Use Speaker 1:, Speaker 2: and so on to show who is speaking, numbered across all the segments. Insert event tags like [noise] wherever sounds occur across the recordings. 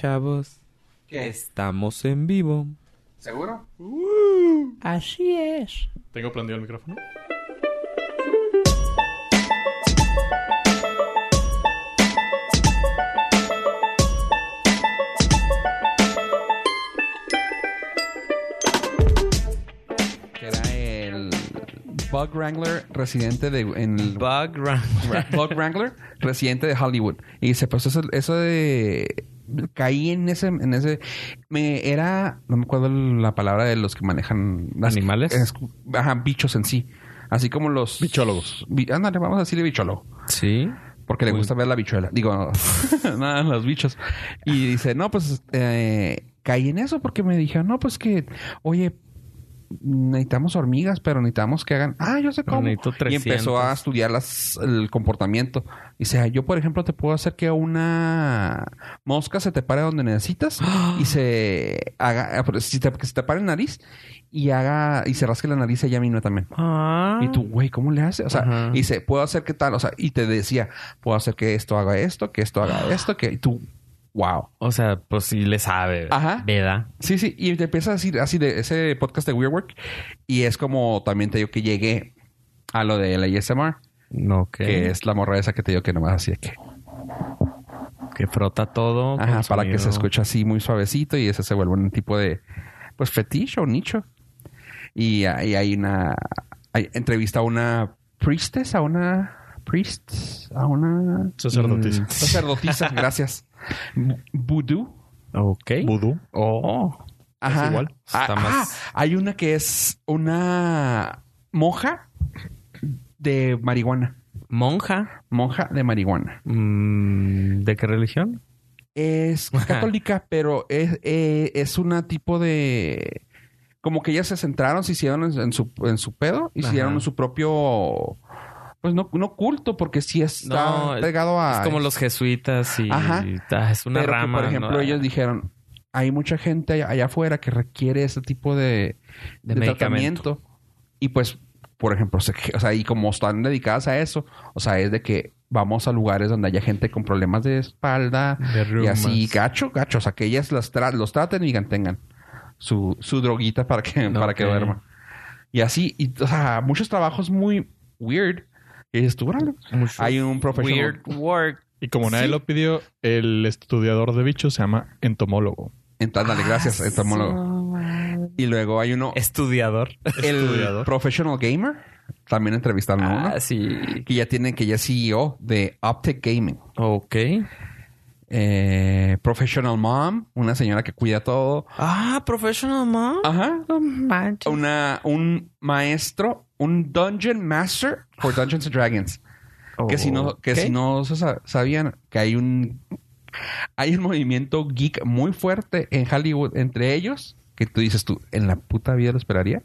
Speaker 1: Pichavos.
Speaker 2: ¿Qué?
Speaker 1: Estamos en vivo.
Speaker 2: ¿Seguro?
Speaker 1: Así es.
Speaker 3: Tengo prendido el micrófono.
Speaker 2: Que era el Bug Wrangler residente de... En el Bug,
Speaker 4: Bug Wrangler.
Speaker 2: [laughs] Wrangler residente de Hollywood. Y se pasó eso, eso de... Caí en ese... En ese me, era... No me acuerdo la palabra de los que manejan... las-
Speaker 4: ¿Animales?
Speaker 2: es- ajá, bichos en sí. Así como los...
Speaker 3: Bichólogos.
Speaker 2: bi- ándale, vamos a decirle bichólogo.
Speaker 4: Sí.
Speaker 2: Porque le gusta ver la bichuela. Digo, [laughs] nada, los bichos. Y dice, no, pues eh, caí en eso porque me dijeron, no, pues que, oye, necesitamos hormigas, pero necesitamos que hagan, ah, yo sé
Speaker 4: Pero
Speaker 2: cómo.
Speaker 4: necesito
Speaker 2: Y
Speaker 4: 300.
Speaker 2: empezó a estudiar las- el comportamiento. Dice, "Ah, yo, por ejemplo, te puedo hacer que una mosca se te pare donde necesitas y se haga, ah, si te, que se te pare la nariz y haga, y se rasque la nariz ella misma también.
Speaker 4: Ah.
Speaker 2: Y tú, güey, ¿cómo le hace? O sea,
Speaker 4: Ajá.
Speaker 2: y dice, puedo hacer que tal, o sea, y te decía, puedo hacer que esto haga esto, que esto haga esto, que y tú, wow.
Speaker 4: O sea, pues sí le sabe.
Speaker 2: Ajá.
Speaker 4: ¿Verdad?
Speaker 2: Sí, sí, y te empieza a decir así de ese podcast de Weird Work, y es como también te digo que llegué a lo de la ASMR,
Speaker 4: No, que,
Speaker 2: que es la morra esa que te digo que nomás así de que,
Speaker 4: que frota todo.
Speaker 2: ajá,
Speaker 4: con
Speaker 2: para que se
Speaker 4: sonido.
Speaker 2: escuche así muy suavecito y ese se vuelve un tipo de, pues, fetiche o nicho. Y ahí hay una, hay- entrevista a una priestess, a una priest, a una...
Speaker 3: Sacerdotisa.
Speaker 4: Mm. [laughs]
Speaker 2: Sacerdotisa, gracias. Bu- Vudú.
Speaker 4: Mm, Ok.
Speaker 3: Vudú.
Speaker 4: Oh.
Speaker 2: Ajá.
Speaker 3: igual.
Speaker 2: Ah,
Speaker 4: Está
Speaker 2: ah,
Speaker 4: más-
Speaker 2: hay una que es una monja de marihuana.
Speaker 4: Monja.
Speaker 2: Monja de marihuana.
Speaker 4: Mm, ¿De qué religión?
Speaker 2: Es católica, pero es, eh, es una tipo de... Como que ellas se centraron, se hicieron en, en su, en su pedo, hicieron
Speaker 4: Ajá.
Speaker 2: su propio... Pues no, no culto, porque sí está
Speaker 4: es-
Speaker 2: pegado a...
Speaker 4: Es como los jesuitas y.
Speaker 2: Ajá.
Speaker 4: Ah, es una
Speaker 2: Pero que,
Speaker 4: rama.
Speaker 2: por ejemplo,
Speaker 4: ¿no?
Speaker 2: ellos dijeron, hay mucha gente allá, allá afuera que requiere ese tipo de,
Speaker 4: De
Speaker 2: de
Speaker 4: medicamento.
Speaker 2: tratamiento. Y pues, por ejemplo, se- o sea, y como están dedicadas a eso, o sea, es de que vamos a lugares donde haya gente con problemas de espalda
Speaker 3: De
Speaker 2: y
Speaker 3: reumas.
Speaker 2: así, gacho, gacho. O sea, que ellas las tra- los traten y digan, tengan su, su droguita para que, para que
Speaker 4: Ok.
Speaker 2: duerma. Y así, y, o sea, muchos trabajos muy weird. Y dices tú, "Órale".
Speaker 4: Mucho
Speaker 2: Hay un profesional.
Speaker 4: Weird work.
Speaker 3: Y como nadie
Speaker 2: Sí.
Speaker 3: lo pidió, el estudiador de bichos se llama entomólogo.
Speaker 2: Entonces, dale, gracias,
Speaker 4: Ah,
Speaker 2: entomólogo. Y luego hay uno...
Speaker 4: Estudiador.
Speaker 2: el
Speaker 3: Estudiador.
Speaker 2: Professional Gamer también entrevistaron a uno
Speaker 4: Ah, sí.
Speaker 2: que ya tiene que ya es CEO de Optic Gaming.
Speaker 4: Ok.
Speaker 2: Eh, professional Mom, una señora que cuida todo.
Speaker 4: Ah, professional mom.
Speaker 2: Ajá.
Speaker 4: No manches.
Speaker 2: Una, un maestro, un Dungeon Master por Dungeons and Dragons. Que si no, que
Speaker 4: Ok.
Speaker 2: si no se sa- sabían que hay un hay un movimiento geek muy fuerte en Hollywood entre ellos, que tú dices tú, en la puta vida lo esperaría.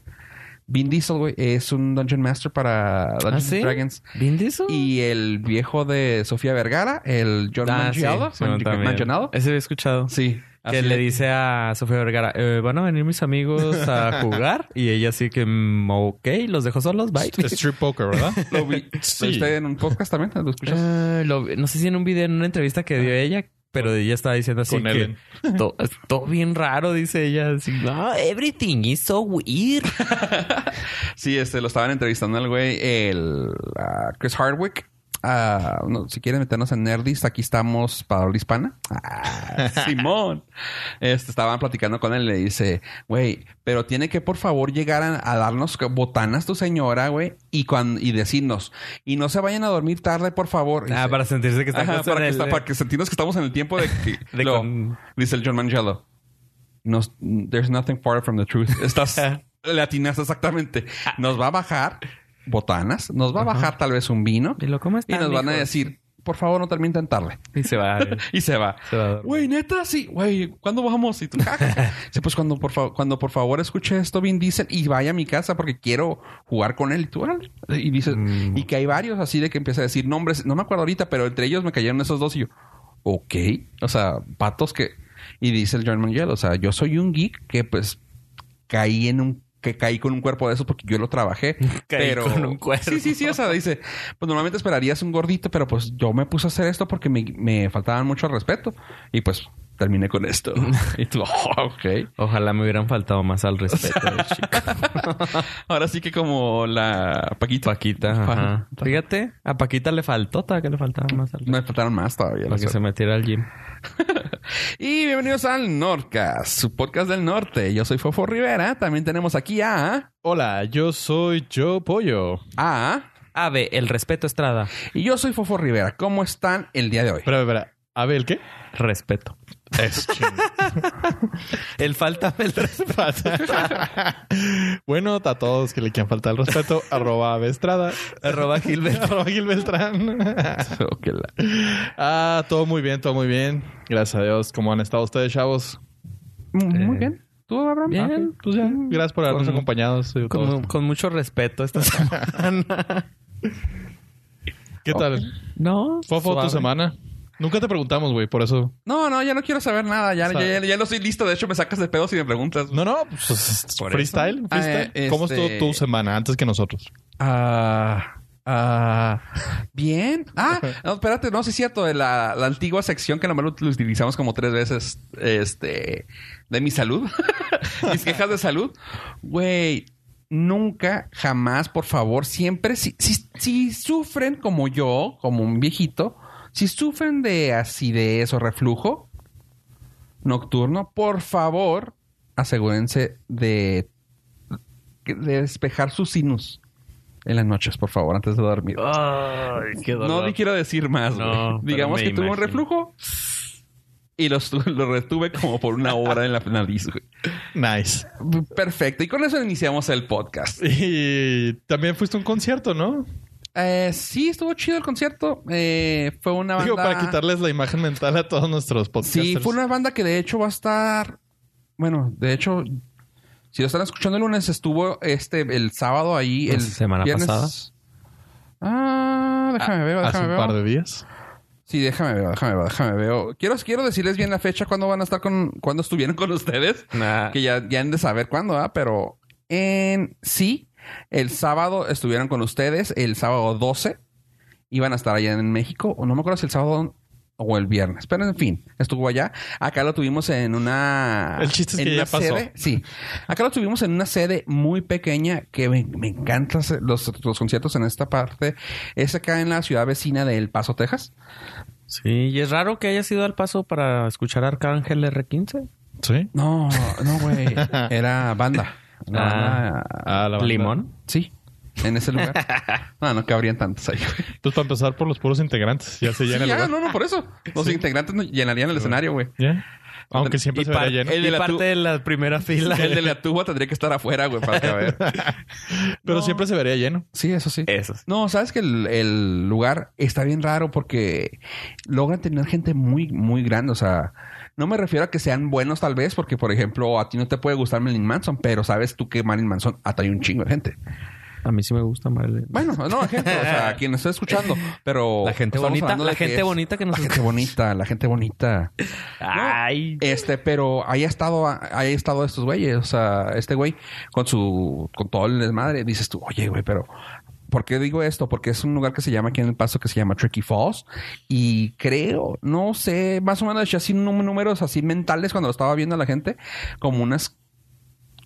Speaker 2: Vin Diesel, güey, es un Dungeon Master para Dungeons
Speaker 4: ¿Ah,
Speaker 2: and
Speaker 4: sí?
Speaker 2: Dragons.
Speaker 4: ¿Vin Diesel?
Speaker 2: Y el viejo de Sofía Vergara, el John
Speaker 4: Ah, sí,
Speaker 2: Mangiello.
Speaker 4: sí,
Speaker 2: Mangi-
Speaker 4: también.
Speaker 2: Mangianado.
Speaker 4: Ese he escuchado.
Speaker 2: Sí.
Speaker 4: Que
Speaker 2: así
Speaker 4: le dice a Sofía Vergara, "Eh, van a venir mis amigos
Speaker 2: [laughs]
Speaker 4: a jugar. y ella así que, "Mm, ok, los dejo solos, bye.
Speaker 3: Street poker, ¿verdad?
Speaker 2: Lo
Speaker 4: [laughs]
Speaker 2: vi.
Speaker 3: Sí.
Speaker 2: ¿Lo viste en un podcast también? ¿Lo escuchas?
Speaker 4: Eh, lo vi- no sé si en un video, en una entrevista que dio ella, pero ella estaba diciendo así
Speaker 3: Con
Speaker 4: que
Speaker 3: Ellen.
Speaker 4: [laughs] to- todo bien raro, dice ella. Así, no, everything is so
Speaker 2: [laughs]
Speaker 4: weird.
Speaker 2: Sí, este, lo estaban entrevistando al güey, el ah, Chris Hardwick. Ah, no, si quieren meternos en Nerdist, aquí estamos para habla hispana. Ah,
Speaker 4: [laughs]
Speaker 2: Simón. Este, estaban platicando con él y le dice, güey, pero tiene que por favor llegar a, a darnos co- botanas tu señora, güey, y, cuan- y decirnos, y no se vayan a dormir tarde, por favor.
Speaker 4: Ah,
Speaker 2: Dice,
Speaker 4: para sentirse que está
Speaker 2: Ajá,
Speaker 4: puesto
Speaker 2: para,
Speaker 4: en
Speaker 2: que
Speaker 4: el-
Speaker 2: está- para que sentimos que estamos en el tiempo de que...
Speaker 4: [laughs] De
Speaker 2: Luego,
Speaker 4: con-
Speaker 2: Dice el John Mangello. "Nos- there's nothing far from the truth. Estás... le atinaste exactamente. Nos va a bajar botanas. Nos va a bajar tal vez un vino.
Speaker 4: Y lo, ¿cómo
Speaker 2: Y
Speaker 4: están,
Speaker 2: nos van a
Speaker 4: hijos?
Speaker 2: decir, por favor, no terminen tan tarde.
Speaker 4: Y se va. eh,
Speaker 2: Y se va.
Speaker 4: se va a dormir.
Speaker 2: Güey, neta, sí. Güey, ¿cuándo bajamos? Y tú, "Ja, ja, ja". Sí, pues cuando por, favor cuando por favor escuche esto, Vin Diesel, y vaya a mi casa porque quiero jugar con él. Y tú, "Órale". Y dices,
Speaker 4: Mm.
Speaker 2: y que hay varios así de que empieza a decir nombres. No me acuerdo ahorita, pero entre ellos me cayeron esos dos y yo, ok. O sea, patos que... Y dice el John Mangel, o sea, yo soy un geek que pues caí en un... Que caí con un cuerpo de esos porque yo lo trabajé.
Speaker 4: [laughs] Caí
Speaker 2: pero...
Speaker 4: con un cuerpo.
Speaker 2: Sí, sí, sí. O sea, dice, pues normalmente esperarías un gordito, pero pues yo me puse a hacer esto porque me, me faltaban mucho al respeto. Y pues terminé
Speaker 4: [laughs]
Speaker 2: con esto. y tú, "Oh, ok.
Speaker 4: Ojalá me hubieran faltado más al respeto. chico.
Speaker 2: Ahora sí que como la Paquita.
Speaker 4: Paquita, ajá. Fíjate, a Paquita le faltó, todavía que le faltaba más al respeto.
Speaker 2: Me faltaron más todavía.
Speaker 4: Para
Speaker 2: no
Speaker 4: que
Speaker 2: sé.
Speaker 4: se metiera al gym.
Speaker 2: Y bienvenidos al Nordcast, su podcast del norte. Yo soy Fofo Rivera. También tenemos aquí a...
Speaker 3: Hola, yo soy Yo Pollo.
Speaker 2: A...
Speaker 4: Ave, el respeto Estrada.
Speaker 2: Y yo soy Fofo Rivera. ¿Cómo están el día de hoy?
Speaker 3: Espera, espera. A ver, ¿el qué?
Speaker 4: Respeto.
Speaker 3: Es
Speaker 4: [laughs] El falta el respeto.
Speaker 3: Pasa. bueno, a todos que le quieran faltar el respeto, arroba Bestrada,
Speaker 4: Arroba
Speaker 3: [laughs]
Speaker 4: Gilbert.
Speaker 3: arroba Gil Beltrán.
Speaker 2: Ok, la-
Speaker 3: ah, todo muy bien, todo muy bien. Gracias a Dios. ¿Cómo han estado ustedes, chavos?
Speaker 2: Mm, Muy
Speaker 4: Eh,
Speaker 2: bien. ¿Tú, Abraham?
Speaker 4: Bien,
Speaker 2: Ah, ok.
Speaker 3: Pues ya, gracias por habernos
Speaker 4: Con-
Speaker 3: acompañado. sí, todos.
Speaker 4: Con, con mucho respeto esta semana.
Speaker 3: ¿Qué tal?
Speaker 4: [laughs] no.
Speaker 3: Fofo,
Speaker 4: suave.
Speaker 3: tu semana. Nunca te preguntamos, güey, por eso.
Speaker 2: No, no, ya no quiero saber nada. Ya,
Speaker 3: O sea-
Speaker 2: ya, ya- ya no soy listo. De hecho, me sacas de pedo si me preguntas.
Speaker 3: No, no, pues,
Speaker 2: Por
Speaker 3: freestyle.
Speaker 2: eso.
Speaker 3: freestyle.
Speaker 2: Ah,
Speaker 3: ¿Cómo
Speaker 2: este-
Speaker 3: estuvo tu semana antes que nosotros?
Speaker 2: Ah, ah, bien. Ah, no, espérate, no, sí es cierto. de La, la antigua sección que nomás lo utilizamos como tres veces, este, de mi salud, [laughs] mis quejas de salud. Güey, nunca, jamás, por favor, siempre, si, si, si sufren como yo, como un viejito, si sufren de acidez o reflujo nocturno, por favor, asegúrense de, de despejar sus sinus. En las noches, por favor, antes de dormir.
Speaker 4: Ay, qué
Speaker 2: no
Speaker 4: dolor.
Speaker 2: le quiero decir más, güey.
Speaker 4: No, pero
Speaker 2: Digamos
Speaker 4: me
Speaker 2: que tuve un
Speaker 4: imagino.
Speaker 2: reflujo y lo, estu- lo retuve como por una hora en la nariz, güey.
Speaker 3: Nice.
Speaker 2: Perfecto. Y con eso iniciamos el podcast.
Speaker 3: Y también fuiste a un concierto, ¿no?
Speaker 2: Eh, sí, estuvo chido el concierto. Eh, fue una banda...
Speaker 3: Digo, para quitarles la imagen mental a todos nuestros podcasters.
Speaker 2: Sí, fue una banda que de hecho va a estar... Bueno, de hecho, si lo están escuchando el lunes, estuvo este el sábado ahí.
Speaker 4: La
Speaker 2: El
Speaker 4: semana
Speaker 2: viernes.
Speaker 4: pasada.
Speaker 2: Ah, déjame ver,
Speaker 3: Hace
Speaker 2: déjame
Speaker 3: un
Speaker 2: ver.
Speaker 3: par de días.
Speaker 2: Sí, déjame ver, déjame ver, déjame ver. Quiero, quiero decirles bien la fecha, cuándo van a estar con, cuándo estuvieron con ustedes.
Speaker 3: Ah.
Speaker 4: Nah.
Speaker 2: Que ya, ya han de saber cuándo, ¿ah? Pero en sí, el sábado estuvieron con ustedes, el sábado 12. Iban a estar allá en México, o no me acuerdo si el sábado o el viernes, pero en fin, estuvo allá. Acá lo tuvimos en una.
Speaker 3: El chiste es
Speaker 2: en
Speaker 3: que
Speaker 2: una
Speaker 3: ya pasó.
Speaker 2: sede- sí. Acá lo tuvimos en una sede muy pequeña que me, me encanta hacer los, los conciertos en esta parte. Es acá en la ciudad vecina de El Paso, Texas.
Speaker 4: Sí, y es raro que hayas ido al paso para escuchar Arcángel R15.
Speaker 3: Sí.
Speaker 2: No, no, güey. [laughs] Era banda. Una
Speaker 4: Ah.
Speaker 2: banda,
Speaker 3: Ah, la banda.
Speaker 4: Limón.
Speaker 2: Sí, en
Speaker 4: [laughs]
Speaker 2: ese lugar. no, no cabrían tantos ahí. güey.
Speaker 3: Pues para empezar por los puros integrantes. Ya se
Speaker 2: Sí,
Speaker 3: llena el
Speaker 2: ya,
Speaker 3: lugar.
Speaker 2: no, no, por eso. Los integrantes no llenarían el escenario, güey.
Speaker 3: Ya. Aunque siempre
Speaker 4: Y
Speaker 3: se verá
Speaker 4: par-
Speaker 3: lleno.
Speaker 2: el- de
Speaker 4: y
Speaker 2: la tu-
Speaker 4: parte de la [laughs] primera fila.
Speaker 2: El de la tuba tendría que estar afuera, güey, para
Speaker 3: [laughs]
Speaker 2: caber.
Speaker 3: Pero siempre se vería lleno.
Speaker 2: Sí, eso sí.
Speaker 4: Eso sí.
Speaker 2: No, sabes que el, el lugar está bien raro porque logran tener gente muy, muy grande. O sea, no me refiero a que sean buenos tal vez, porque por ejemplo, a ti no te puede gustar Marilyn Manson, pero sabes tú que Marilyn Manson atrae un chingo de gente.
Speaker 4: A mí sí me gusta Marilyn.
Speaker 2: Bueno, no, ejemplo, o sea, quien
Speaker 4: [laughs]
Speaker 2: está escuchando, pero
Speaker 4: La gente
Speaker 2: estamos
Speaker 4: bonita,
Speaker 2: hablando de
Speaker 4: la gente bonita
Speaker 2: [laughs]
Speaker 4: que nos
Speaker 2: la gente bonita, la gente bonita.
Speaker 4: Ay.
Speaker 2: Este, pero ahí ha estado, ahí ha estado estos güeyes, o sea, este güey con su, con todo el desmadre, dices tú, oye, güey, pero ¿por qué digo esto? Porque es un lugar que se llama aquí en el Paso que se llama Tricky Falls y creo, no sé, más o menos eché así num- números así mentales cuando lo estaba viendo a la gente, como unas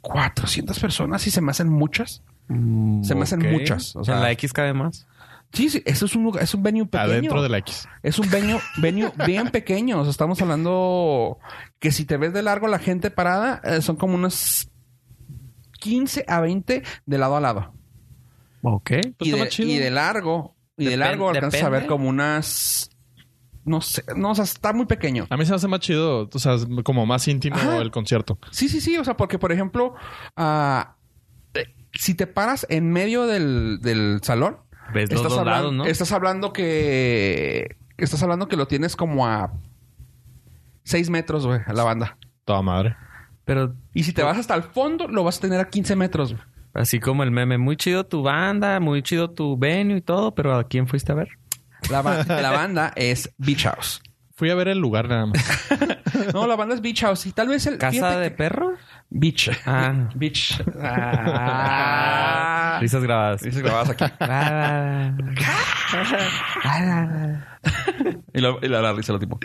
Speaker 2: 400 personas y se me hacen muchas. Se me hacen
Speaker 4: Ok.
Speaker 2: muchas, o sea-
Speaker 4: en la X cabe más.
Speaker 2: Sí, sí, eso es un lugar, es un venue pequeño.
Speaker 3: Adentro de la X.
Speaker 2: Es un venue,
Speaker 3: [laughs]
Speaker 2: venue bien pequeño. O sea, estamos hablando que si te ves de largo la gente parada, eh, son como unos 15 a 20 de lado a lado.
Speaker 4: Ok.
Speaker 3: Pues
Speaker 2: y,
Speaker 3: está
Speaker 2: de,
Speaker 3: más chido.
Speaker 2: y de largo, y de
Speaker 4: Depen-
Speaker 2: largo alcanzas a ver
Speaker 4: depende.
Speaker 2: como unas... No sé, no, o sea, está muy pequeño.
Speaker 3: A mí se me hace más chido, o sea, es como más íntimo
Speaker 2: Ajá.
Speaker 3: el concierto.
Speaker 2: Sí, sí, sí. O sea, porque, por ejemplo, ah, eh, si te paras en medio del, del salón,
Speaker 4: Ves los dos
Speaker 2: hablan-
Speaker 4: lados, ¿no?
Speaker 2: estás hablando que. Estás hablando que lo tienes como a 6 metros, güey, a la banda.
Speaker 3: Toda madre.
Speaker 4: Pero
Speaker 2: Y si te vas hasta el fondo, lo vas a tener a 15 metros, güey.
Speaker 4: así como el meme, muy chido tu banda, muy chido tu venue y todo, pero ¿a quién fuiste a ver?
Speaker 2: La,
Speaker 4: [laughs]
Speaker 2: ba- la banda es Beach House.
Speaker 3: Fui a ver el lugar nada
Speaker 2: [laughs]
Speaker 3: más.
Speaker 2: No, la banda es Beach House. Y tal vez el.
Speaker 4: ¿Casa
Speaker 2: fíjate
Speaker 4: de
Speaker 2: que-
Speaker 4: perro?
Speaker 2: Beach.
Speaker 4: Ah.
Speaker 2: Beach. [laughs]
Speaker 4: [laughs]
Speaker 2: Ah.
Speaker 4: Risas
Speaker 2: [laughs]
Speaker 4: grabadas.
Speaker 2: Dices grabadas aquí.
Speaker 4: Ah,
Speaker 3: [laughs]
Speaker 2: Y la, y la, la risa lo tipo.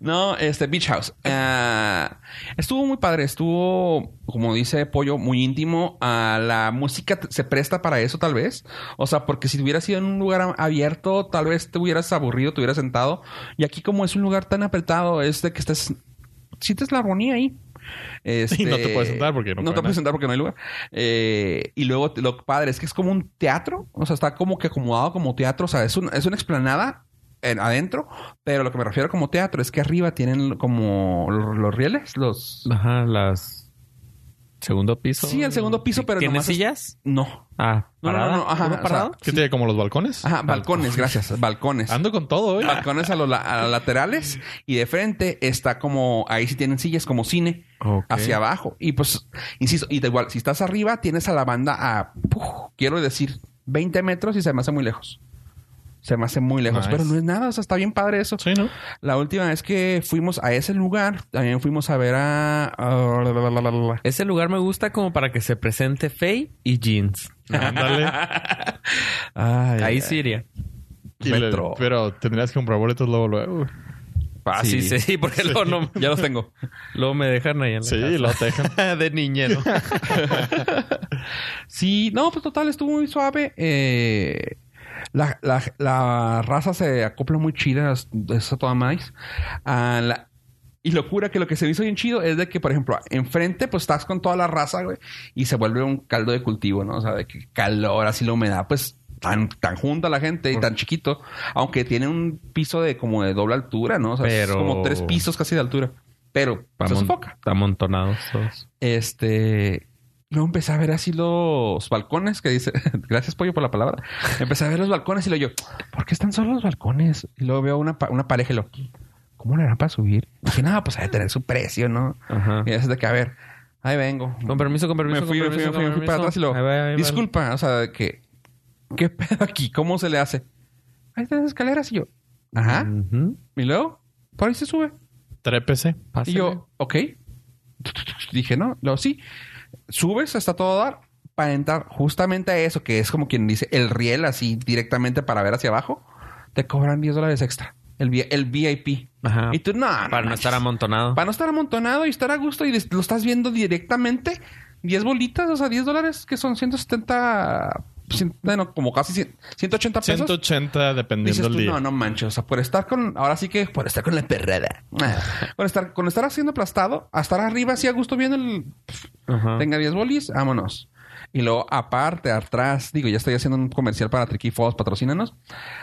Speaker 2: No, este, Beach House. Ah, estuvo muy padre, estuvo, como dice Pollo, muy íntimo. Ah, la música t- se presta para eso, tal vez. O sea, porque si hubieras ido en un lugar a- abierto, tal vez te hubieras aburrido, te hubieras sentado. Y aquí, como es un lugar tan apretado, es de que estás. Sientes la armonía ahí. Este,
Speaker 3: Y no te puedes sentar porque no
Speaker 2: No te
Speaker 3: cabe
Speaker 2: puedes
Speaker 3: nadie.
Speaker 2: sentar porque no hay lugar. Eh, y luego te- lo padre es que es como un teatro. O sea, está como que acomodado como teatro. O sea, es, un- es una explanada en- adentro. Pero lo que me refiero como teatro es que arriba tienen como los, los rieles, los...
Speaker 4: Ajá, las... ¿Segundo piso?
Speaker 2: Sí, el segundo piso, pero
Speaker 4: ¿Tiene
Speaker 2: nomás es-
Speaker 4: sillas?
Speaker 2: No.
Speaker 4: Ah,
Speaker 2: No, no, no,
Speaker 4: ¿parada?
Speaker 2: no, ajá,
Speaker 4: ¿Uno
Speaker 2: o sea,
Speaker 4: parado?
Speaker 3: ¿Qué tiene como los balcones?
Speaker 2: Ajá, balcones, gracias. Balcones.
Speaker 3: Ando con todo ¿eh? hoy.
Speaker 2: Balcones a los la- a los laterales y de frente está como... Ahí sí tienen sillas como cine.
Speaker 4: Ok.
Speaker 2: Hacia abajo. Y pues, insisto, y da igual, si estás arriba tienes a la banda a... puf, quiero decir, 20 metros y se me hace muy lejos. Se me hace muy lejos.
Speaker 3: Nice.
Speaker 2: Pero no es nada, o sea, está bien padre eso.
Speaker 3: Sí, ¿no?
Speaker 2: La última vez que fuimos a ese lugar, también fuimos a ver a... a- la, la, la, la, la.
Speaker 4: Ese lugar me gusta como para que se presente Faye y Jeans.
Speaker 2: [laughs]
Speaker 3: Ándale.
Speaker 4: Ahí sí iría.
Speaker 3: Y le-
Speaker 2: Metro.
Speaker 3: pero tendrías que comprar boletos luego, luego.
Speaker 2: Ah,
Speaker 4: sí, [laughs] sí, sí, porque luego, no-
Speaker 2: [laughs] Ya los tengo.
Speaker 4: luego me dejan ahí en la
Speaker 3: Sí,
Speaker 4: casa.
Speaker 3: lo [laughs]
Speaker 4: [laughs]
Speaker 3: dejan.
Speaker 4: de
Speaker 2: [laughs]
Speaker 4: niñero.
Speaker 2: Sí, no, pues total, estuvo muy suave. Eh, la, la- la raza se acopla muy chida, es- es a toda más. Ah, la- y locura que lo que se me hizo bien chido es de que, por ejemplo, enfrente pues estás con toda la raza, güey, y se vuelve un caldo de cultivo, ¿no? O sea, de que calor, así la humedad, pues tan, tan junta la gente y tan chiquito, aunque tiene un piso de como de doble altura, ¿no? O sea, es
Speaker 4: Pero-
Speaker 2: como tres pisos casi de altura, pero se sofoca.
Speaker 4: Amontonados todos.
Speaker 2: Este. Luego empecé a ver así los balcones que dice. [laughs] Gracias, pollo, por la palabra. Empecé a ver los balcones y lo yo, ¿por qué están solo los balcones? Y luego veo una, pa- una pareja y lo, ¿cómo le harán para subir? Y dije, no, pues ha de tener su precio, ¿no?
Speaker 4: Ajá.
Speaker 2: Y es de que, a ver, ahí vengo.
Speaker 4: Con permiso, con permiso,
Speaker 2: me fui,
Speaker 4: con
Speaker 2: me fui,
Speaker 4: permiso,
Speaker 2: me fui,
Speaker 4: con
Speaker 2: me fui para
Speaker 4: permiso.
Speaker 2: atrás y lo,
Speaker 4: Ahí va, ahí va.
Speaker 2: disculpa, o sea, de que, ¿qué pedo aquí? ¿Cómo se le hace? Ahí están las escaleras y yo, ajá.
Speaker 4: Ujú.
Speaker 2: Y luego, por ahí se sube.
Speaker 3: Trépese.
Speaker 2: Y yo, ok. Dije, no, luego sí. Subes hasta todo dar para entrar justamente a eso, que es como quien dice el riel así directamente para ver hacia abajo. Te cobran 10 dólares extra. El, vi- el VIP.
Speaker 4: Ajá.
Speaker 2: Y tú, no,
Speaker 4: Ah. Para no
Speaker 2: [laughs]
Speaker 4: estar
Speaker 2: manches.
Speaker 4: amontonado.
Speaker 2: Para no estar amontonado y estar a gusto y des- lo estás viendo directamente. 10 bolitas, o sea, 10 dólares que son 170... cien- Bueno, como casi cien- 180 pesos.
Speaker 3: 180
Speaker 2: Dices
Speaker 3: dependiendo
Speaker 2: tú,
Speaker 3: del día.
Speaker 2: no, no manches. O sea, por estar con... Ahora sí que por estar con la perrada. por estar, con estar haciendo aplastado, a estar arriba así a gusto viendo el...
Speaker 3: Ah.
Speaker 4: Ajá.
Speaker 2: Tenga 10 bolis, vámonos. Y luego, aparte, atrás, digo, ya estoy haciendo un comercial para Tricky Falls, patrocínanos.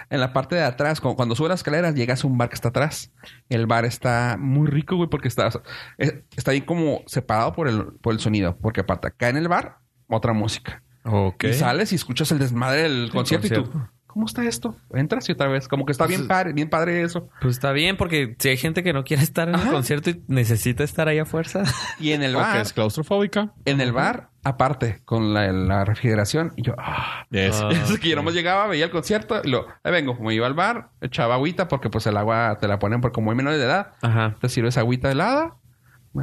Speaker 2: En la parte de atrás, cu- cuando subes las escaleras, llegas a un bar que está atrás. El bar está muy rico, güey, porque está, eh, está ahí como separado por el, por el sonido. Porque aparte, acá en el bar, otra música.
Speaker 4: Ok.
Speaker 2: Y sales y escuchas el desmadre del concierto, y tú,
Speaker 4: concierto.
Speaker 2: ¿cómo está esto? Entras y otra vez, como que está bien padre, bien padre eso.
Speaker 4: Pues está bien, porque si hay gente que no quiere estar en
Speaker 2: Ajá.
Speaker 4: el concierto y necesita estar ahí a fuerza.
Speaker 2: Y en el
Speaker 3: Porque
Speaker 2: bar,
Speaker 3: es claustrofóbica.
Speaker 2: en el bar, aparte, con la, la refrigeración, y yo, ah.
Speaker 3: Yes.
Speaker 2: [laughs] Es que yo nomás llegaba, veía el concierto, y lo, ahí vengo, me iba al bar, echaba agüita, porque pues el agua te la ponen por como hay menores de edad,
Speaker 4: Ajá.
Speaker 2: te sirves agüita helada,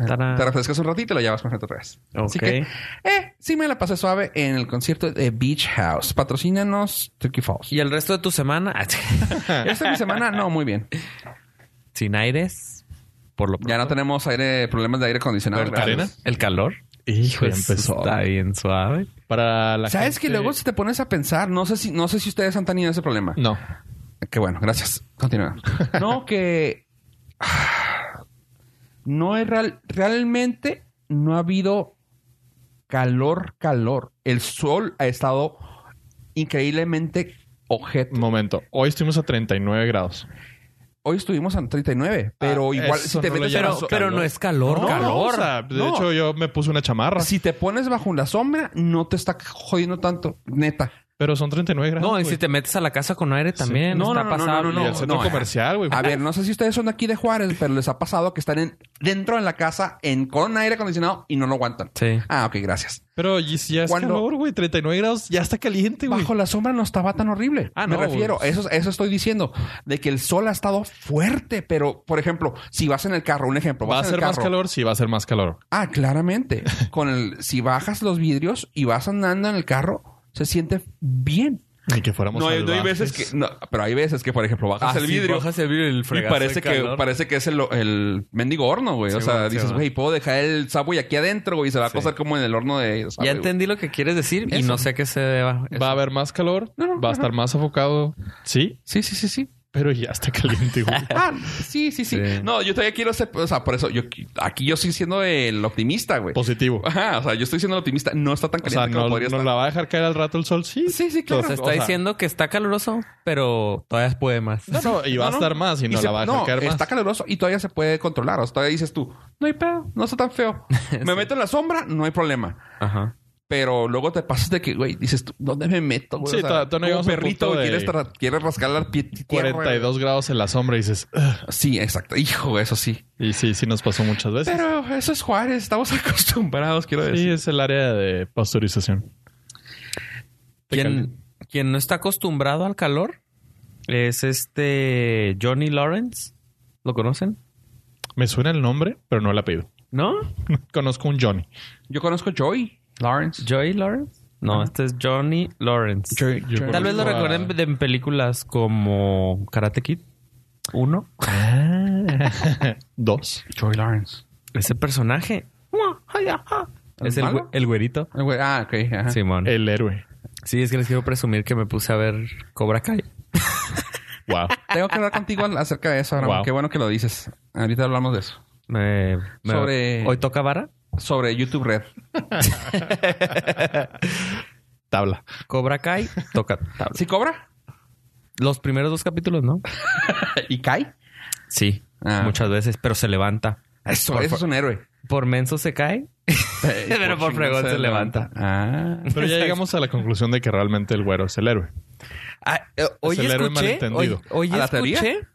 Speaker 4: Tarán.
Speaker 2: te refrescas un ratito y te la llevas con gente otra vez. Así
Speaker 4: Ok.
Speaker 2: que, eh, sí me la pasé suave en el concierto de Beach House. Patrocínanos Turkey Falls.
Speaker 4: ¿Y el resto de tu semana? [laughs]
Speaker 2: Esta es mi semana, no, muy bien.
Speaker 4: Sin aires. Por lo
Speaker 2: Ya no tenemos aire, problemas de aire acondicionado.
Speaker 3: Pero,
Speaker 2: gracias.
Speaker 3: ¿arena?
Speaker 4: El calor.
Speaker 3: Hijo, ya
Speaker 4: Pues,
Speaker 3: empezó.
Speaker 4: Está bien suave.
Speaker 3: Para la
Speaker 2: ¿Sabes
Speaker 3: gente-
Speaker 2: que luego si te pones a pensar, no sé si no sé si ustedes han tenido ese problema?
Speaker 3: No.
Speaker 2: Que bueno, gracias.
Speaker 3: [laughs]
Speaker 2: Continúa. No, que [sighs] no es real, realmente no ha habido calor, calor. El sol ha estado increíblemente ojete.
Speaker 3: Momento. Hoy estuvimos a 39 grados.
Speaker 2: Hoy estuvimos a 39, pero
Speaker 3: Ah,
Speaker 2: igual
Speaker 3: eso
Speaker 2: si te
Speaker 3: no lo
Speaker 2: metes
Speaker 3: llamas
Speaker 2: bajo-
Speaker 3: calor.
Speaker 4: Pero no es calor,
Speaker 3: No,
Speaker 4: calor.
Speaker 3: o sea, de
Speaker 2: No.
Speaker 3: hecho, yo me puse una chamarra.
Speaker 2: si te pones bajo la sombra, no te está jodiendo tanto, neta.
Speaker 3: Pero son 39 grados.
Speaker 4: no, y
Speaker 3: güey.
Speaker 4: si te metes a la casa con aire también.
Speaker 2: No,
Speaker 4: está
Speaker 2: no, no, no,
Speaker 4: pasable.
Speaker 2: no,
Speaker 3: Y el centro
Speaker 2: no,
Speaker 3: comercial, güey.
Speaker 2: A ver, no sé si ustedes son de aquí de Juárez, pero les ha pasado que están en- dentro de la casa en, con aire acondicionado y no lo aguantan.
Speaker 4: Sí.
Speaker 2: Ah, ok, gracias.
Speaker 3: Pero y si ya es
Speaker 2: Cuando-
Speaker 3: calor, güey. 39 grados. Ya está caliente, güey.
Speaker 2: Bajo la sombra no estaba tan horrible.
Speaker 3: Ah,
Speaker 2: Me
Speaker 3: no,
Speaker 2: refiero,
Speaker 3: pues.
Speaker 2: eso, eso estoy diciendo, de que el sol ha estado fuerte, pero por ejemplo, si vas en el carro, un ejemplo,
Speaker 3: ¿Va a
Speaker 2: vas en el
Speaker 3: ser más
Speaker 2: carro.
Speaker 3: calor? Sí, va a ser más calor.
Speaker 2: Ah, claramente. Con el, si bajas los vidrios y vas andando en el carro, se siente bien.
Speaker 3: Ni que fuéramos
Speaker 2: No, hay- no hay
Speaker 3: salvajes.
Speaker 2: veces que. no, pero hay veces que, por ejemplo, bajas el vidrio.
Speaker 4: Ah, Bajas el vidrio y el
Speaker 2: y
Speaker 4: fregazo
Speaker 2: parece
Speaker 4: de
Speaker 2: que,
Speaker 4: calor.
Speaker 2: parece que es el, el mendigo horno, güey. o
Speaker 4: Sí,
Speaker 2: sea,
Speaker 4: güey, sí,
Speaker 2: dices,
Speaker 4: güey.
Speaker 2: güey, puedo dejar el Subway aquí adentro, güey, y se va a
Speaker 4: Sí.
Speaker 2: cocer como en el horno de. Subway,
Speaker 4: Ya
Speaker 2: güey.
Speaker 4: entendí lo que quieres decir y
Speaker 3: Eso.
Speaker 4: no sé a qué se deba.
Speaker 3: Va a haber más calor,
Speaker 2: No, no,
Speaker 3: va a estar más sofocado. Sí,
Speaker 2: Sí, sí, sí,
Speaker 3: [laughs]
Speaker 2: sí.
Speaker 3: pero ya está caliente, [laughs] güey.
Speaker 2: Ah, sí, sí, sí,
Speaker 4: Sí.
Speaker 2: No, yo todavía quiero ser. O sea, por eso, yo aquí yo estoy siendo el optimista, güey.
Speaker 3: Positivo.
Speaker 2: Ajá, o sea, yo estoy siendo el optimista. No está tan
Speaker 3: Pues O
Speaker 2: caliente
Speaker 3: sea,
Speaker 2: como
Speaker 3: ¿no,
Speaker 2: podría
Speaker 3: ¿nos
Speaker 2: estar.
Speaker 3: la va a dejar caer al rato el sol? Sí.
Speaker 2: Sí, sí, claro.
Speaker 4: Se
Speaker 3: O
Speaker 4: está
Speaker 3: sea-
Speaker 4: diciendo que está caluroso, pero todavía puede más.
Speaker 3: No, no, y va
Speaker 2: No,
Speaker 3: a
Speaker 2: no.
Speaker 3: estar más y no
Speaker 2: se-
Speaker 3: la va a dejar caer más.
Speaker 2: Está caluroso y todavía se puede controlar. O sea, todavía dices tú, no hay pedo, no está tan
Speaker 3: [laughs]
Speaker 2: feo. Me meto en la sombra, no hay problema.
Speaker 4: Ajá.
Speaker 2: Pero luego te pasas de que, güey, dices tú, ¿dónde me meto? güey?
Speaker 3: Sí, todavía no
Speaker 2: como
Speaker 3: llegamos al
Speaker 2: perrito,
Speaker 3: punto
Speaker 2: güey,
Speaker 3: de-
Speaker 2: quieres, tra- quieres rascar la pie. tierra,
Speaker 3: 42 grados en la sombra y dices...
Speaker 2: güey. Sí, exacto. Hijo, güey, eso sí.
Speaker 3: Y sí, sí nos pasó muchas veces.
Speaker 2: Pero eso es Juárez, estamos [laughs] acostumbrados, quiero
Speaker 3: sí,
Speaker 2: decir.
Speaker 3: es el área de pasteurización. Te cal-
Speaker 4: Quien, quien no está acostumbrado al calor es este Johnny Lawrence. ¿Lo conocen?
Speaker 3: Me suena el nombre, pero no el apellido. [laughs]
Speaker 4: ¿No?
Speaker 3: Conozco un Johnny.
Speaker 2: Yo conozco a Joy Lawrence.
Speaker 4: ¿Joey Lawrence? No, este es Johnny Lawrence.
Speaker 3: Johnny.
Speaker 4: Tal vez lo
Speaker 3: Lawrence.
Speaker 4: recuerden de en películas como Karate Kid 1.
Speaker 3: [laughs] Dos.
Speaker 2: Joy Lawrence.
Speaker 4: Ese personaje es el, Eh.
Speaker 2: malo?
Speaker 4: güe- el güerito.
Speaker 2: El güey- Ah, ok. ajá.
Speaker 4: Simón.
Speaker 3: El héroe.
Speaker 4: Sí, es que les quiero presumir que me puse a ver Cobra Kai.
Speaker 3: Wow.
Speaker 2: Tengo que hablar contigo al- acerca de eso, Abraham.
Speaker 3: Wow.
Speaker 2: Qué bueno que lo dices. Ahorita hablamos de eso.
Speaker 4: Me- me-
Speaker 2: Sobre-
Speaker 4: Hoy toca vara.
Speaker 2: Sobre YouTube Red.
Speaker 3: Tabla.
Speaker 4: Cobra [laughs] Kai toca.
Speaker 2: ¿Sí cobra? [laughs]
Speaker 4: Los primeros dos capítulos, ¿no?
Speaker 2: ¿Y cae?
Speaker 4: Sí,
Speaker 2: Ah.
Speaker 4: muchas veces, pero se levanta.
Speaker 2: Eso,
Speaker 4: Por
Speaker 2: eso
Speaker 4: fa-
Speaker 2: es un héroe.
Speaker 3: [laughs]
Speaker 4: Por menso se cae. Pero por fregón se levanta.
Speaker 2: Ah.
Speaker 3: Pero ya llegamos a la conclusión de que realmente el güero es el héroe.
Speaker 4: Ah, eh, hoy
Speaker 3: el
Speaker 4: escuché,
Speaker 3: héroe
Speaker 4: hoy,
Speaker 3: malentendido.
Speaker 4: hoy
Speaker 2: ¿A la
Speaker 4: escuché
Speaker 2: teoría?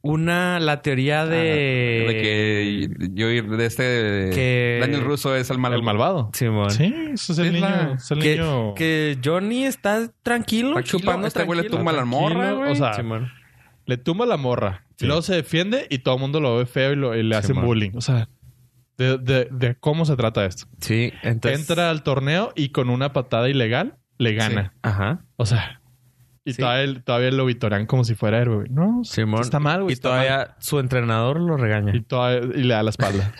Speaker 4: una la teoría
Speaker 2: Ah, de
Speaker 4: de,
Speaker 2: que yo ir de este
Speaker 4: Que-
Speaker 2: Daniel Russo es el malo.
Speaker 3: El malvado.
Speaker 4: Simón.
Speaker 3: Sí, eso es el
Speaker 2: Es
Speaker 3: niño.
Speaker 2: la-
Speaker 3: Es el
Speaker 4: que,
Speaker 3: niño.
Speaker 4: que Johnny está tranquilo,
Speaker 2: Tranquilo,
Speaker 4: chupando
Speaker 2: este güey le
Speaker 4: tranquilo.
Speaker 2: tumba la morra,
Speaker 3: Tranquilo,
Speaker 2: güey.
Speaker 3: o sea,
Speaker 4: Simón.
Speaker 3: le tumba la morra. Y luego se defiende y todo el mundo lo ve feo y, lo- y le hacen
Speaker 4: man.
Speaker 3: bullying. O sea, de, de- de cómo se trata esto.
Speaker 4: Sí, entonces
Speaker 3: Entra al torneo y con una patada ilegal le gana.
Speaker 4: Ajá.
Speaker 3: O sea, y
Speaker 4: Sí.
Speaker 3: todavía, todavía lo vitorean como si fuera héroe. güey. No,
Speaker 4: Simón.
Speaker 3: está mal, güey.
Speaker 4: Y
Speaker 3: está
Speaker 4: todavía
Speaker 3: mal.
Speaker 4: su entrenador lo regaña.
Speaker 3: Y, todavía- y le da la espalda.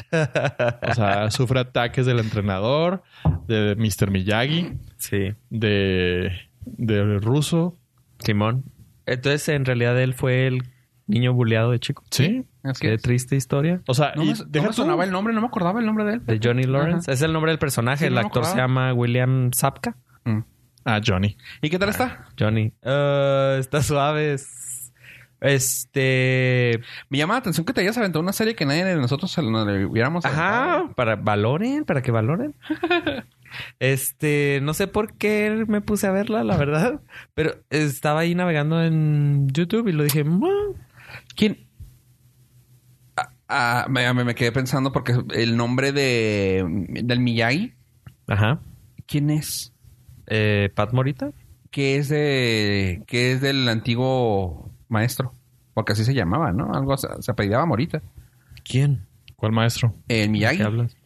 Speaker 4: [laughs]
Speaker 3: o sea, sufre ataques del entrenador, de Mr. Miyagi,
Speaker 4: Sí.
Speaker 3: de, del ruso.
Speaker 4: Simón. Entonces, en realidad, él fue el niño buleado de chico.
Speaker 3: Sí.
Speaker 2: Así
Speaker 4: Qué
Speaker 2: es.
Speaker 4: triste historia.
Speaker 3: O sea,
Speaker 2: No
Speaker 3: y
Speaker 2: me, no
Speaker 3: deja
Speaker 2: me
Speaker 3: tú-
Speaker 2: sonaba el nombre, no me acordaba el nombre de él.
Speaker 4: De Johnny Lawrence. Es el nombre del personaje.
Speaker 2: Sí,
Speaker 4: el
Speaker 2: no me
Speaker 4: actor se
Speaker 2: acordaba.
Speaker 4: llama William Zapka.
Speaker 2: Mm.
Speaker 3: Ah, Johnny.
Speaker 2: ¿Y qué tal está?
Speaker 4: Johnny. Eh, está suave. es- Este.
Speaker 2: Me llama la atención que te hayas aventado una serie que nadie de nosotros se la le hubiéramos aventado.
Speaker 4: Ajá. Para valoren, para que [laughs] valoren. este. No sé por qué me puse a verla, la verdad. Pero estaba ahí navegando en YouTube y lo dije. "Ma".
Speaker 2: ¿Quién? Ah, ah, me, me- me quedé pensando porque el nombre de del Miyagi,
Speaker 4: Ajá.
Speaker 2: ¿quién es?
Speaker 4: Eh, Pat Morita.
Speaker 2: que es de que es del antiguo maestro, porque así se llamaba, ¿no? Algo se, se apellidaba Morita.
Speaker 4: ¿Quién?
Speaker 3: ¿Cuál maestro?
Speaker 2: El Miyagi.
Speaker 4: ¿Qué hablas?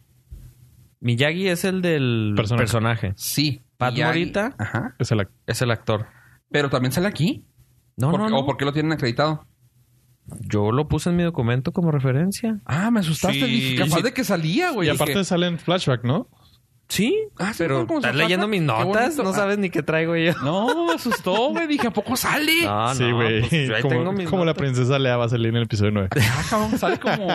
Speaker 4: Miyagi es el del
Speaker 3: Personaje.
Speaker 4: personaje.
Speaker 2: Sí.
Speaker 4: Pat
Speaker 2: Miyagi.
Speaker 4: Morita.
Speaker 2: Ajá.
Speaker 3: Es el act-
Speaker 4: Es el actor.
Speaker 2: Pero también sale aquí.
Speaker 4: No,
Speaker 2: ¿Por-
Speaker 4: no, no.
Speaker 2: ¿O por qué lo tienen acreditado?
Speaker 4: Yo lo puse en mi documento como referencia.
Speaker 2: Ah, me asustaste.
Speaker 4: Sí.
Speaker 2: Dije, capaz de que salía, güey.
Speaker 3: Y aparte
Speaker 2: Dije,
Speaker 3: sale en flashback, ¿no?
Speaker 4: Sí,
Speaker 2: Ah, sí,
Speaker 4: pero
Speaker 2: ¿no? ¿Cómo se
Speaker 4: estás
Speaker 2: trata?
Speaker 4: leyendo mis
Speaker 2: Qué
Speaker 4: notas,
Speaker 2: bonito.
Speaker 4: no
Speaker 2: Ah.
Speaker 4: sabes ni qué traigo yo.
Speaker 2: No, me asustó, güey. Dije, ¿a poco sale?
Speaker 4: No,
Speaker 3: sí,
Speaker 4: no,
Speaker 3: güey.
Speaker 4: pues, yo ahí tengo
Speaker 3: como
Speaker 4: mis
Speaker 3: como la
Speaker 4: notas.
Speaker 3: princesa Lea Vaselina en el episodio 9.
Speaker 2: Ah, cabrón, sale como...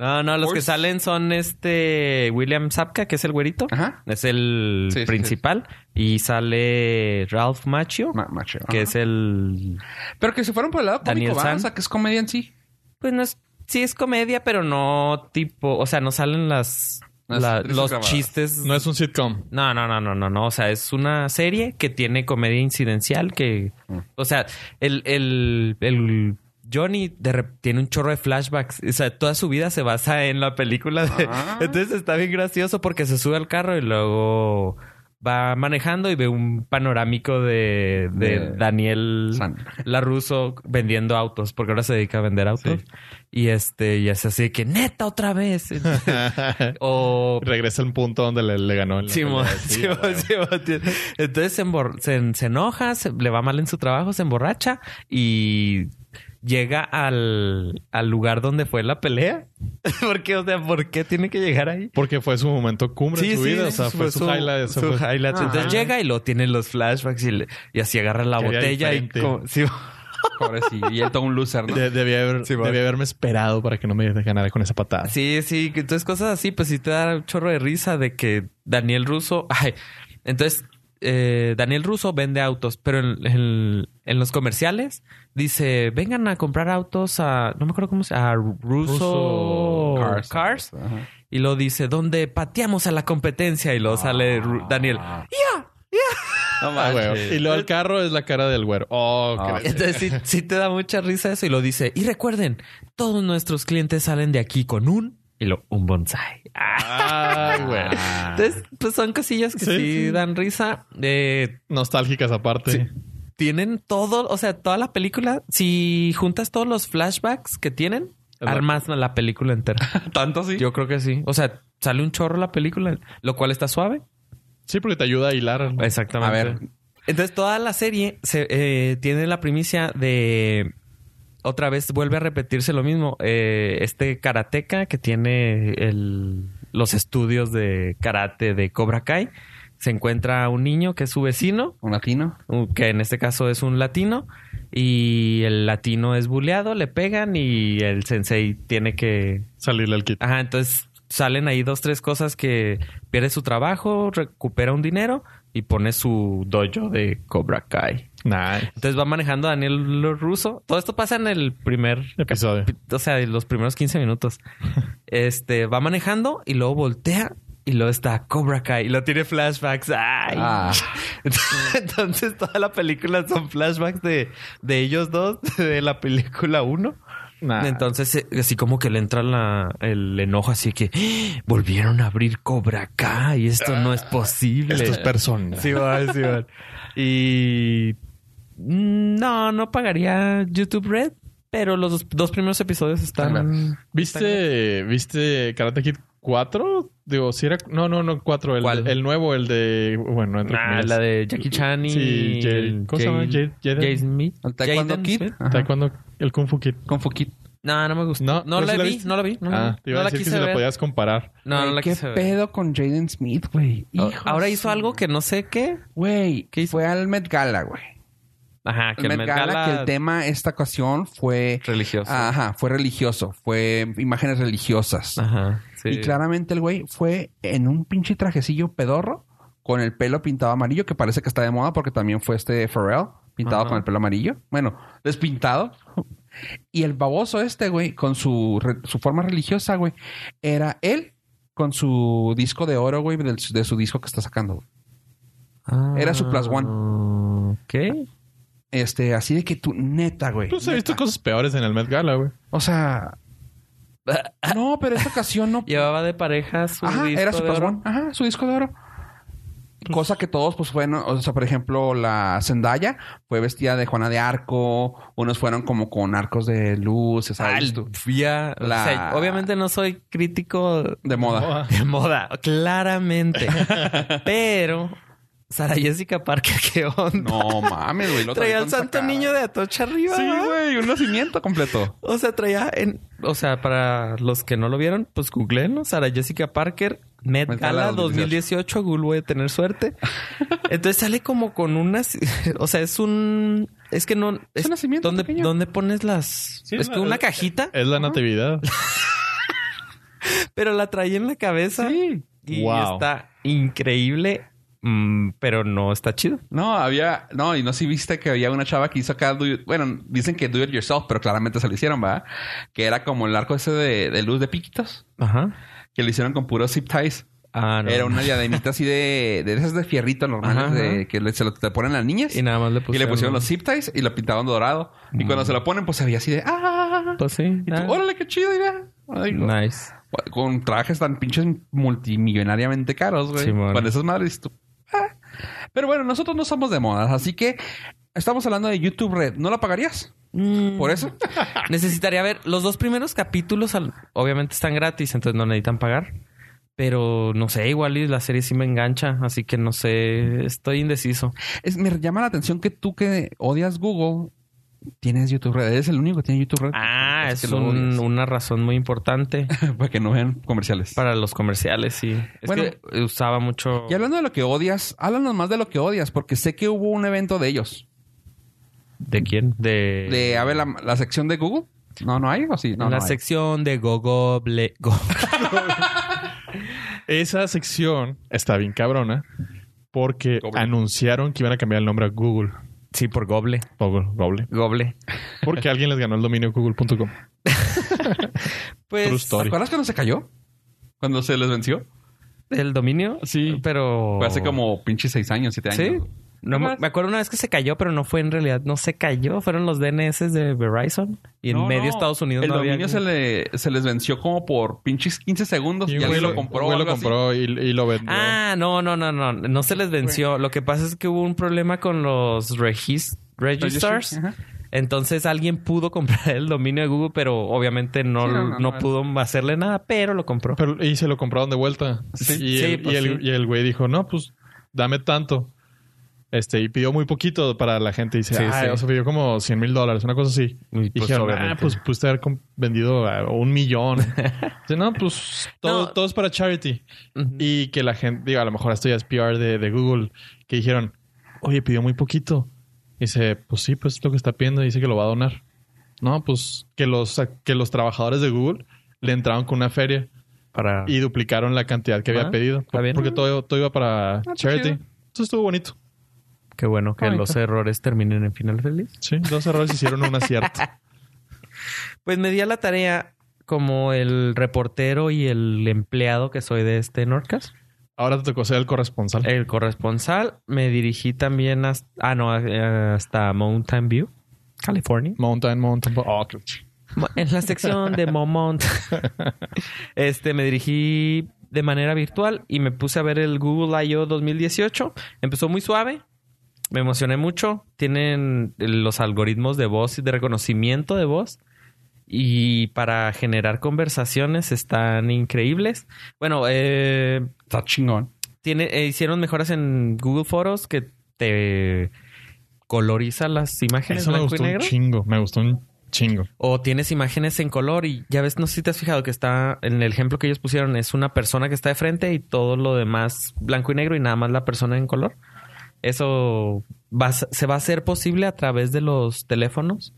Speaker 4: No, no, los que
Speaker 2: Horse.
Speaker 4: salen son este William Sapka, que es el güerito.
Speaker 2: Ajá.
Speaker 4: Es el
Speaker 2: Sí, sí,
Speaker 4: principal. Y sale Ralph Macchio,
Speaker 2: Ma- macho.
Speaker 4: que
Speaker 2: Ajá.
Speaker 4: es el...
Speaker 2: Pero que se fueron por el lado cómico,
Speaker 4: Daniel
Speaker 2: ¿va?
Speaker 4: San.
Speaker 2: O sea, que es comedia en sí.
Speaker 4: Pues no es... Sí es comedia, pero no tipo... O sea, no salen las...
Speaker 2: Las
Speaker 4: la-
Speaker 2: actrices
Speaker 4: los
Speaker 2: grabadas.
Speaker 4: chistes
Speaker 3: No es un sitcom.
Speaker 4: No, no, no, no, no, no. O sea, es una serie que tiene comedia incidencial que...
Speaker 2: Mm.
Speaker 4: O sea, el, el, el Johnny de rep- tiene un chorro de flashbacks. O sea, toda su vida se basa en la película. de-
Speaker 2: Ah.
Speaker 4: Entonces está bien gracioso porque se sube al carro y luego... va manejando y ve un panorámico de, de
Speaker 2: De-
Speaker 4: Daniel
Speaker 2: San.
Speaker 4: Laruso vendiendo autos, porque ahora se dedica a vender autos. Y este, y es así de que neta otra
Speaker 2: [laughs]
Speaker 4: vez. o
Speaker 3: [laughs] Regresa al punto donde le, le ganó. en la
Speaker 4: Simón, [laughs]
Speaker 3: pelea. Sí,
Speaker 4: Simón,
Speaker 3: güey.
Speaker 4: Simón, tío. Entonces se, embor- se- se enoja, se- le va mal en su trabajo, se emborracha y llega al, al lugar donde fue la pelea. [laughs] ¿Por qué? O sea, ¿por qué tiene que llegar ahí?
Speaker 3: Porque fue su momento cumbre en su vida. O sea, fue su, highlight. eso
Speaker 4: su
Speaker 3: fue-
Speaker 4: highlight.
Speaker 2: Ah.
Speaker 4: Entonces llega y lo tiene en los flashbacks y, le- y así agarra la
Speaker 3: Quería
Speaker 4: botella y
Speaker 3: diferente.
Speaker 4: como- sí,
Speaker 2: Pobrecillo. Y él todo un loser,
Speaker 4: [laughs]
Speaker 2: ¿no?
Speaker 3: De- debía, haber,
Speaker 4: Simón.
Speaker 3: debía haberme esperado para que no me ganara con esa patada.
Speaker 4: Sí, sí, que entonces cosas así, pues sí te da un chorro de risa de que Daniel Russo, [laughs] ay, entonces eh, Daniel Russo vende autos, pero en, en- en los comerciales dice, vengan a comprar autos a, no me acuerdo cómo se a Russo
Speaker 3: Russo
Speaker 4: Cars.
Speaker 2: Ajá.
Speaker 4: Y lo dice, donde pateamos a la competencia y luego sale Ru- Daniel. "Ya".
Speaker 2: No
Speaker 3: Ah, güey.
Speaker 2: manches.
Speaker 3: Y luego el carro es la cara del güero. Oh,
Speaker 2: Ah.
Speaker 3: qué bestia.
Speaker 4: Entonces sí, sí te da mucha risa eso y lo dice, y recuerden, todos nuestros clientes salen de aquí con un... Y lo, un bonsai. Ah,
Speaker 3: Ay, güey.
Speaker 4: [laughs] Entonces, pues son cosillas que sí,
Speaker 3: Sí, sí.
Speaker 4: dan risa. Eh,
Speaker 3: Nostálgicas aparte.
Speaker 4: Sí. tienen todo, o sea, toda la película. Si juntas todos los flashbacks que tienen,
Speaker 3: Ajá.
Speaker 4: armas la película entera.
Speaker 2: Tanto sí.
Speaker 4: Yo creo que sí. O sea, sale un chorro la película, lo cual está suave.
Speaker 3: Sí, porque te ayuda a hilar.
Speaker 4: Pues-
Speaker 2: A
Speaker 4: Exactamente.
Speaker 2: ver.
Speaker 4: Entonces, toda la serie se, eh, tiene la primicia de. Otra vez vuelve a repetirse lo mismo. Eh, este karateca que tiene el- los estudios de karate de Cobra Kai se encuentra un niño que es su vecino,
Speaker 2: Un latino.
Speaker 4: u- que en este caso es un latino, y el latino es buleado, le pegan y el sensei tiene que
Speaker 3: Salirle al kit.
Speaker 4: Ajá, entonces salen ahí dos, tres cosas que pierde su trabajo, recupera un dinero y pone su dojo de Cobra Kai.
Speaker 3: Nice.
Speaker 4: Entonces va manejando Daniel lo ruso. Todo esto pasa en el primer
Speaker 3: Episodio.
Speaker 4: capi- O sea, en los primeros 15
Speaker 3: [laughs]
Speaker 4: minutos. Este va manejando y luego voltea y luego está Cobra Kai y lo tiene flashbacks. ¡Ay!
Speaker 2: Ah.
Speaker 4: [laughs] Entonces toda la película son flashbacks de, de ellos dos, [laughs] de la película 1.
Speaker 3: Nah.
Speaker 4: Entonces, eh, así como que le entra la- el enojo, así que ¡Ah! volvieron a abrir Cobra Kai y esto no es posible.
Speaker 3: Esto es persona.
Speaker 4: Sí, va, sí,
Speaker 2: [laughs]
Speaker 4: va. Y mm, no, no pagaría YouTube Red, pero los dos, dos primeros episodios están.
Speaker 3: ¿Viste, ¿Viste Karate Kid 4? Digo, si era... No, no, no, 4. El,
Speaker 4: ¿Cuál?
Speaker 3: el nuevo, el de... Bueno, entre
Speaker 4: Ah,
Speaker 3: comillas.
Speaker 4: la de Jackie Chan y
Speaker 3: Sí, Jade- ¿cómo se llama? Jade- Jaden-
Speaker 4: Jaden Smith.
Speaker 2: El Taekwondo
Speaker 4: Jaden
Speaker 2: Kid.
Speaker 4: Smith.
Speaker 2: Ajá.
Speaker 3: Taekwondo, el Kung Fu Kid.
Speaker 2: Con Fuquit.
Speaker 4: No, no me gustó. No,
Speaker 3: No, ¿pero
Speaker 4: la,
Speaker 3: sí la
Speaker 4: vi,
Speaker 3: viste?
Speaker 4: no la vi, no la
Speaker 3: Ah,
Speaker 4: vi.
Speaker 3: te iba
Speaker 4: No
Speaker 3: a
Speaker 4: la
Speaker 3: decir que
Speaker 4: quise
Speaker 3: se la
Speaker 4: ver.
Speaker 3: podías comparar.
Speaker 4: No, no la
Speaker 2: ¿Qué
Speaker 4: quise ver.
Speaker 2: pedo con Jaden Smith, güey?
Speaker 4: Oh,
Speaker 2: Hijo
Speaker 4: Ahora
Speaker 2: de
Speaker 4: hizo
Speaker 2: su-
Speaker 4: algo que no sé qué.
Speaker 2: Güey,
Speaker 4: ¿Qué hizo?
Speaker 2: fue al Met Gala, güey.
Speaker 4: Ajá, que
Speaker 2: El Met Gala, que el tema esta ocasión fue...
Speaker 4: religioso.
Speaker 2: Ajá, fue religioso. Fue imágenes religiosas.
Speaker 4: Ajá. Ah, Sí.
Speaker 2: Y claramente el güey fue en un pinche trajecillo pedorro con el pelo pintado amarillo, que parece que está de moda porque también fue este Pharrell pintado
Speaker 4: Ajá.
Speaker 2: con el pelo amarillo. Bueno, despintado. Y el baboso este, güey, con su, re- su forma religiosa, güey, era él con su disco de oro, güey, del- de su disco que está sacando. güey. Era su plus
Speaker 4: one. ¿Qué?
Speaker 2: Este, así de que tú, neta, güey.
Speaker 3: Pues he
Speaker 2: neta.
Speaker 3: visto cosas peores en el Met Gala, güey.
Speaker 2: O sea... No, pero esta
Speaker 4: [laughs]
Speaker 2: ocasión no...
Speaker 4: Llevaba de pareja su
Speaker 2: Ajá,
Speaker 4: disco
Speaker 2: era su
Speaker 4: de
Speaker 2: plus
Speaker 4: oro.
Speaker 2: one. Ajá, su disco de oro. Cosa que todos, pues, fueron... O sea, por ejemplo, la Zendaya fue vestida de Juana de Arco. Unos fueron como con arcos de luz,
Speaker 4: Ah,
Speaker 2: ¿sabes? tú?
Speaker 4: ya. O
Speaker 2: La-
Speaker 4: sea, obviamente no soy crítico
Speaker 2: De moda.
Speaker 3: Moda.
Speaker 4: de moda, claramente.
Speaker 2: [laughs]
Speaker 4: Pero Sara Jessica Parker, ¿qué onda?
Speaker 2: No mames, güey. lo
Speaker 4: traía al
Speaker 2: tan
Speaker 4: santo
Speaker 2: sacada.
Speaker 4: niño de Atocha arriba.
Speaker 2: Sí,
Speaker 4: ¿verdad?
Speaker 2: güey. Un nacimiento completo.
Speaker 4: O sea, traía en. O sea, para los que no lo vieron, pues googleenlo. Sara Jessica Parker, Met
Speaker 2: Met
Speaker 4: Gala
Speaker 2: Gala
Speaker 4: 2018. Google voy a tener
Speaker 2: [laughs]
Speaker 4: suerte. Entonces sale como con unas. O sea, es un. Es que no. Es
Speaker 2: nacimiento
Speaker 4: ¿dónde,
Speaker 2: pequeño. eh,
Speaker 4: ¿Dónde pones las.?
Speaker 3: Sí,
Speaker 4: es
Speaker 3: es
Speaker 4: que
Speaker 3: la-
Speaker 4: una cajita,
Speaker 3: Es la
Speaker 4: [laughs]
Speaker 3: natividad.
Speaker 4: pero la traía en la cabeza.
Speaker 2: Sí.
Speaker 4: Y
Speaker 3: Wow.
Speaker 4: está increíble, mm, pero no está chido.
Speaker 2: No, había... No, y no sé si viste que había una chava que hizo acá... do it- bueno, dicen que do it yourself, pero claramente se lo hicieron, ¿verdad? Que era como el arco ese de, de luz de piquitos.
Speaker 4: Ajá.
Speaker 2: Que lo hicieron con puros zip ties.
Speaker 4: Ah, no.
Speaker 2: Era una diademita así de, de esas de fierrito normales
Speaker 4: Ajá,
Speaker 2: de-
Speaker 4: ajá.
Speaker 2: que le- se lo te ponen las
Speaker 4: [laughs]
Speaker 2: niñas.
Speaker 4: Y nada más le pusieron. Mm.
Speaker 2: y le pusieron los zip ties y lo pintaban dorado. Y cuando se lo ponen, pues se veía así de ¡Ah!
Speaker 4: Pues sí.
Speaker 2: Y tú,
Speaker 4: nada.
Speaker 2: ¡Órale, qué chido! Mira. Ay, güey.
Speaker 4: Nice.
Speaker 2: Con trajes tan pinches multimillonariamente caros, güey.
Speaker 4: Simón.
Speaker 2: Con esas madres. tú, ¡Ah! Pero bueno, nosotros no somos de modas, así que estamos hablando de YouTube Red. ¿No la pagarías? Por eso.
Speaker 4: Mm. Necesitaría ver los dos primeros capítulos, al- obviamente están gratis, entonces no necesitan pagar. Pero no sé, igual y la serie sí me engancha, así que no sé, estoy indeciso.
Speaker 2: Es, me llama la atención que tú que odias Google tienes YouTube Red. Eres el único que tiene YouTube Red.
Speaker 4: Ah, es
Speaker 2: que lo
Speaker 4: un-
Speaker 2: odias.
Speaker 4: una razón muy importante
Speaker 2: [laughs] para que no vean comerciales.
Speaker 4: para los comerciales, sí. Es
Speaker 2: Bueno.
Speaker 4: que usaba mucho...
Speaker 2: Y hablando de lo que odias, háblanos más de lo que odias, porque sé que hubo un evento de ellos.
Speaker 4: ¿De quién? De...
Speaker 2: De, a ver, la, la sección de Google. No, no hay, o sí, no,
Speaker 4: en la
Speaker 2: no hay.
Speaker 4: sección de Gogoble... Go- [laughs]
Speaker 3: Esa sección está bien cabrona porque
Speaker 2: Goble.
Speaker 3: anunciaron que iban a cambiar el nombre a Google.
Speaker 4: sí, por Goble.
Speaker 3: Google, Google.
Speaker 4: Goble.
Speaker 3: Porque alguien les ganó el dominio google.com.
Speaker 4: Pues...
Speaker 3: True
Speaker 2: ¿Te
Speaker 3: story.
Speaker 2: acuerdas cuando se cayó? Cuando se les venció.
Speaker 4: ¿El dominio?
Speaker 2: Sí.
Speaker 4: Pero...
Speaker 2: Fue hace como pinche seis años, siete
Speaker 4: Sí.
Speaker 2: años.
Speaker 4: No, me me acuerdo una vez que se cayó, pero no fue en realidad, no se cayó, fueron los DNS de Verizon y en
Speaker 2: No,
Speaker 4: medio
Speaker 2: no.
Speaker 4: Estados Unidos
Speaker 2: El
Speaker 4: no
Speaker 2: dominio
Speaker 4: había.
Speaker 2: se, le, se les venció como por pinches 15 segundos.
Speaker 3: Y
Speaker 2: Y
Speaker 3: un
Speaker 2: alguien
Speaker 3: güey
Speaker 2: lo compró.
Speaker 3: un
Speaker 2: o
Speaker 3: güey
Speaker 2: algo
Speaker 3: lo compró y, y lo vendió.
Speaker 4: Ah, no, no, no, no, no se les venció. Lo que pasa es que hubo un problema con los regis-
Speaker 2: así.
Speaker 4: registers.
Speaker 2: Ajá.
Speaker 4: Entonces alguien pudo comprar el dominio de Google, pero obviamente no,
Speaker 2: Sí, no, no,
Speaker 4: no
Speaker 2: no.
Speaker 4: pudo hacerle nada, pero lo compró.
Speaker 3: Pero- y se lo compraron de vuelta.
Speaker 4: Sí.
Speaker 3: y,
Speaker 4: Sí,
Speaker 3: el,
Speaker 4: pues
Speaker 3: y el-
Speaker 4: sí.
Speaker 3: y el güey dijo, no, pues dame tanto. Este, y pidió muy poquito para la gente. Y dice,
Speaker 4: Sí,
Speaker 3: "Ay,
Speaker 4: sí.
Speaker 3: o sea, pidió como 100 mil dólares, una cosa así.
Speaker 4: Y
Speaker 3: Y
Speaker 4: pues,
Speaker 3: dijeron, ah,
Speaker 4: obviamente.
Speaker 3: pues pudiste haber com- vendido a un
Speaker 4: [laughs]
Speaker 3: millón. Dice, no, pues todo,
Speaker 4: No.
Speaker 3: todo es para charity.
Speaker 4: Ujú.
Speaker 3: Y que la gente, digo, a lo mejor esto ya es PR de, de Google, que dijeron, oye, pidió muy poquito. Dice, pues sí, pues es lo que está pidiendo, dice que lo va a donar. No, pues que los, que los trabajadores de Google le entraron con una feria
Speaker 4: Para...
Speaker 3: y duplicaron la cantidad que había
Speaker 4: Ah,
Speaker 3: pedido.
Speaker 4: está bien.
Speaker 3: Porque todo, todo iba para
Speaker 2: Ah, está
Speaker 3: charity.
Speaker 2: chido.
Speaker 3: Eso estuvo bonito.
Speaker 4: Qué bueno que
Speaker 2: Ay,
Speaker 4: los errores terminen en final feliz.
Speaker 3: Sí,
Speaker 2: [laughs]
Speaker 3: dos errores hicieron un acierto.
Speaker 4: Pues me di a la tarea como el reportero y el empleado que soy de este Norcas.
Speaker 3: Ahora te tocó ser el corresponsal.
Speaker 4: El corresponsal. Me dirigí también hasta, ah, no, eh, hasta Mountain View, California.
Speaker 3: Mountain, mountain. Oh, qué ch-
Speaker 4: [laughs] En la sección de Momont. [laughs] Este, me dirigí de manera virtual y me puse a ver el Google I.O. 2018. Empezó muy suave. Me emocioné mucho. Tienen los algoritmos de voz y de reconocimiento de voz. Y para generar conversaciones están increíbles. Bueno, eh,
Speaker 2: Está chingón.
Speaker 4: tiene, eh, hicieron mejoras en Google Fotos que te coloriza las imágenes
Speaker 3: Eso me
Speaker 4: blanco y
Speaker 3: gustó un
Speaker 4: negro.
Speaker 3: chingo. Me gustó un chingo.
Speaker 4: O tienes imágenes en color y ya ves, no sé si te has fijado que está en el ejemplo que ellos pusieron, es una persona que está de frente y todo lo demás blanco y negro y nada más la persona en color. Eso va a se se va a hacer posible a través de los teléfonos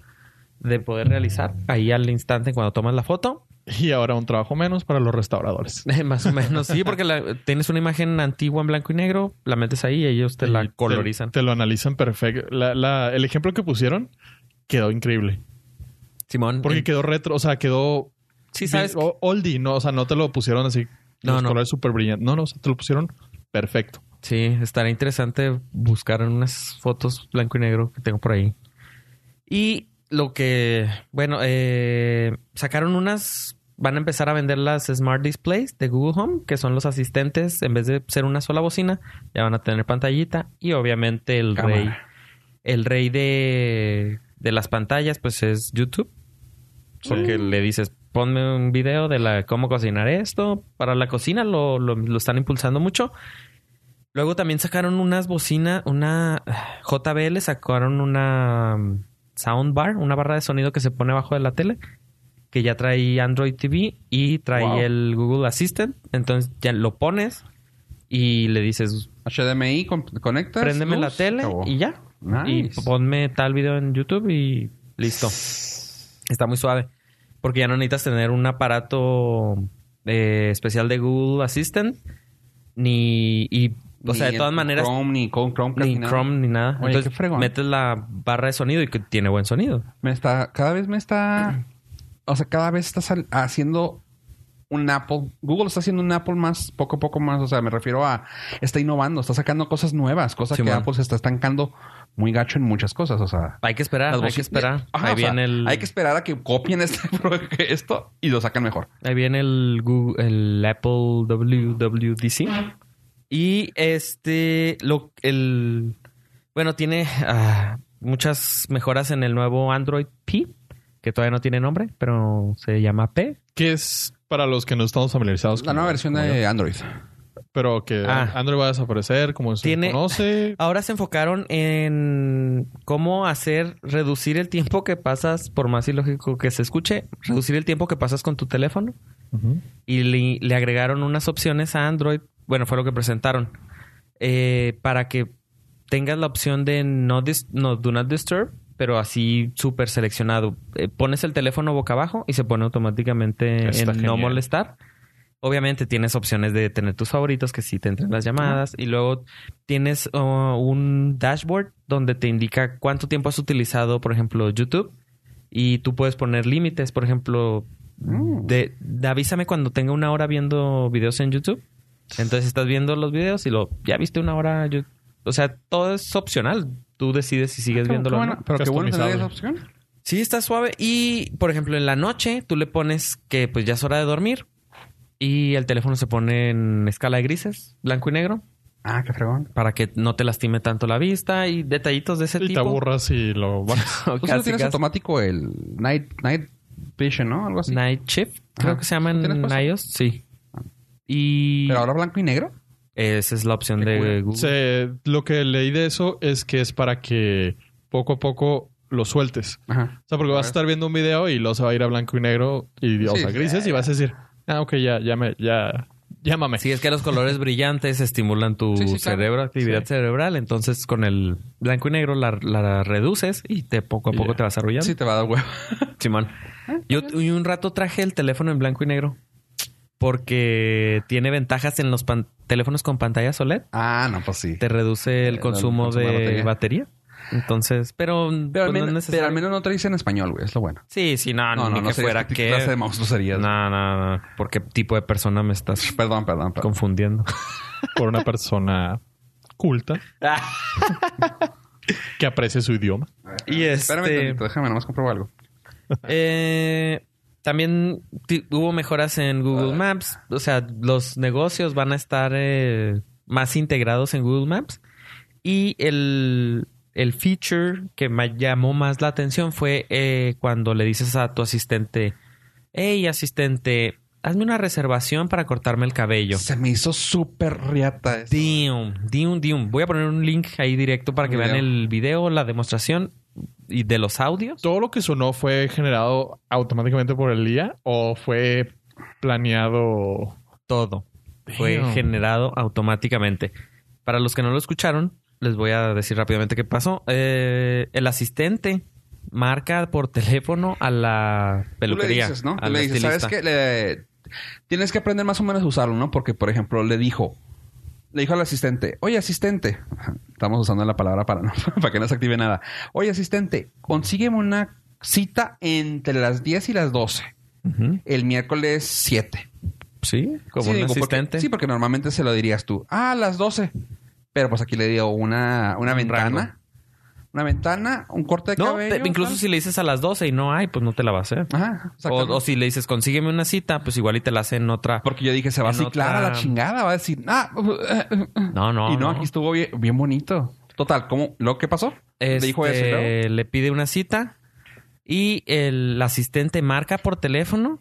Speaker 4: de poder realizar ahí al instante cuando tomas la foto. [laughs] Eh,
Speaker 3: Y ahora un trabajo menos para los restauradores.
Speaker 4: Más o menos, sí, porque la- tienes una imagen antigua en blanco y negro, la metes ahí y ellos te
Speaker 3: Y
Speaker 4: la colorizan.
Speaker 3: Te, lo analizan perfecto. La- la- el ejemplo que pusieron quedó increíble.
Speaker 4: Simón,
Speaker 3: Porque oh,
Speaker 4: eh,
Speaker 3: quedó retro, o sea, quedó
Speaker 4: sí sabes,
Speaker 3: o- oldie, no, o sea, no te lo pusieron así.
Speaker 4: No,
Speaker 3: los
Speaker 4: no.
Speaker 3: colores súper brillantes. No, no, o sea, te lo pusieron perfecto.
Speaker 4: Sí, estará interesante buscar unas fotos blanco y negro que tengo por ahí. Y lo que, bueno, eh, sacaron unas, van a empezar a vender las Smart Displays de Google Home, que son los asistentes, en vez de ser una sola bocina, ya van a tener pantallita y obviamente el
Speaker 2: Cámara.
Speaker 4: rey, el rey de, de las pantallas, pues es YouTube. Porque le dices, ponme un video de la cómo cocinar esto. Para la cocina lo, lo- lo están impulsando mucho. Luego también sacaron unas bocinas, una [sighs] JBL sacaron una mm, soundbar, una barra de sonido que se pone abajo de la tele, que ya trae Android TV y trae
Speaker 2: Wow.
Speaker 4: el Google Assistant. Entonces ya lo pones y le dices,
Speaker 2: HDMI, con- conectas.
Speaker 4: préndeme la
Speaker 2: luz,
Speaker 4: tele
Speaker 2: acabó.
Speaker 4: y ya.
Speaker 2: Nice.
Speaker 4: Y pues, ponme tal video en YouTube y listo. Está muy suave. Porque ya no necesitas tener un aparato eh, especial de Google Assistant. Ni. Y, o sea,
Speaker 2: Ni
Speaker 4: de todas
Speaker 2: en
Speaker 4: maneras.
Speaker 2: Chrome, ni con Chromecast,
Speaker 4: ni
Speaker 2: nada.
Speaker 4: Chrome ni nada.
Speaker 2: Oye, qué
Speaker 4: Entonces
Speaker 2: fregón.
Speaker 4: metes la barra de sonido y que tiene buen sonido.
Speaker 2: Me está, cada vez me está, o sea, cada vez está sal- haciendo un Apple. Google está haciendo un Apple más, poco a poco más. O sea, me refiero a, está innovando, está sacando cosas nuevas, cosas que
Speaker 4: Simón.
Speaker 2: Apple se está estancando muy gacho en muchas cosas. O sea,
Speaker 4: Hay que esperar,
Speaker 2: las
Speaker 4: Ah, hay que
Speaker 2: boci-
Speaker 4: esperar.
Speaker 2: Ajá,
Speaker 4: ahí
Speaker 2: o sea,
Speaker 4: viene el.
Speaker 2: Hay que esperar a que copien este, [laughs] pro- esto y lo sacan mejor.
Speaker 4: Ahí viene el Google, el Apple WWDC. Y este, lo, el, bueno, tiene ah, muchas mejoras en el nuevo Android P, que todavía no tiene nombre, pero se llama P.
Speaker 3: Que es para los que no estamos familiarizados
Speaker 2: La
Speaker 3: como-
Speaker 2: nueva versión
Speaker 3: como
Speaker 2: de Android.
Speaker 3: yo. Pero que
Speaker 4: Ah.
Speaker 3: Android va a desaparecer, como se
Speaker 4: Tiene-
Speaker 3: conoce.
Speaker 4: Ahora se enfocaron en cómo hacer, reducir el tiempo que pasas, por más ilógico que se escuche, reducir el tiempo que pasas con tu teléfono.
Speaker 3: Ujú.
Speaker 4: y le, le agregaron unas opciones a Android. Bueno, fue lo que presentaron. Eh, para que tengas la opción de no, dis- no do not disturb, pero así súper seleccionado. Eh, pones el teléfono boca abajo y se pone automáticamente
Speaker 3: Está
Speaker 4: en no
Speaker 3: genial.
Speaker 4: molestar. Obviamente tienes opciones de tener tus favoritos que sí te entran las llamadas y luego tienes oh, un dashboard donde te indica cuánto tiempo has utilizado, por ejemplo, YouTube y tú puedes poner límites, por ejemplo, de, de avísame cuando tenga una hora viendo videos en YouTube. Entonces estás viendo los videos y lo ya viste una hora. yo- o sea, todo es opcional. Tú decides si
Speaker 2: Ah,
Speaker 4: sigues viéndolo. o no.
Speaker 2: Pero qué bueno tener
Speaker 3: Customizable.
Speaker 2: esa opción.
Speaker 4: Sí, está suave. Y, por ejemplo, en la noche tú le pones que pues ya es hora de dormir y el teléfono se pone en escala de grises, blanco y negro,
Speaker 2: Ah, qué fregón.
Speaker 4: para que no te lastime tanto la vista y detallitos de ese
Speaker 3: Y te
Speaker 4: este tipo. [laughs]
Speaker 3: aburras y lo
Speaker 2: [laughs]
Speaker 3: bajas.
Speaker 2: Tú solo
Speaker 4: Casi,
Speaker 2: Pues tienes
Speaker 4: casi.
Speaker 2: automático el Night, night Vision, ¿no? Algo así.
Speaker 4: Night Shift, creo
Speaker 2: Ajá.
Speaker 4: que se llama
Speaker 2: ¿Tienes
Speaker 4: en
Speaker 2: puesto?
Speaker 4: iOS. Sí. Y
Speaker 2: Pero ahora blanco y negro.
Speaker 4: esa es la opción
Speaker 2: Qué
Speaker 4: de
Speaker 2: cool.
Speaker 4: Google.
Speaker 3: Se- lo que leí de eso es que es para que poco a poco lo sueltes.
Speaker 2: Ajá.
Speaker 3: O sea, porque vas a estar viendo un video y luego se va a ir a blanco y negro y o
Speaker 2: Sí,
Speaker 3: sea, grises y vas a decir, ah, ok, ya, ya me, ya, llámame.
Speaker 4: Si es que los colores brillantes estimulan tu
Speaker 2: Sí, sí, claro.
Speaker 4: cerebro, actividad
Speaker 3: Sí.
Speaker 4: cerebral. Entonces, con el blanco y negro la, la reduces y te poco a
Speaker 3: Y
Speaker 4: poco
Speaker 3: ya.
Speaker 4: te vas arrullando.
Speaker 2: Sí, Ah, te va a dar huevo.
Speaker 4: Simón. Yo t- un rato traje el teléfono en blanco y negro porque tiene ventajas en los pan- teléfonos con pantalla OLED.
Speaker 2: Ah, no, pues sí.
Speaker 4: Te reduce el
Speaker 2: El
Speaker 4: consumo,
Speaker 2: consumo
Speaker 4: de
Speaker 2: de
Speaker 4: batería.
Speaker 2: batería.
Speaker 4: Entonces, pero,
Speaker 2: Pero,
Speaker 4: pues, no
Speaker 2: al
Speaker 4: es
Speaker 2: menos,
Speaker 4: necesario.
Speaker 2: pero al menos no te dice en español, güey. Es lo bueno.
Speaker 4: Sí, sí, no,
Speaker 2: No,
Speaker 4: ni
Speaker 2: no, no.
Speaker 4: que
Speaker 2: sería
Speaker 4: fuera
Speaker 2: este
Speaker 4: que...
Speaker 2: clase de monstruoserías.
Speaker 4: No, no, no. ¿Por qué tipo de persona me estás [laughs]
Speaker 2: Perdón, perdón, perdón. [laughs]
Speaker 4: confundiendo?
Speaker 3: Por una persona culta que aprecie su idioma.
Speaker 4: y
Speaker 2: Espérame
Speaker 4: este...
Speaker 2: tantito, déjame nomás compruebo algo.
Speaker 4: Eh, también ti- hubo mejoras en Google Maps. O sea, los negocios van a estar eh, más integrados en Google Maps. Y el, el feature que me llamó más la atención fue eh, cuando le dices a tu asistente, hey asistente, hazme una reservación para cortarme el cabello.
Speaker 2: Se me hizo súper riata eso.
Speaker 4: Dium, dium, dium. Voy a poner un link ahí directo para que
Speaker 2: Video.
Speaker 4: vean el video, la demostración y de los audios.
Speaker 3: ¿Todo lo que sonó fue generado automáticamente por el IA o fue planeado?
Speaker 4: todo. Fue
Speaker 3: Damn.
Speaker 4: generado automáticamente. Para los que no lo escucharon, les voy a decir rápidamente qué pasó. Eh, el asistente marca por teléfono a la
Speaker 2: Tú le
Speaker 4: peluquería.
Speaker 2: dices, ¿no?
Speaker 4: al
Speaker 2: Tú le dices, ¿sabes
Speaker 4: estilista.
Speaker 2: qué? Le- Tienes que aprender más o menos a usarlo, ¿no? Porque, por ejemplo, le dijo... Le dijo al asistente, oye, asistente. [laughs] Estamos usando la palabra para, no, [laughs] para que no se active nada. Oye, asistente, consígueme una cita entre las 10 y las 12.
Speaker 4: Ujú.
Speaker 2: El miércoles 7.
Speaker 4: Sí, como
Speaker 2: Sí,
Speaker 4: un
Speaker 2: digo, porque-
Speaker 4: asistente.
Speaker 2: sí, porque normalmente se lo dirías tú. Ah, a las 12. Pero pues aquí le dio una, una
Speaker 4: Un
Speaker 2: ventana.
Speaker 4: rango.
Speaker 2: Una ventana, un corte de
Speaker 4: no,
Speaker 2: cabello.
Speaker 4: te- incluso
Speaker 2: tal.
Speaker 4: si le dices a las 12 y no hay, pues no te la va a hacer.
Speaker 2: Ajá,
Speaker 4: O,
Speaker 2: exactamente.
Speaker 4: o si le dices, consígueme una cita, pues igual y te la hace en otra.
Speaker 2: Porque yo dije, se va a
Speaker 4: en
Speaker 2: ciclar a la
Speaker 4: otra-
Speaker 2: chingada. Va a decir, ah... [laughs]
Speaker 4: No, no.
Speaker 2: y no, aquí estuvo bien, bien bonito. Total, ¿cómo? ¿Lo que pasó? Le dijo eso. y luego,
Speaker 4: Este, le pide una cita y el asistente marca por teléfono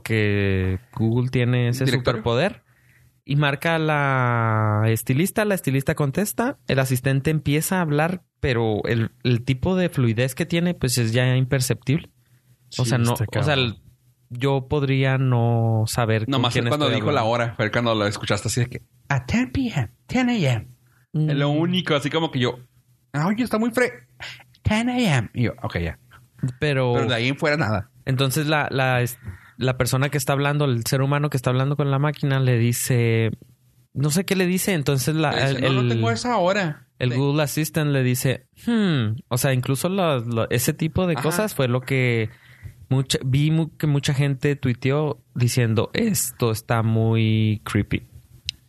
Speaker 4: porque Google tiene ese
Speaker 2: Directorio.
Speaker 4: superpoder y marca a la estilista, la estilista contesta, el asistente empieza a hablar, pero el, el tipo de fluidez que tiene pues es ya imperceptible. O sea, no, o sea, el- yo podría no saber con
Speaker 2: Nomás
Speaker 4: quién
Speaker 2: cuando
Speaker 4: estoy
Speaker 2: dijo la
Speaker 4: hablando.
Speaker 2: hora. Fue cuando lo escuchaste así de que... A 10 p.m., 10 a.m.
Speaker 4: Mm.
Speaker 2: Es Lo único, así como que yo... Ah, oye, está muy fre... 10 a.m. Y yo, ok, ya.
Speaker 4: pero,
Speaker 2: Pero de ahí en fuera nada.
Speaker 4: Entonces la, la, es- la persona que está hablando, el ser humano que está hablando con la máquina, le dice, no sé qué le dice, entonces la,
Speaker 2: Le dice,
Speaker 4: el,
Speaker 2: no, no tengo
Speaker 4: el-
Speaker 2: esa hora.
Speaker 4: el
Speaker 2: Le-
Speaker 4: Google Assistant le dice, hmm, o sea, incluso la- la- ese tipo de
Speaker 2: Ajá.
Speaker 4: cosas fue lo que mucha, vi mu- que mucha gente tuiteó diciendo, esto está muy creepy.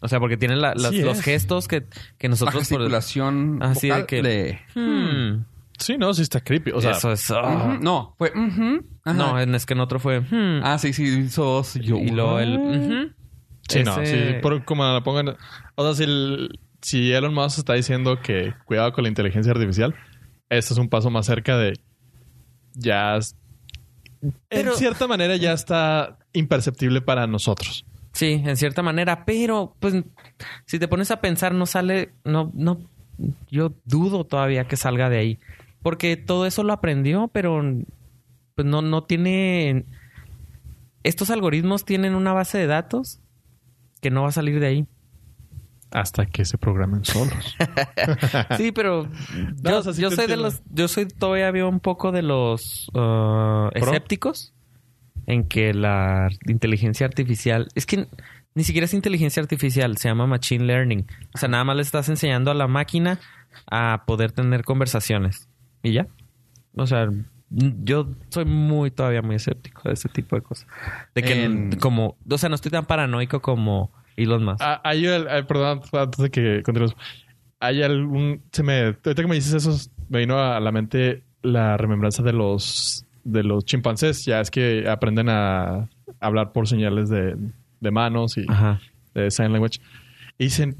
Speaker 4: O sea, porque tiene la- las-
Speaker 3: Sí
Speaker 4: los
Speaker 3: es.
Speaker 4: gestos que, que
Speaker 2: la
Speaker 4: nosotros... por-
Speaker 2: gesticulación
Speaker 4: Así Ah, de
Speaker 2: vocal
Speaker 4: que-
Speaker 2: de-
Speaker 4: Hmm.
Speaker 3: Sí, no, sí está creepy. O sea,
Speaker 4: eso es... ah.
Speaker 2: Ujú, No, fue... ujú, ajá.
Speaker 4: No, en- es que en otro fue... hmm.
Speaker 2: Ah, sí, sí, hizo dos. y Yo,
Speaker 4: Y luego el...
Speaker 2: "What?".
Speaker 4: ujú.
Speaker 3: Sí, no,
Speaker 4: Ese-
Speaker 3: sí, por como la pongan. O sea, si, el- si Elon Musk está diciendo que cuidado con la inteligencia artificial, este es un paso más cerca de. Ya. es-
Speaker 4: Pero-
Speaker 3: en cierta manera ya está imperceptible para nosotros.
Speaker 4: Sí, en cierta manera, pero pues si te pones a pensar no sale, no, no, yo dudo todavía que salga de ahí, porque todo eso lo aprendió, pero pues no, no tiene, estos algoritmos tienen una base de datos que no va a salir de ahí.
Speaker 3: Hasta que se programen solos.
Speaker 4: Sí,
Speaker 3: [laughs]
Speaker 4: pero
Speaker 3: Ah. No,
Speaker 4: yo,
Speaker 3: o sea, sí
Speaker 4: yo
Speaker 3: te
Speaker 4: soy de
Speaker 3: entiendo.
Speaker 4: los, yo soy todavía veo un poco de los uh, escépticos en que la inteligencia artificial es que ni siquiera es inteligencia artificial, se llama machine learning. O sea, nada más le estás enseñando a la máquina a poder tener conversaciones y ya. O sea, n- yo soy muy todavía muy escéptico de ese tipo de cosas. De que
Speaker 2: En-
Speaker 4: como, o sea, no estoy tan paranoico como Elon Musk.
Speaker 3: Ah, Hay el, eh, perdón, antes de que continuemos. Hay algún. Se me, ahorita que me dices eso, me vino a la mente la remembranza de los de los chimpancés. Ya es que aprenden a hablar por señales de, de manos y
Speaker 4: Ajá.
Speaker 3: de sign language. Y dicen,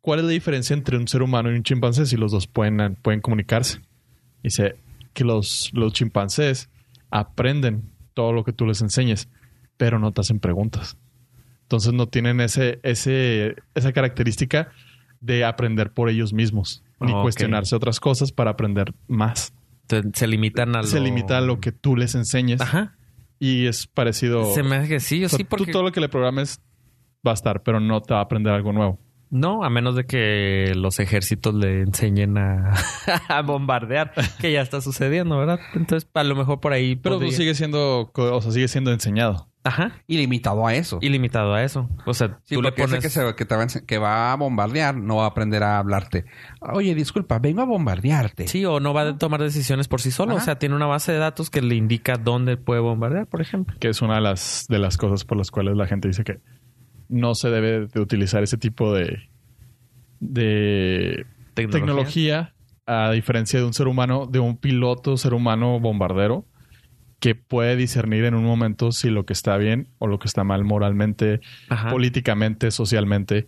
Speaker 3: ¿cuál es la diferencia entre un ser humano y un chimpancé si los dos pueden, pueden comunicarse? Dice que los, los chimpancés aprenden todo lo que tú les enseñes, pero no te hacen preguntas. Entonces no tienen ese, ese, esa característica de aprender por ellos mismos, ni
Speaker 4: Ok.
Speaker 3: cuestionarse otras cosas para aprender más.
Speaker 4: Entonces, se limitan a lo...
Speaker 3: Se limita a lo que tú les enseñes
Speaker 4: Ajá.
Speaker 3: y es parecido.
Speaker 4: Se me hace que sí, yo
Speaker 3: O sea,
Speaker 4: sí, porque
Speaker 3: Tú todo lo que le programes va a estar, pero no te va a aprender algo nuevo.
Speaker 4: no, a menos de que los ejércitos le enseñen a, [laughs] a bombardear, que ya está sucediendo, ¿verdad? Entonces, a lo mejor por ahí,
Speaker 3: Pero pues,
Speaker 4: podría-
Speaker 3: sigue siendo, co- o sea, sigue siendo enseñado.
Speaker 4: ajá,
Speaker 2: Y limitado a eso.
Speaker 4: y limitado a eso. O sea,
Speaker 2: Sí,
Speaker 4: tú le
Speaker 2: porque ese
Speaker 4: pones,
Speaker 2: que, se- que te va, a ense- que va a bombardear no va a aprender a hablarte. Oye, disculpa, vengo a bombardearte.
Speaker 4: sí, o no va a tomar decisiones por sí solo.
Speaker 2: Ajá.
Speaker 4: O sea, tiene una base de datos que le indica dónde puede bombardear, por ejemplo.
Speaker 3: que es una de las, de las cosas por las cuales la gente dice que no se debe de utilizar ese tipo de, de tecnología, a diferencia de un ser humano, de un piloto ser humano bombardero, que puede discernir en un momento si lo que está bien o lo que está mal moralmente,
Speaker 4: Ajá.
Speaker 3: políticamente, socialmente.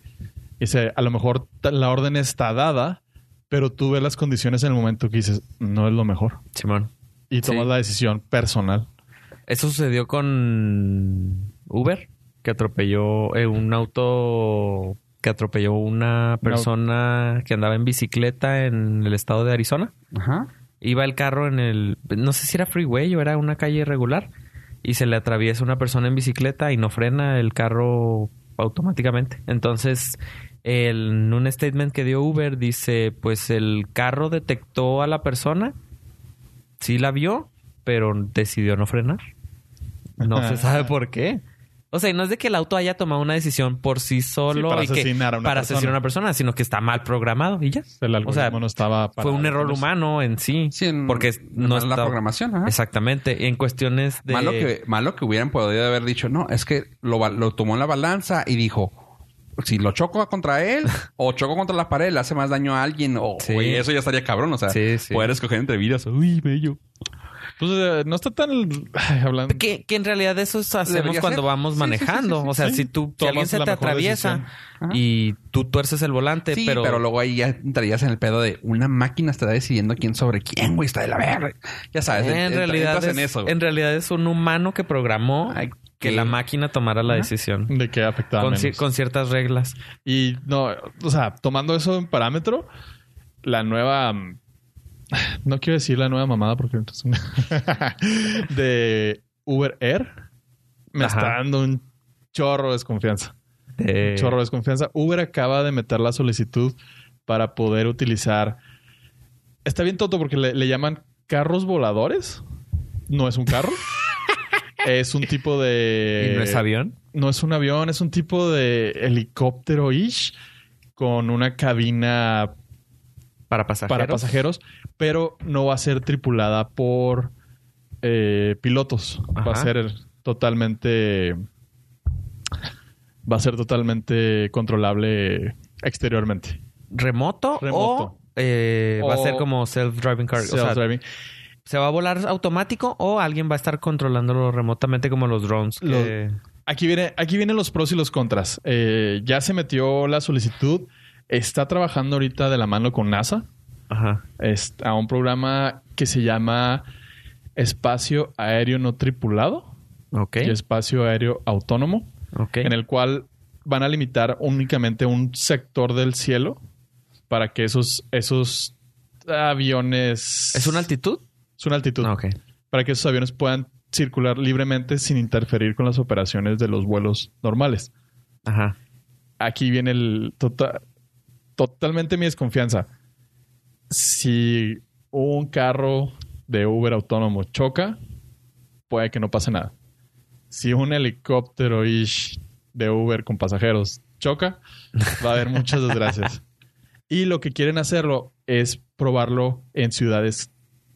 Speaker 3: Dice, a lo mejor ta- la orden está dada, pero tú ves las condiciones en el momento que dices, no es lo mejor.
Speaker 4: Simón.
Speaker 3: Y tomas
Speaker 4: Sí.
Speaker 3: la decisión personal.
Speaker 4: Eso sucedió con Uber, que atropelló eh, un auto que atropelló una persona que andaba en bicicleta en el estado de Arizona.
Speaker 2: Ajá.
Speaker 4: Iba el carro en el, no sé si era freeway o era una calle regular, y se le atraviesa una persona en bicicleta y no frena el carro automáticamente. Entonces, el- en un statement que dio Uber dice, pues el carro detectó a la persona, sí la vio, pero decidió no frenar. No se sabe por qué. O sea, y no es de que el auto haya tomado una decisión por sí solo
Speaker 3: Sí, para
Speaker 4: y que-
Speaker 3: asesinar a una
Speaker 4: para
Speaker 3: persona.
Speaker 4: asesinar a una persona, sino que está mal programado y ya.
Speaker 3: El
Speaker 4: O sea,
Speaker 3: algoritmo no estaba
Speaker 4: fue un
Speaker 3: parado
Speaker 4: error
Speaker 3: con eso.
Speaker 4: humano en sí,
Speaker 2: Sí, en-
Speaker 4: porque no
Speaker 2: en la
Speaker 4: está-
Speaker 2: programación. ajá.
Speaker 4: Exactamente, en cuestiones de
Speaker 2: Malo, que, malo que hubieran podido haber dicho, no, es que lo, va- lo tomó en la balanza y dijo, si lo choco contra
Speaker 4: [laughs]
Speaker 2: él o choco contra la pared, le hace más daño a alguien. O,
Speaker 4: Sí.
Speaker 2: oye, eso ya estaría cabrón. O sea,
Speaker 4: Sí, sí.
Speaker 2: poder escoger entre vidas. Uy, bello.
Speaker 3: Pues eh, no está tan ay, hablando.
Speaker 4: que, que en realidad eso es- hacemos
Speaker 2: Debería
Speaker 4: cuando
Speaker 2: ser.
Speaker 4: vamos
Speaker 2: Sí, sí,
Speaker 4: manejando,
Speaker 2: sí, sí,
Speaker 4: o sea,
Speaker 3: sí.
Speaker 4: si tú si
Speaker 3: Tomas
Speaker 4: alguien se
Speaker 3: la
Speaker 4: te
Speaker 3: mejor
Speaker 4: atraviesa
Speaker 3: decisión.
Speaker 2: Ajá.
Speaker 4: y tú tuerces el volante,
Speaker 2: Sí,
Speaker 4: pero,
Speaker 2: pero... luego ahí ya entrarías en el pedo de una máquina estará decidiendo quién sobre quién, güey, está de la verga. Ya sabes,
Speaker 4: en,
Speaker 2: en,
Speaker 4: realidad es,
Speaker 2: en eso.
Speaker 4: en realidad es un humano que programó
Speaker 2: Ay,
Speaker 4: que
Speaker 2: qué-
Speaker 4: la máquina tomara la decisión
Speaker 3: De que afectaba
Speaker 4: con, ci-
Speaker 3: menos.
Speaker 4: con ciertas reglas.
Speaker 3: Y no, o sea, tomando eso en parámetro, la nueva. mm, No quiero decir la nueva mamada porque entonces. [laughs] de Uber Air me
Speaker 4: Ajá.
Speaker 3: está dando un chorro de desconfianza.
Speaker 4: de-
Speaker 3: Chorro de desconfianza. Uber acaba de meter la solicitud para poder utilizar. Está bien toto porque le, le llaman carros voladores. No es un carro.
Speaker 4: [laughs]
Speaker 3: es un tipo de.
Speaker 4: ¿Y no es avión?
Speaker 3: No es un avión, es un tipo de helicóptero-ish con una cabina
Speaker 4: Para pasajeros.
Speaker 3: para pasajeros, pero no va a ser tripulada por eh, pilotos. Va a
Speaker 4: Ajá.
Speaker 3: ser totalmente. Va a ser totalmente controlable exteriormente.
Speaker 4: ¿Remoto,
Speaker 3: Remoto.
Speaker 4: o, eh, va a
Speaker 3: O-
Speaker 4: ser como self-driving car? o sea,
Speaker 3: Self-driving.
Speaker 4: ¿se va a volar automático o alguien va a estar controlándolo remotamente como los drones?
Speaker 3: Lo-
Speaker 4: que-
Speaker 3: Aquí viene, aquí vienen los pros y los contras. Eh, ya se metió la solicitud. Está trabajando ahorita de la mano con NASA
Speaker 4: Ajá.
Speaker 3: es- a un programa que se llama Espacio Aéreo No Tripulado
Speaker 4: Ok.
Speaker 3: y Espacio Aéreo Autónomo,
Speaker 4: Ok.
Speaker 3: en el cual van a limitar únicamente un sector del cielo para que esos, esos aviones...
Speaker 4: ¿Es una altitud?
Speaker 3: Es una altitud.
Speaker 4: Ah, ok.
Speaker 3: Para que esos aviones puedan circular libremente sin interferir con las operaciones de los vuelos normales.
Speaker 4: Ajá.
Speaker 3: aquí viene el tota- totalmente mi desconfianza. Si un carro de Uber autónomo choca, puede que no pase nada. Si un helicóptero ish de Uber con pasajeros choca, va a haber muchas desgracias. Y lo que quieren hacerlo es probarlo en ciudades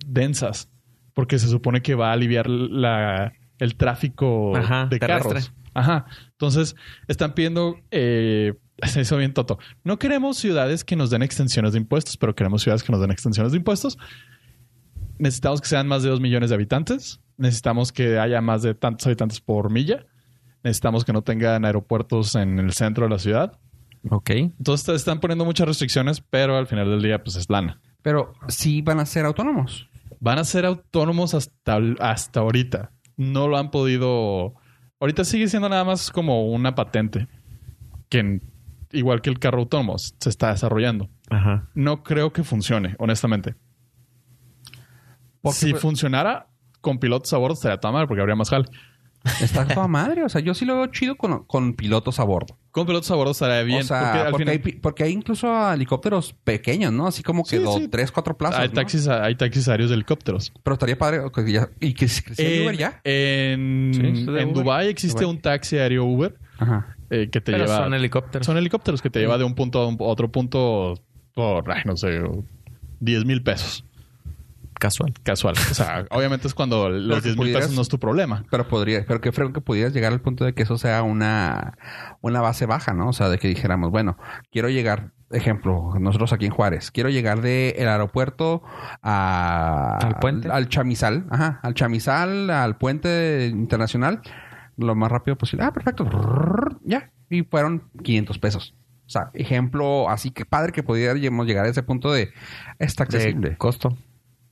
Speaker 3: densas, porque se supone que va a aliviar la- el tráfico
Speaker 4: Ajá,
Speaker 3: de
Speaker 4: terrestre.
Speaker 3: carros. Ajá. Entonces, están pidiendo, eh, [laughs] se hizo bien Toto, no queremos ciudades que nos den extensiones de impuestos, pero queremos ciudades que nos den extensiones de impuestos. Necesitamos que sean más de 2 millones de habitantes, necesitamos que haya más de tantos habitantes por milla, necesitamos que no tengan aeropuertos en el centro de la ciudad.
Speaker 4: Ok.
Speaker 3: Entonces, te están poniendo muchas restricciones, pero al final del día, pues es lana.
Speaker 2: Pero sí van a ser autónomos.
Speaker 3: Van a ser autónomos hasta, hasta ahorita. No lo han podido. Ahorita sigue siendo nada más como una patente. Que en- igual que el carro autónomo se está desarrollando.
Speaker 4: Ajá.
Speaker 3: No creo que funcione, honestamente.
Speaker 2: Porque,
Speaker 3: si
Speaker 2: pues,
Speaker 3: funcionara con pilotos a bordo, estaría tan mal porque habría más jal.
Speaker 2: está
Speaker 4: [laughs]
Speaker 2: toda madre. O sea, yo sí lo veo chido con, con pilotos a bordo.
Speaker 3: Con pilotos a bordo estaría bien.
Speaker 2: o sea,
Speaker 3: porque
Speaker 2: porque,
Speaker 3: al final-
Speaker 2: hay, pi- porque hay incluso helicópteros pequeños, ¿no? Así como que
Speaker 3: Sí,
Speaker 2: dos,
Speaker 3: sí. Ah,
Speaker 2: tres, cuatro plazas.
Speaker 3: hay,
Speaker 2: ¿no?
Speaker 3: taxis, hay taxis aéreos de helicópteros.
Speaker 2: Pero estaría padre. o que ya- y que si creciera
Speaker 3: en
Speaker 2: Uber ya.
Speaker 3: en,
Speaker 4: Sí, es de
Speaker 3: en
Speaker 4: Uber.
Speaker 3: Dubái existe
Speaker 2: Dubái.
Speaker 3: un taxi aéreo Uber
Speaker 2: Ajá.
Speaker 3: eh, que te
Speaker 4: Pero
Speaker 3: lleva.
Speaker 4: son helicópteros.
Speaker 3: Son helicópteros que te lleva de un punto a, un- a otro punto por, ay, no sé, 10 mil pesos
Speaker 4: Casual.
Speaker 3: casual.
Speaker 4: [laughs]
Speaker 3: O sea, obviamente es cuando los
Speaker 2: que
Speaker 3: 10 mil
Speaker 2: pudieras-
Speaker 3: pesos no es tu problema.
Speaker 2: Pero podría, pero que creo que pudieras llegar al punto de que eso sea una, una base baja, ¿no? O sea, de que dijéramos, bueno, quiero llegar, ejemplo, nosotros aquí en Juárez, quiero llegar del aeropuerto a,
Speaker 4: ¿Al puente?
Speaker 2: al Chamizal, ajá, al Chamizal, al puente internacional, lo más rápido posible. Ah, perfecto, Rrrr, ya. Y fueron 500 pesos. O sea, ejemplo, así que padre que pudiéramos llegar a ese punto de está accesible.
Speaker 4: De costo.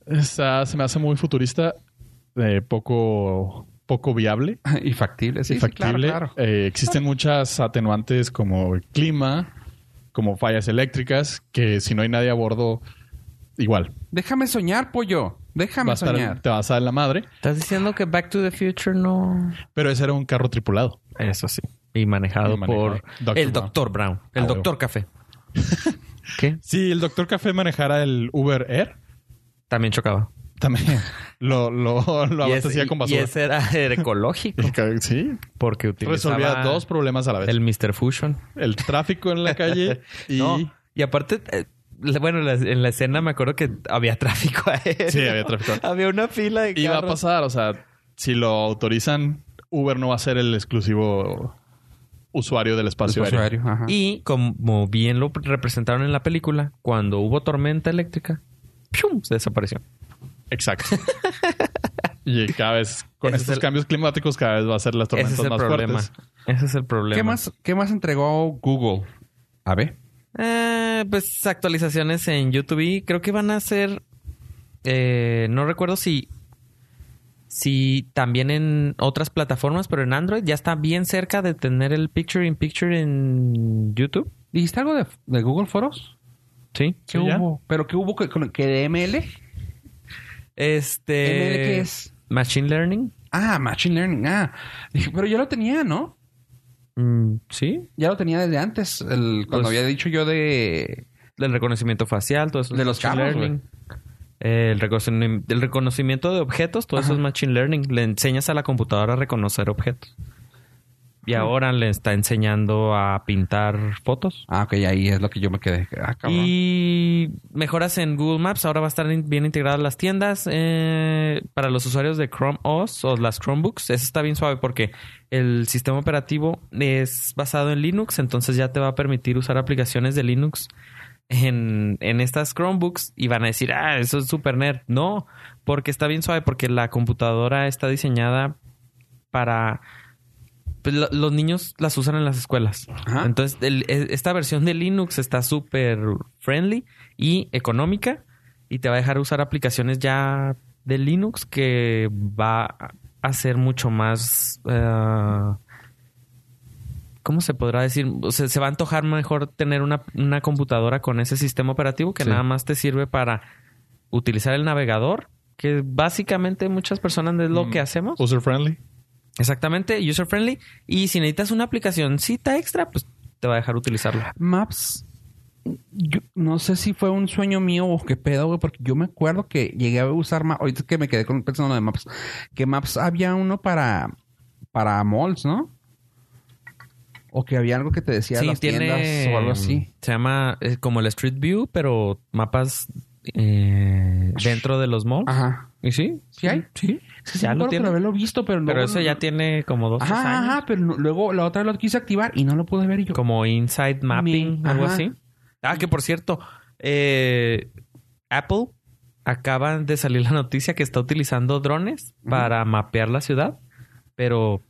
Speaker 3: Esa se me hace muy futurista, eh, poco, poco viable.
Speaker 2: [laughs] y factible, sí,
Speaker 3: y
Speaker 2: sí,
Speaker 3: factible.
Speaker 2: claro, claro.
Speaker 3: Eh, existen muchas atenuantes como el clima, como fallas eléctricas, que si no hay nadie a bordo, igual.
Speaker 2: Déjame soñar, pollo. Déjame
Speaker 3: va a estar-
Speaker 2: soñar.
Speaker 3: te vas a dar la madre.
Speaker 4: ¿Estás diciendo que Back to the Future no...?
Speaker 3: Pero ese era un carro tripulado.
Speaker 4: Eso sí. Y manejado,
Speaker 3: Y manejado.
Speaker 4: por
Speaker 3: Dr.
Speaker 4: el
Speaker 3: Brown.
Speaker 4: Doctor Brown.
Speaker 3: Ah,
Speaker 4: El
Speaker 3: huevo.
Speaker 4: Doctor
Speaker 3: [laughs]
Speaker 4: Café. ¿Qué?
Speaker 3: Si el doctor Café manejara el Uber Air,
Speaker 4: También chocaba.
Speaker 3: [laughs] También. Lo, lo, lo
Speaker 4: Y
Speaker 3: abastecía
Speaker 4: ese-
Speaker 3: con
Speaker 4: y-
Speaker 3: basura.
Speaker 4: Y ese era ecológico.
Speaker 3: Sí.
Speaker 4: Porque utilizaba...
Speaker 3: Resolvía dos problemas a la vez.
Speaker 4: El
Speaker 3: El,
Speaker 4: Mr. Fusion.
Speaker 3: tráfico en la [laughs] calle y...
Speaker 4: No, y aparte, eh, le- bueno, la- en la escena me acuerdo que había [laughs] tráfico aéreo.
Speaker 3: Sí, había tráfico.
Speaker 4: había una fila de
Speaker 3: Y va a
Speaker 4: carros.
Speaker 3: pasar, o sea, si lo autorizan, Uber no va a ser el exclusivo usuario del espacio,
Speaker 2: Espacio
Speaker 3: aéreo.
Speaker 2: aéreo, ajá.
Speaker 4: Y como bien lo representaron en la película, cuando hubo tormenta eléctrica, ¡pium! se desapareció.
Speaker 3: Exacto. [laughs] y cada vez, con
Speaker 4: Ese es
Speaker 3: estos
Speaker 4: el-
Speaker 3: cambios climáticos, cada vez va a ser las tormentas
Speaker 4: Ese es el
Speaker 3: más
Speaker 4: problema.
Speaker 3: fuertes.
Speaker 4: Ese es el problema.
Speaker 2: ¿Qué más, ¿Qué más entregó Google? A ver.
Speaker 4: Eh, pues actualizaciones en YouTube. Y creo que van a ser. eh, no recuerdo si. Si también en otras plataformas, pero en Android ya está bien cerca de tener el Picture in Picture en YouTube.
Speaker 2: ¿Dijiste algo de, de Google Foros?
Speaker 4: Sí.
Speaker 2: ¿Qué
Speaker 3: Sí, ya.
Speaker 2: hubo? ¿Pero qué hubo que, con- que de ML?
Speaker 4: Este.
Speaker 2: ¿ML qué es?
Speaker 4: Machine Learning.
Speaker 2: Ah, Machine Learning. Ah, dije, pero ya lo tenía, ¿no?
Speaker 4: Mm, sí.
Speaker 2: Ya lo tenía desde antes, el, cuando
Speaker 4: Pues-
Speaker 2: había dicho yo de...
Speaker 4: El reconocimiento facial, todo eso. es
Speaker 2: De los
Speaker 4: Machine
Speaker 2: carros,
Speaker 4: Learning. Eh, El, reconoci- el reconocimiento de objetos, todo eso es Machine Learning. Le enseñas a la computadora a reconocer objetos. Y ahora le está enseñando a pintar fotos.
Speaker 2: Ah, ok, ahí es lo que yo me quedé. Ah, cabrón.
Speaker 4: Y mejoras en Google Maps. Ahora va a estar in- bien integradas las tiendas. eh, para los usuarios de Chrome OS o las Chromebooks, eso está bien suave porque el sistema operativo es basado en Linux. Entonces ya te va a permitir usar aplicaciones de Linux en, en estas Chromebooks y van a decir, ah, eso es super nerd. No, porque está bien suave porque la computadora está diseñada para pues, lo- los niños las usan en las escuelas.
Speaker 2: Ajá.
Speaker 4: Entonces, el- e- esta versión de Linux está súper friendly y económica y te va a dejar usar aplicaciones ya de Linux que va a ser mucho más... eh, ¿Cómo se podrá decir? O sea, se va a antojar mejor tener una, una computadora con ese sistema operativo que
Speaker 3: Sí.
Speaker 4: nada más te sirve para utilizar el navegador, que básicamente muchas personas es lo que hacemos.
Speaker 3: User friendly.
Speaker 4: Exactamente, user friendly. Y si necesitas una aplicacioncita extra, pues te va a dejar utilizarlo.
Speaker 2: Maps. Yo no sé si fue un sueño mío o qué pedo, güey, porque yo me acuerdo que llegué a usar Maps. Ahorita que me quedé con, pensando en lo de Maps. Que Maps había uno para, para malls, ¿no? O que había algo que te decía las tiendas o algo así.
Speaker 4: Se llama eh, como el Street View, pero mapas eh, dentro de los malls.
Speaker 2: Ajá.
Speaker 4: ¿Y sí?
Speaker 2: Ah. ¿Sí hay?
Speaker 4: Sí.
Speaker 2: Es que sí
Speaker 4: Ya
Speaker 2: me
Speaker 4: lo
Speaker 2: acuerdo,
Speaker 4: tiene.
Speaker 2: Pero haberlo visto, pero no.
Speaker 4: Pero eso ya tiene como dos tres
Speaker 2: Ajá,
Speaker 4: años.
Speaker 2: ajá, pero no- luego la otra vez lo quise activar y no lo pude ver y yo. [laughs]
Speaker 4: Como Inside Mapping,
Speaker 2: Me-
Speaker 4: algo
Speaker 2: ajá.
Speaker 4: así. Ah, que por cierto, eh, Apple acaban de salir la noticia que está utilizando drones para mapear la ciudad, pero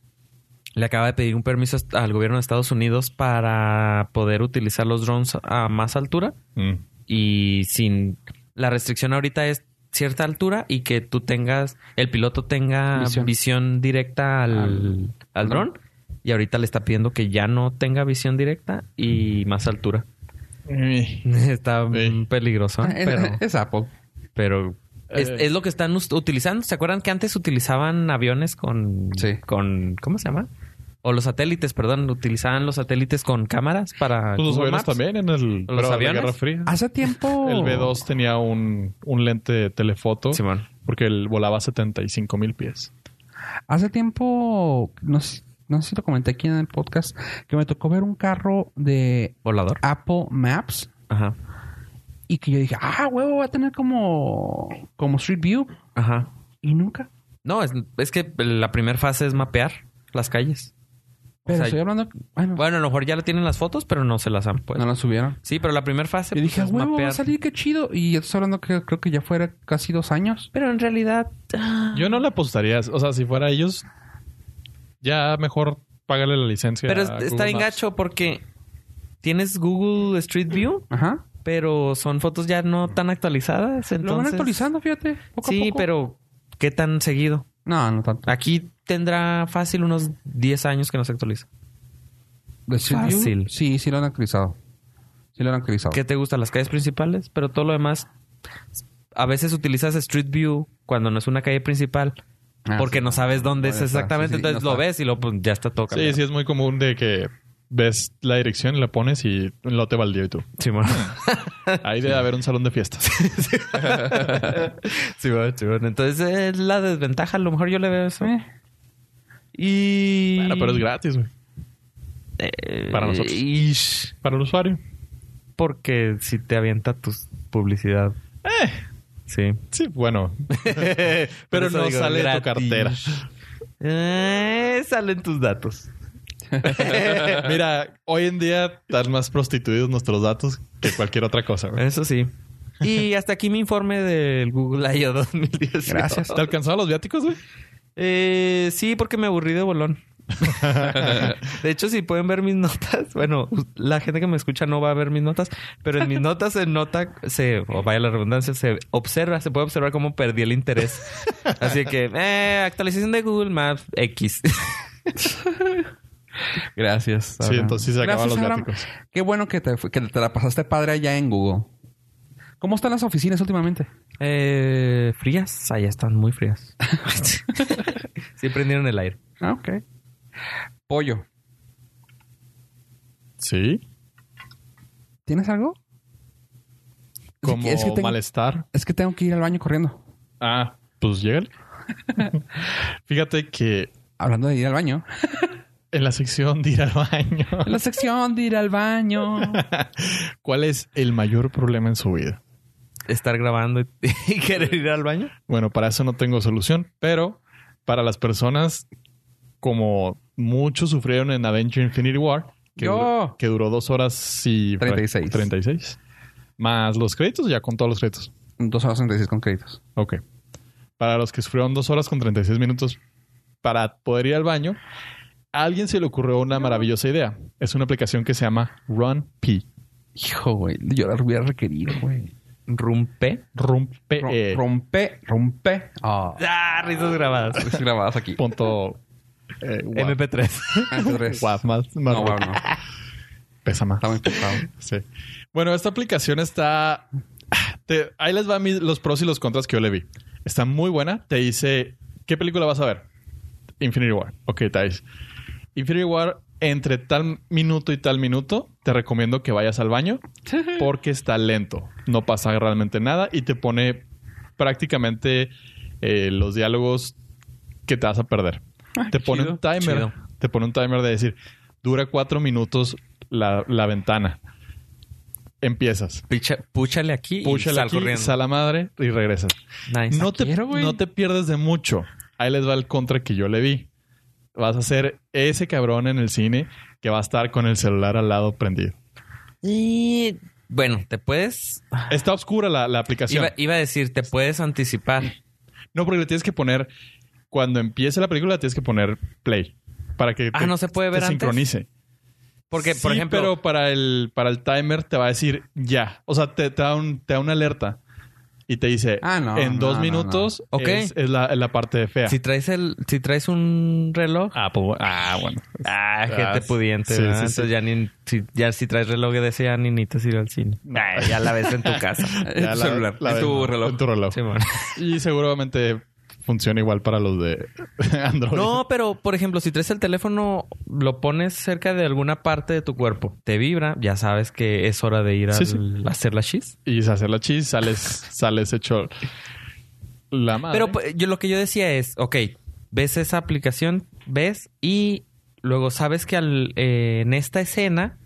Speaker 4: le acaba de pedir un permiso est- al gobierno de Estados Unidos para poder utilizar los drones a más altura
Speaker 3: Mm.
Speaker 4: y sin la restricción ahorita es cierta altura y que tú tengas el piloto tenga visión,
Speaker 2: Visión.
Speaker 4: directa al, al,
Speaker 2: Al-
Speaker 4: dron y ahorita le está pidiendo que ya no tenga visión directa y más altura [laughs] está
Speaker 3: Sí.
Speaker 4: mm, peligroso
Speaker 2: Ah, es, [laughs]
Speaker 4: pero [laughs]
Speaker 2: es Apple.
Speaker 4: pero es,
Speaker 3: Eh.
Speaker 4: es lo que están us- utilizando se acuerdan que antes utilizaban aviones con
Speaker 2: Sí.
Speaker 4: con cómo se llama o los satélites perdón utilizaban los satélites con cámaras para
Speaker 3: Pues los
Speaker 4: Ah, Google
Speaker 3: aviones
Speaker 4: Maps. Oh.
Speaker 3: también en el. pero en la
Speaker 4: aviones?
Speaker 3: Guerra Fría.
Speaker 2: Hace tiempo.
Speaker 3: El B2 tenía un, un lente de telefoto
Speaker 4: Simón.
Speaker 3: porque él volaba a 75 mil pies.
Speaker 2: Hace tiempo, no sé, no sé si lo comenté aquí en el podcast, que me tocó ver un carro de
Speaker 4: volador
Speaker 2: Apple Maps
Speaker 4: ajá
Speaker 2: y que yo dije, ah, huevo, va a tener como, como Street View.
Speaker 4: ajá
Speaker 2: Y nunca.
Speaker 4: No, es, es que la primera fase es mapear las calles.
Speaker 2: Pero
Speaker 4: O sea,
Speaker 2: estoy hablando. Bueno,
Speaker 4: Bueno, a lo mejor ya la tienen las fotos, pero no se las han puesto.
Speaker 2: no la subieron.
Speaker 4: Sí, pero la primera fase
Speaker 2: Yo
Speaker 4: pues,
Speaker 2: dije, "Ah,
Speaker 4: es
Speaker 2: huevo, va a
Speaker 4: mapear.
Speaker 2: salir, qué chido. Y ya estás hablando que creo que ya fuera casi dos años.
Speaker 4: Pero en realidad... ah,
Speaker 3: Yo no le apostaría. O sea, si fuera ellos, ya mejor págale la licencia.
Speaker 4: pero es-
Speaker 3: a
Speaker 4: está
Speaker 3: Google
Speaker 4: bien
Speaker 3: Maps.
Speaker 4: gacho porque tienes Google Street View,
Speaker 2: Ajá.
Speaker 4: pero son fotos ya no tan actualizadas. Entonces...
Speaker 2: Lo van actualizando, fíjate. poco a
Speaker 4: sí,
Speaker 2: poco.
Speaker 4: pero ¿qué tan seguido?
Speaker 2: No, no tanto.
Speaker 4: Aquí tendrá fácil unos 10 años que no se actualiza.
Speaker 2: ¿De Street View?
Speaker 4: Fácil.
Speaker 2: Sí, sí lo han actualizado. Sí lo han actualizado.
Speaker 4: ¿Qué te gustan las calles principales? Pero todo lo demás, a veces utilizas Street View cuando no es una calle principal,
Speaker 2: Ah,
Speaker 4: porque
Speaker 2: sí.
Speaker 4: no sabes dónde es
Speaker 2: Bueno, está.
Speaker 4: exactamente,
Speaker 2: Sí, sí,
Speaker 4: entonces
Speaker 2: no
Speaker 4: lo
Speaker 2: está.
Speaker 4: ves y lo pues, ya está todo
Speaker 3: Sí,
Speaker 4: cambiado.
Speaker 3: sí, es muy común de que ves la dirección y la pones y un lote baldío y tú.
Speaker 4: Simón. [laughs]
Speaker 3: Ahí debe haber un salón de fiestas.
Speaker 4: Simón, Simón. Entonces es la desventaja, a lo mejor yo le veo eso.
Speaker 2: Eh.
Speaker 4: Y
Speaker 3: Bueno, [laughs] pero es gratis, güey.
Speaker 4: Eh,
Speaker 3: para nosotros.
Speaker 4: ish,
Speaker 3: Para el usuario.
Speaker 4: porque si te avienta tu publicidad.
Speaker 3: Eh,
Speaker 4: Sí.
Speaker 3: sí,
Speaker 4: [laughs]
Speaker 3: bueno.
Speaker 4: Por
Speaker 3: Pero
Speaker 4: eso
Speaker 3: no
Speaker 4: digo,
Speaker 3: sale de tu
Speaker 4: gratis.
Speaker 3: cartera.
Speaker 4: Eh, salen tus datos.
Speaker 3: Mira, hoy en día están más prostituidos nuestros datos que cualquier otra cosa. güey.
Speaker 4: Eso sí. Y hasta aquí mi informe del Google I.O. 2018.
Speaker 2: Gracias.
Speaker 3: ¿Te alcanzaron los viáticos, güey?
Speaker 4: Eh, sí, porque me aburrí de bolón. de hecho, si pueden ver mis notas, [laughs] bueno, la gente que me escucha no va a ver mis notas, pero en mis notas se nota, se, o vaya la redundancia, se observa, se puede observar cómo perdí el interés. Así que, eh, actualización de Google Maps X.
Speaker 2: Gracias.
Speaker 3: Sí, entonces sí se acaban los viáticos.
Speaker 2: Qué bueno que te, fu- que te la pasaste padre allá en Google. ¿Cómo están las oficinas últimamente?
Speaker 4: Eh, frías, allá están muy frías. [laughs] sí, prendieron el aire.
Speaker 2: Ah, ok. Pollo,
Speaker 3: [laughs] Sí.
Speaker 2: ¿tienes algo?
Speaker 3: Como
Speaker 2: es que tengo-
Speaker 3: malestar.
Speaker 2: Es que tengo que ir al baño corriendo.
Speaker 3: Ah, pues llégale. [laughs] Fíjate que
Speaker 2: Hablando de ir al baño.
Speaker 3: en la sección de ir al baño, [laughs]
Speaker 2: En la sección de ir al baño.
Speaker 3: ¿cuál es el mayor problema en su vida?
Speaker 4: Estar grabando y, [laughs] y querer ir al baño.
Speaker 3: Bueno, para eso no tengo solución, pero para las personas como muchos sufrieron en Avenger Infinity War, que,
Speaker 2: Yo.
Speaker 3: duró, que duró dos horas y
Speaker 2: 36.
Speaker 3: 36. Más los créditos, ya con todos los créditos.
Speaker 2: Dos horas 36 con créditos.
Speaker 3: Ok. Para los que sufrieron dos horas con 36 minutos para poder ir al baño, a alguien se le ocurrió una maravillosa idea. Es una aplicación que se llama Run P.
Speaker 2: Hijo, güey. Yo la hubiera requerido, güey.
Speaker 4: Rumpe.
Speaker 3: Rompe.
Speaker 2: Ro-
Speaker 3: eh,
Speaker 2: Rompe, rompe. Ah.
Speaker 4: Ah, risas grabadas.
Speaker 2: Estoy grabadas aquí.
Speaker 3: punto. eh, guap.
Speaker 4: MP3.
Speaker 3: [laughs]
Speaker 2: Antes
Speaker 3: Guap, más, más
Speaker 2: No, guau, no.
Speaker 3: pesa más.
Speaker 2: Está muy pesado.
Speaker 3: Sí. Bueno, esta aplicación está. te- ahí les van los pros y los contras que yo le vi. Está muy buena. Te dice, ¿qué película vas a ver? Infinity War. Ok, Thais. Infinity War, entre tal minuto y tal minuto, te recomiendo que vayas
Speaker 4: [laughs]
Speaker 3: al baño porque está lento. No pasa realmente nada y te pone prácticamente eh, los diálogos que te vas a perder. te pone un timer.
Speaker 4: Ah, chido.
Speaker 3: Te pone un timer de decir, dura cuatro minutos la, la ventana. Empiezas.
Speaker 4: Picha- púchale aquí y
Speaker 3: Púchala
Speaker 4: sal
Speaker 3: aquí,
Speaker 4: corriendo.
Speaker 3: sal a madre y regresas.
Speaker 4: Nice.
Speaker 3: No te, no te pierdes de mucho. Ahí les va el contra que yo le vi. Vas a ser ese cabrón en el cine que va a estar con el celular al lado prendido.
Speaker 4: Y bueno, te puedes.
Speaker 3: Está oscura la, la aplicación.
Speaker 4: Iba, iba a decir, te puedes anticipar.
Speaker 3: No, porque le tienes que poner. Cuando empiece la película, le tienes que poner play. Para que
Speaker 4: Ah, ¿no se puede
Speaker 3: te
Speaker 4: ver antes?
Speaker 3: sincronice.
Speaker 4: Porque,
Speaker 3: Sí,
Speaker 4: por ejemplo,
Speaker 3: Pero para el, para el timer te va a decir ya. O sea, te, te da, un- te da una alerta. Y te dice,
Speaker 2: Ah, no,
Speaker 3: en dos
Speaker 2: no, no,
Speaker 3: minutos
Speaker 4: no. Ok.
Speaker 3: es, es la, es la parte fea.
Speaker 4: si traes el, si traes un reloj,
Speaker 3: Ah, pues bueno. Ah, bueno.
Speaker 4: ah,
Speaker 3: ah,
Speaker 4: gente pudiente,
Speaker 3: sí,
Speaker 4: ¿verdad?
Speaker 3: sí, sí.
Speaker 4: Entonces ya ni si, ya si traes reloj de ese ya ni necesitas ir al cine. Ah, ya la ves en tu casa.
Speaker 2: En
Speaker 3: [laughs] Ya
Speaker 2: tu
Speaker 3: la-
Speaker 2: celular,
Speaker 3: la
Speaker 2: en
Speaker 3: ves,
Speaker 2: tu
Speaker 3: ¿no?
Speaker 2: reloj.
Speaker 3: En tu reloj. [laughs]
Speaker 4: Simón.
Speaker 3: Y seguramente funciona igual para los de [laughs] Android.
Speaker 4: No, pero por ejemplo, si traes el teléfono, lo pones cerca de alguna parte de tu cuerpo, te vibra, ya sabes que es hora de ir
Speaker 3: Sí,
Speaker 4: al-
Speaker 3: sí.
Speaker 4: a hacer la chis.
Speaker 3: Y se hace la chis, sales, sales hecho la madre.
Speaker 4: Pero pues, yo lo que yo decía es, ok, ves esa aplicación, ves y luego sabes que al- eh, en esta escena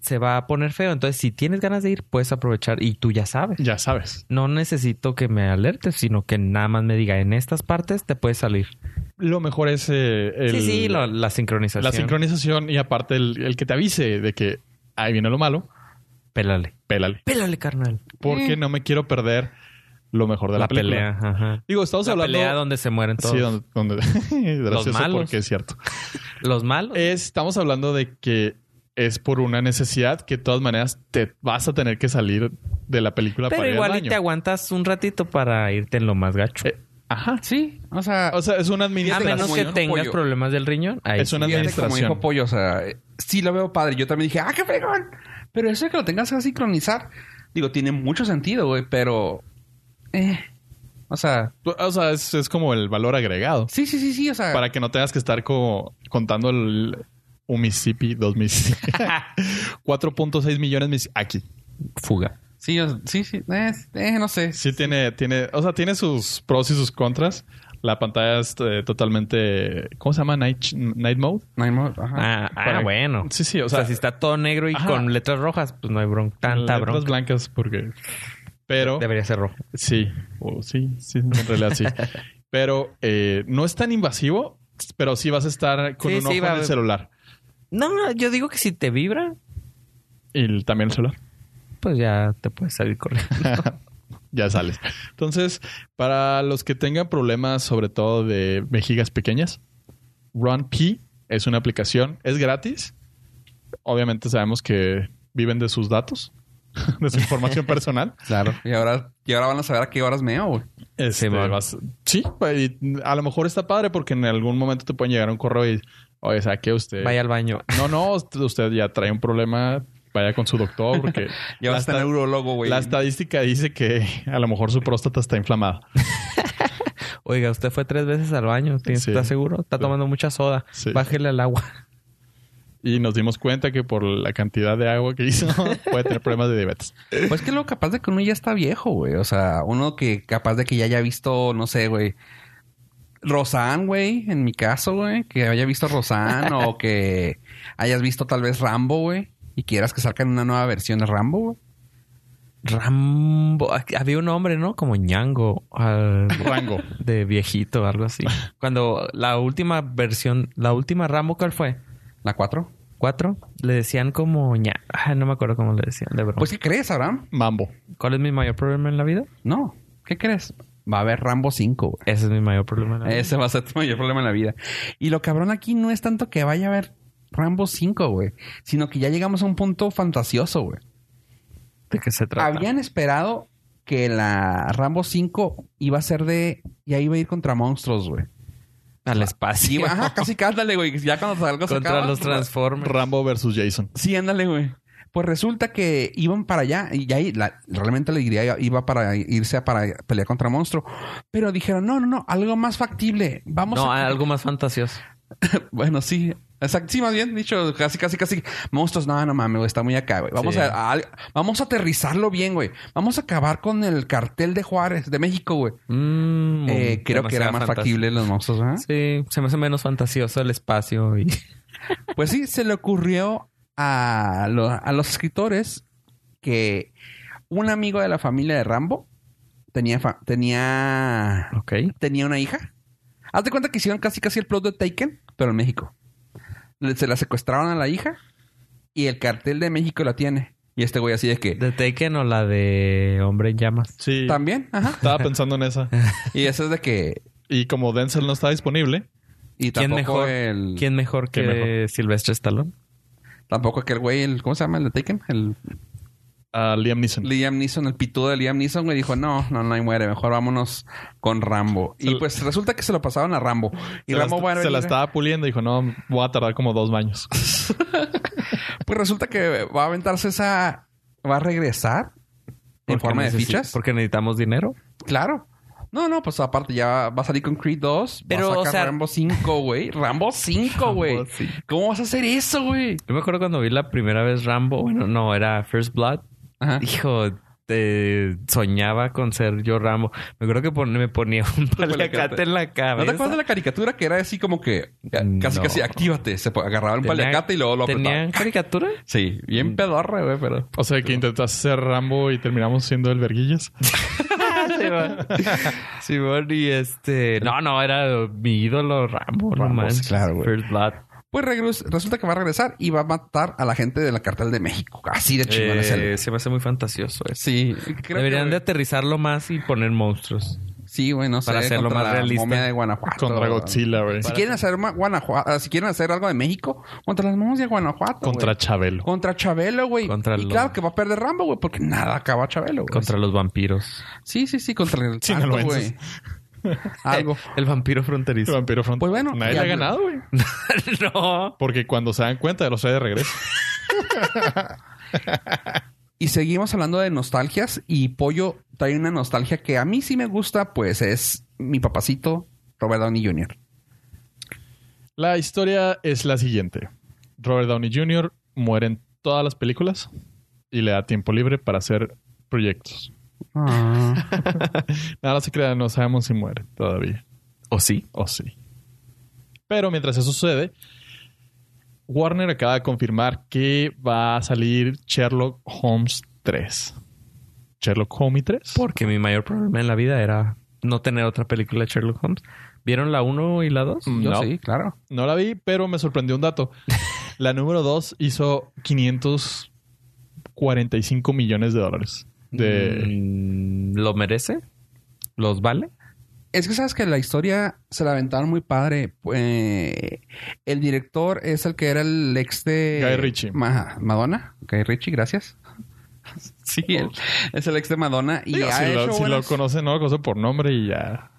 Speaker 4: se va a poner feo, entonces si tienes ganas de ir, puedes aprovechar y tú ya sabes.
Speaker 3: ya sabes.
Speaker 4: No necesito que me alertes, sino que nada más me diga en estas partes te puedes salir.
Speaker 3: Lo mejor es eh, el-
Speaker 4: sí, sí, lo- la sincronización.
Speaker 3: la sincronización y aparte el, el que te avise de que ahí viene lo malo,
Speaker 4: Pélale.
Speaker 3: pélale.
Speaker 4: Pélale, carnal.
Speaker 3: Porque no me quiero perder lo mejor de la,
Speaker 4: Eh. la
Speaker 3: película.
Speaker 4: pelea. Ajá.
Speaker 3: Digo, estamos
Speaker 4: la
Speaker 3: hablando...
Speaker 4: pelea donde se mueren todos.
Speaker 3: Sí, donde, donde- [laughs] gracioso
Speaker 4: malos.
Speaker 3: porque es cierto.
Speaker 4: Los malos.
Speaker 3: Es- estamos hablando de que es por una necesidad que de todas maneras te vas a tener que salir de la película
Speaker 4: pero
Speaker 3: para ir al
Speaker 4: igual y
Speaker 3: baño.
Speaker 4: te aguantas un ratito para irte en lo más gacho.
Speaker 3: Eh, Ajá.
Speaker 2: Sí, o sea,
Speaker 3: O sea, es una
Speaker 4: a
Speaker 3: administración.
Speaker 4: menos
Speaker 2: como
Speaker 4: que
Speaker 2: yo no
Speaker 4: tengas
Speaker 2: apoyo.
Speaker 4: problemas del riñón. Ahí
Speaker 3: Es
Speaker 4: sí.
Speaker 3: una
Speaker 2: fíjate como
Speaker 3: administración.
Speaker 2: dijo Pollo, o sea, eh, sí lo veo padre. Yo también dije, ah, qué fregón. Pero eso de que lo tengas que sincronizar, digo, tiene mucho sentido, güey, pero... eh, o sea,
Speaker 3: O sea, es, es como el valor agregado.
Speaker 2: sí, sí, sí, sí, o sea...
Speaker 3: Para que no tengas que estar como contando el un Mississippi, dos [laughs] Mississippi. 4.6 millones Mississippi. Aquí.
Speaker 4: fuga.
Speaker 2: Sí, o- sí, sí, eh, eh, no sé.
Speaker 3: Sí tiene, tiene, o sea, tiene sus pros y sus contras. La pantalla es eh, totalmente, ¿cómo se llama? Night, night mode.
Speaker 2: No hay modo, ajá.
Speaker 4: Ah, ah,
Speaker 3: Para-
Speaker 4: bueno.
Speaker 3: Sí, sí,
Speaker 4: O
Speaker 3: o
Speaker 4: sea,
Speaker 3: sea,
Speaker 4: si está todo negro y
Speaker 3: Ajá.
Speaker 4: con letras rojas, pues no hay bronca. Tanta
Speaker 3: letras
Speaker 4: bronca.
Speaker 3: blancas porque, pero
Speaker 4: Debería ser rojo.
Speaker 3: Sí, o sí, sí, en realidad
Speaker 4: [laughs]
Speaker 3: sí. Pero eh, no es tan invasivo, pero sí vas a estar con
Speaker 4: Sí,
Speaker 3: un
Speaker 4: sí,
Speaker 3: ojo
Speaker 4: va
Speaker 3: en
Speaker 4: a-
Speaker 3: el celular.
Speaker 4: No, yo digo que si te vibra,
Speaker 3: Y el- también el celular.
Speaker 4: pues ya te puedes salir corriendo. [laughs]
Speaker 3: [laughs] ya sales. Entonces, para los que tengan problemas, sobre todo de vejigas pequeñas, Run P es una aplicación, es gratis. Obviamente sabemos que viven de sus datos, [laughs] de
Speaker 4: [laughs]
Speaker 3: su información personal.
Speaker 2: Claro. Y ahora, y ahora van a saber a qué horas meo, güey.
Speaker 3: Este,
Speaker 4: Simón.
Speaker 3: vas- sí, pues, y a lo mejor está padre porque en algún momento te pueden llegar un correo y, oye, saque usted.
Speaker 4: Vaya al baño.
Speaker 3: No, no, usted, usted ya trae un problema, vaya con su doctor, porque
Speaker 2: [laughs] Ya
Speaker 3: la,
Speaker 2: vas a tener
Speaker 3: esta-
Speaker 2: urologo, güey.
Speaker 3: la estadística dice que a lo mejor su próstata está inflamada.
Speaker 4: Oiga, usted fue tres veces al baño. ¿Tien-
Speaker 3: Sí.
Speaker 4: ¿Está seguro? Está tomando mucha soda.
Speaker 3: Sí.
Speaker 4: Bájele al agua. [laughs]
Speaker 3: Y nos dimos cuenta que por la cantidad de agua que hizo [laughs] puede tener problemas de diabetes.
Speaker 2: Pues que lo capaz de que uno ya está viejo, güey. O sea, uno que capaz de que ya haya visto, no sé, güey. Rosan, güey, en mi caso, güey. Que haya visto Rosan o que hayas visto tal vez Rambo, güey. Y quieras que salgan una nueva versión de Rambo, güey.
Speaker 4: Rambo. Aquí Había un hombre, ¿no? Como ñango. ah,
Speaker 3: Rango.
Speaker 4: de viejito, algo así. Cuando la última versión, la última Rambo, ¿cuál fue?
Speaker 2: ¿La 4?
Speaker 4: ¿Cuatro? Le decían como ña. Ay, no me acuerdo cómo le decían, de broma.
Speaker 2: Pues, ¿qué crees, Pues, Abraham?
Speaker 3: Mambo.
Speaker 4: ¿Cuál es mi mayor problema en la vida?
Speaker 2: No. ¿Qué crees? va a haber Rambo 5, güey.
Speaker 4: Ese es mi mayor problema. la verdad.
Speaker 2: Ese va a ser tu mayor problema en la vida. Y lo cabrón aquí no es tanto que vaya a haber Rambo 5, güey, sino que ya llegamos a un punto fantasioso, güey.
Speaker 4: ¿De qué se trata?
Speaker 2: Habían esperado que la Rambo 5 iba a ser de. Ya iba a ir contra monstruos, güey.
Speaker 4: Al
Speaker 2: Sí,
Speaker 4: espacio.
Speaker 2: güey. Ajá, casi cántale, güey. Ya cuando
Speaker 4: [laughs]
Speaker 2: salgo
Speaker 4: Contra los Transformers.
Speaker 3: Rambo versus Jason.
Speaker 2: Sí, ándale, güey. Pues resulta que iban para allá y ahí la- realmente la diría iba para irse a para pelear contra monstruo. Pero dijeron, no, no, no, algo más factible. Vamos
Speaker 4: No,
Speaker 2: a...
Speaker 4: algo más fantasioso.
Speaker 2: [laughs] Bueno, sí. Exacto, sí, más bien dicho, casi, casi, casi. Monstruos, no, no mames, güey, está muy acá, güey. Vamos,
Speaker 4: Sí.
Speaker 2: a, a- al- vamos a aterrizarlo bien, güey. Vamos a acabar con el cartel de Juárez, de México, güey.
Speaker 4: Mm,
Speaker 2: Eh, creo que era
Speaker 4: demasiado
Speaker 2: más
Speaker 4: fantasía.
Speaker 2: factible los monstruos, ¿verdad?
Speaker 4: Sí, se me hace menos fantasioso el espacio y... [laughs]
Speaker 2: Pues sí, se le ocurrió a, lo- a los escritores que un amigo de la familia de Rambo tenía, fa- tenía,
Speaker 4: Ok.
Speaker 2: tenía una hija. Haz de cuenta que hicieron casi casi el plot de Taken, pero en México. Le- Se la secuestraron a la hija y el cartel de México la tiene. Y este güey así de que...
Speaker 4: ¿De Taken o la de Hombre en Llamas?
Speaker 3: Sí.
Speaker 2: También, ajá.
Speaker 3: Estaba pensando en esa.
Speaker 2: Y eso es de que...
Speaker 3: Y como Denzel no está disponible,
Speaker 4: [laughs]
Speaker 2: Y
Speaker 4: ¿Quién
Speaker 2: tampoco
Speaker 4: mejor,
Speaker 2: el...
Speaker 4: ¿Quién mejor que
Speaker 3: ¿Quién mejor?
Speaker 4: Silvestre Stallone?
Speaker 2: Tampoco aquel güey, el... ¿Cómo se llama? El de Taken. El
Speaker 3: a Liam Neeson.
Speaker 2: Liam Neeson, el pitudo de Liam Neeson, güey, dijo, no, no, no, ahí muere, mejor vámonos con Rambo. Y
Speaker 3: Se-
Speaker 2: pues resulta que se lo pasaron a Rambo. Y
Speaker 3: se
Speaker 2: Rambo,
Speaker 3: la,
Speaker 2: bueno,
Speaker 3: se
Speaker 2: mira,
Speaker 3: la estaba puliendo y dijo, no, voy a tardar como dos baños.
Speaker 2: pues resulta que va a aventarse esa... Va a regresar en
Speaker 4: Porque
Speaker 2: forma de
Speaker 4: necesi-
Speaker 2: fichas.
Speaker 4: Porque necesitamos dinero.
Speaker 2: Claro. No, no, pues aparte ya va a salir con Creed 2.
Speaker 4: Pero,
Speaker 2: va a
Speaker 4: o
Speaker 2: sacar
Speaker 4: sea-
Speaker 2: Rambo 5, güey. Rambo 5, güey.
Speaker 4: Rambo 5.
Speaker 2: ¿Cómo vas a hacer eso, güey?
Speaker 4: Yo me acuerdo cuando vi la primera vez Rambo. Bueno, no, era First Blood.
Speaker 2: Ajá.
Speaker 4: Hijo, eh, soñaba con ser yo Rambo. Me acuerdo que pon- me ponía
Speaker 2: [laughs]
Speaker 4: un paliacate en la cabeza.
Speaker 2: ¿No te acuerdas de la caricatura que era así como que...
Speaker 4: No.
Speaker 2: Casi, casi, actívate. Se po- agarraba un
Speaker 4: Tenía-
Speaker 2: paliacate y luego lo apretaba.
Speaker 4: ¿Tenían
Speaker 2: [laughs]
Speaker 4: caricatura?
Speaker 2: Sí, bien pedorre, güey, pero...
Speaker 3: O sea, que intentas ser Rambo y terminamos siendo el verguillas.
Speaker 4: Simón. Simón y este... No, no, era mi ídolo Rambo. no
Speaker 2: Rambo,
Speaker 4: manches.
Speaker 2: sí, claro, güey.
Speaker 4: First Blood.
Speaker 2: Pues regres- resulta que va a regresar y va a matar a la gente de la cartel de México. Así de chingón es
Speaker 4: Eh,
Speaker 2: el-
Speaker 4: se me hace muy fantasioso eso.
Speaker 2: Sí, creo
Speaker 4: Deberían de
Speaker 2: que,
Speaker 4: aterrizarlo más y poner monstruos.
Speaker 2: Sí, güey, no sé.
Speaker 4: para hacerlo
Speaker 2: contra
Speaker 4: más
Speaker 2: la
Speaker 4: realista.
Speaker 2: momia de Guanajuato.
Speaker 3: Contra Godzilla, güey.
Speaker 2: Si quieren hacer ma- Guanajuato, ah, si quieren hacer algo de México, contra las momias de Guanajuato.
Speaker 3: Contra
Speaker 2: güey.
Speaker 3: Chabelo.
Speaker 2: Contra Chabelo, güey.
Speaker 4: Contra
Speaker 2: y
Speaker 4: los-
Speaker 2: claro que va a perder Rambo, güey, porque nada acaba Chabelo, güey.
Speaker 4: Contra los vampiros.
Speaker 2: Sí, sí, sí, contra el
Speaker 3: Sí, no
Speaker 2: Santo,
Speaker 3: lo vences.
Speaker 2: güey. [laughs] Algo.
Speaker 4: El vampiro
Speaker 3: El
Speaker 4: fronterizo.
Speaker 3: vampiro frontal.
Speaker 2: Pues bueno,
Speaker 3: Nadie
Speaker 2: ya-
Speaker 3: le ha ganado, güey.
Speaker 4: [laughs] no.
Speaker 3: Porque cuando se dan cuenta, los hay de regreso.
Speaker 2: Y seguimos hablando de nostalgias y Pollo trae una nostalgia que a mí sí me gusta, pues es mi papacito Robert Downey Jr.
Speaker 3: La historia es la siguiente. Robert Downey Jr. muere en todas las películas y le da tiempo libre para hacer proyectos. Nada se crea, no sabemos si muere todavía.
Speaker 4: ¿O sí?
Speaker 3: O sí. Pero mientras eso sucede, Warner acaba de confirmar que va a salir Sherlock Holmes 3. Sherlock Holmes 3.
Speaker 4: Porque mi mayor problema en la vida era no tener otra película de Sherlock Holmes. ¿Vieron la 1 y la 2?
Speaker 2: Yo
Speaker 3: No.
Speaker 2: Mm, sí, claro.
Speaker 3: No la vi, pero me sorprendió
Speaker 2: [laughs]
Speaker 3: un dato. La número 2 hizo 545 millones de dólares. De...
Speaker 4: Mm, ¿Lo merece? ¿Los vale?
Speaker 2: Es que sabes que la historia se la aventaron muy padre. Eh, el director es el que era el ex de.
Speaker 3: Guy Ritchie.
Speaker 2: Ma- Madonna. Guy Ritchie, gracias. Sí, [laughs]
Speaker 4: Oh.
Speaker 2: él es el ex de Madonna. Y
Speaker 3: Digo,
Speaker 2: ha
Speaker 3: si,
Speaker 2: hecho
Speaker 3: lo, si lo
Speaker 2: buenas-
Speaker 3: conocen, no lo conocen por nombre y ya.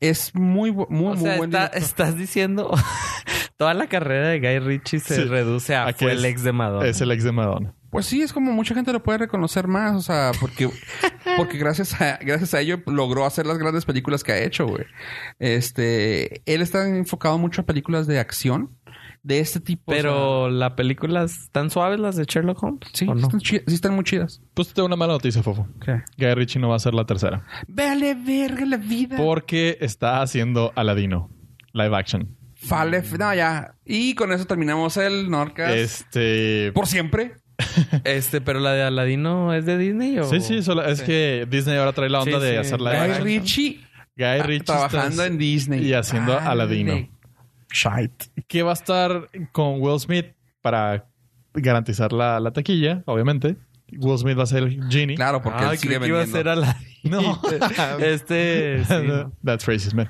Speaker 2: Es muy, bu- muy,
Speaker 4: o
Speaker 2: muy
Speaker 4: sea,
Speaker 2: buen
Speaker 4: está-
Speaker 2: director.
Speaker 4: estás diciendo... [laughs] Toda la carrera de Guy Ritchie se
Speaker 3: Sí.
Speaker 4: reduce a,
Speaker 3: ¿A qué
Speaker 4: fue
Speaker 3: es?
Speaker 4: el ex de Madonna.
Speaker 3: Es el ex de Madonna.
Speaker 2: Pues sí, es como mucha gente lo puede reconocer más. O sea,
Speaker 4: [laughs]
Speaker 2: porque, porque gracias, a, gracias a ello logró hacer las grandes películas que ha hecho, güey. Este, él está enfocado mucho a películas de acción de este tipo. o sea,
Speaker 4: Pero las películas... ¿Tan suaves las de Sherlock Holmes?
Speaker 2: sí,
Speaker 4: ¿O no?
Speaker 2: están chi- sí están muy chidas.
Speaker 3: Pues te tengo una mala noticia, Fofo. Guy Ritchie no va a ser la tercera.
Speaker 2: Vale verga la vida.
Speaker 3: Porque está haciendo Aladino. Live action.
Speaker 2: Fale, no, ya. Y con eso terminamos el Norcas.
Speaker 3: Este...
Speaker 2: Por siempre.
Speaker 4: Este, pero la de Aladino es de Disney o...
Speaker 3: Sí, sí, solo- es que Disney ahora trae la onda
Speaker 4: Sí,
Speaker 3: de
Speaker 4: sí.
Speaker 3: hacer live
Speaker 2: Guy
Speaker 3: action.
Speaker 2: Ritchie
Speaker 3: Guy
Speaker 2: ah,
Speaker 3: Ritchie
Speaker 2: trabajando
Speaker 3: está-
Speaker 2: en Disney.
Speaker 3: y haciendo
Speaker 2: Vale.
Speaker 3: Aladino.
Speaker 2: Shite.
Speaker 3: que va a estar con Will Smith para garantizar la, la taquilla, obviamente. Will Smith va a ser el genie.
Speaker 2: Claro, porque
Speaker 4: Ah,
Speaker 2: él sigue
Speaker 4: creí que iba a
Speaker 2: vendiendo.
Speaker 4: ser Aladdin.
Speaker 3: [laughs] No.
Speaker 4: Este. [laughs]
Speaker 3: [laughs]
Speaker 4: sí, no.
Speaker 3: That's racist, man.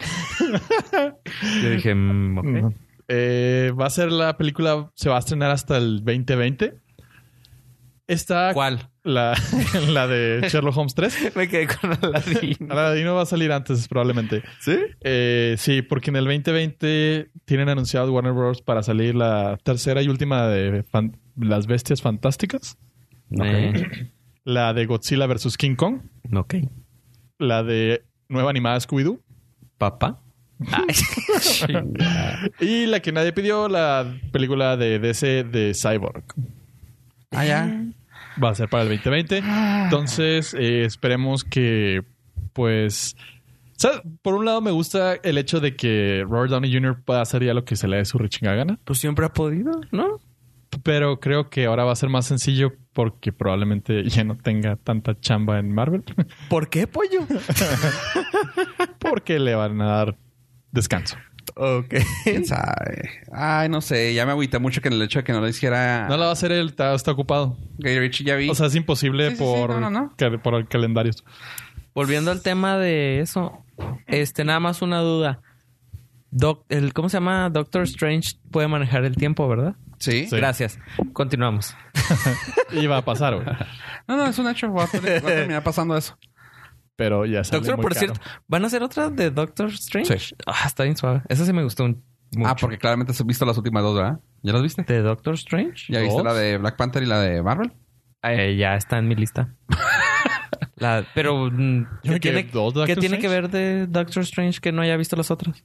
Speaker 4: Yo dije, mm, ok.
Speaker 3: No. Eh, va a ser la película, se va a estrenar hasta el 2020. Está
Speaker 4: ¿Cuál?
Speaker 3: La, [laughs] la de Sherlock Holmes 3.
Speaker 4: Me quedé con Aladdin.
Speaker 3: Aladino va a salir antes, probablemente.
Speaker 4: ¿Sí?
Speaker 3: Eh, sí, porque en el 2020 tienen anunciado Warner Bros. para salir la tercera y última de Fan- Las Bestias Fantásticas.
Speaker 4: Eh,
Speaker 3: La de Godzilla vs. King Kong.
Speaker 4: ok.
Speaker 3: La de Nueva Animada Scooby-Doo.
Speaker 4: ¿Papá? Ay, chinga.
Speaker 3: Y la que nadie pidió, la película de DC de Cyborg.
Speaker 2: Ah, ya.
Speaker 3: Va a ser para el 2020. Entonces, eh, esperemos que, pues... o sea, Por un lado me gusta el hecho de que Robert Downey Jr. pueda hacer ya lo que se le dé su rechinga gana.
Speaker 4: pues siempre ha podido, ¿no?
Speaker 3: Pero creo que ahora va a ser más sencillo porque probablemente [laughs] ya no tenga tanta chamba en Marvel. [laughs]
Speaker 4: ¿Por qué, pollo?
Speaker 3: Porque le van a dar descanso.
Speaker 4: Ok.
Speaker 2: ¿Quién sabe? Ay, no sé. Ya me agüita mucho que el hecho de que no lo hiciera
Speaker 3: No la va a hacer él, está, está ocupado.
Speaker 2: Guy Ritchie. Ya vi.
Speaker 3: O sea, es imposible
Speaker 2: Sí, sí, sí,
Speaker 3: por,
Speaker 2: no, no, no.
Speaker 3: cal- por el [laughs] calendario.
Speaker 4: Volviendo al tema de eso, este, nada más una duda. Doc- el, ¿Cómo se llama? Doctor Strange puede manejar el tiempo, ¿verdad?
Speaker 2: ¿Sí?
Speaker 3: Sí.
Speaker 4: Gracias. Continuamos.
Speaker 3: Y va a pasar, güey.
Speaker 2: No, no, es un hecho. Va a, ter- va a terminar pasando eso.
Speaker 3: Pero ya sale
Speaker 4: Doctor,
Speaker 3: muy
Speaker 4: por
Speaker 3: caro.
Speaker 4: cierto, ¿van a hacer otra de Doctor Strange?
Speaker 2: Sí.
Speaker 4: Ah, está bien suave. Esa sí me gustó un- mucho.
Speaker 2: Ah, porque claramente has visto las últimas dos, ¿verdad? ¿Ya las viste?
Speaker 4: ¿De Doctor Strange?
Speaker 2: ¿Ya viste
Speaker 3: ¿Dos?
Speaker 2: la de Black Panther y la de Marvel?
Speaker 4: Eh, ya está en mi
Speaker 3: [laughs]
Speaker 4: lista. La- pero, mm,
Speaker 3: Yo me
Speaker 4: ¿qué,
Speaker 3: quedé
Speaker 4: tiene,
Speaker 3: dos Doctor
Speaker 4: qué tiene
Speaker 3: Strange.
Speaker 4: que ver de Doctor Strange que no haya visto las otras?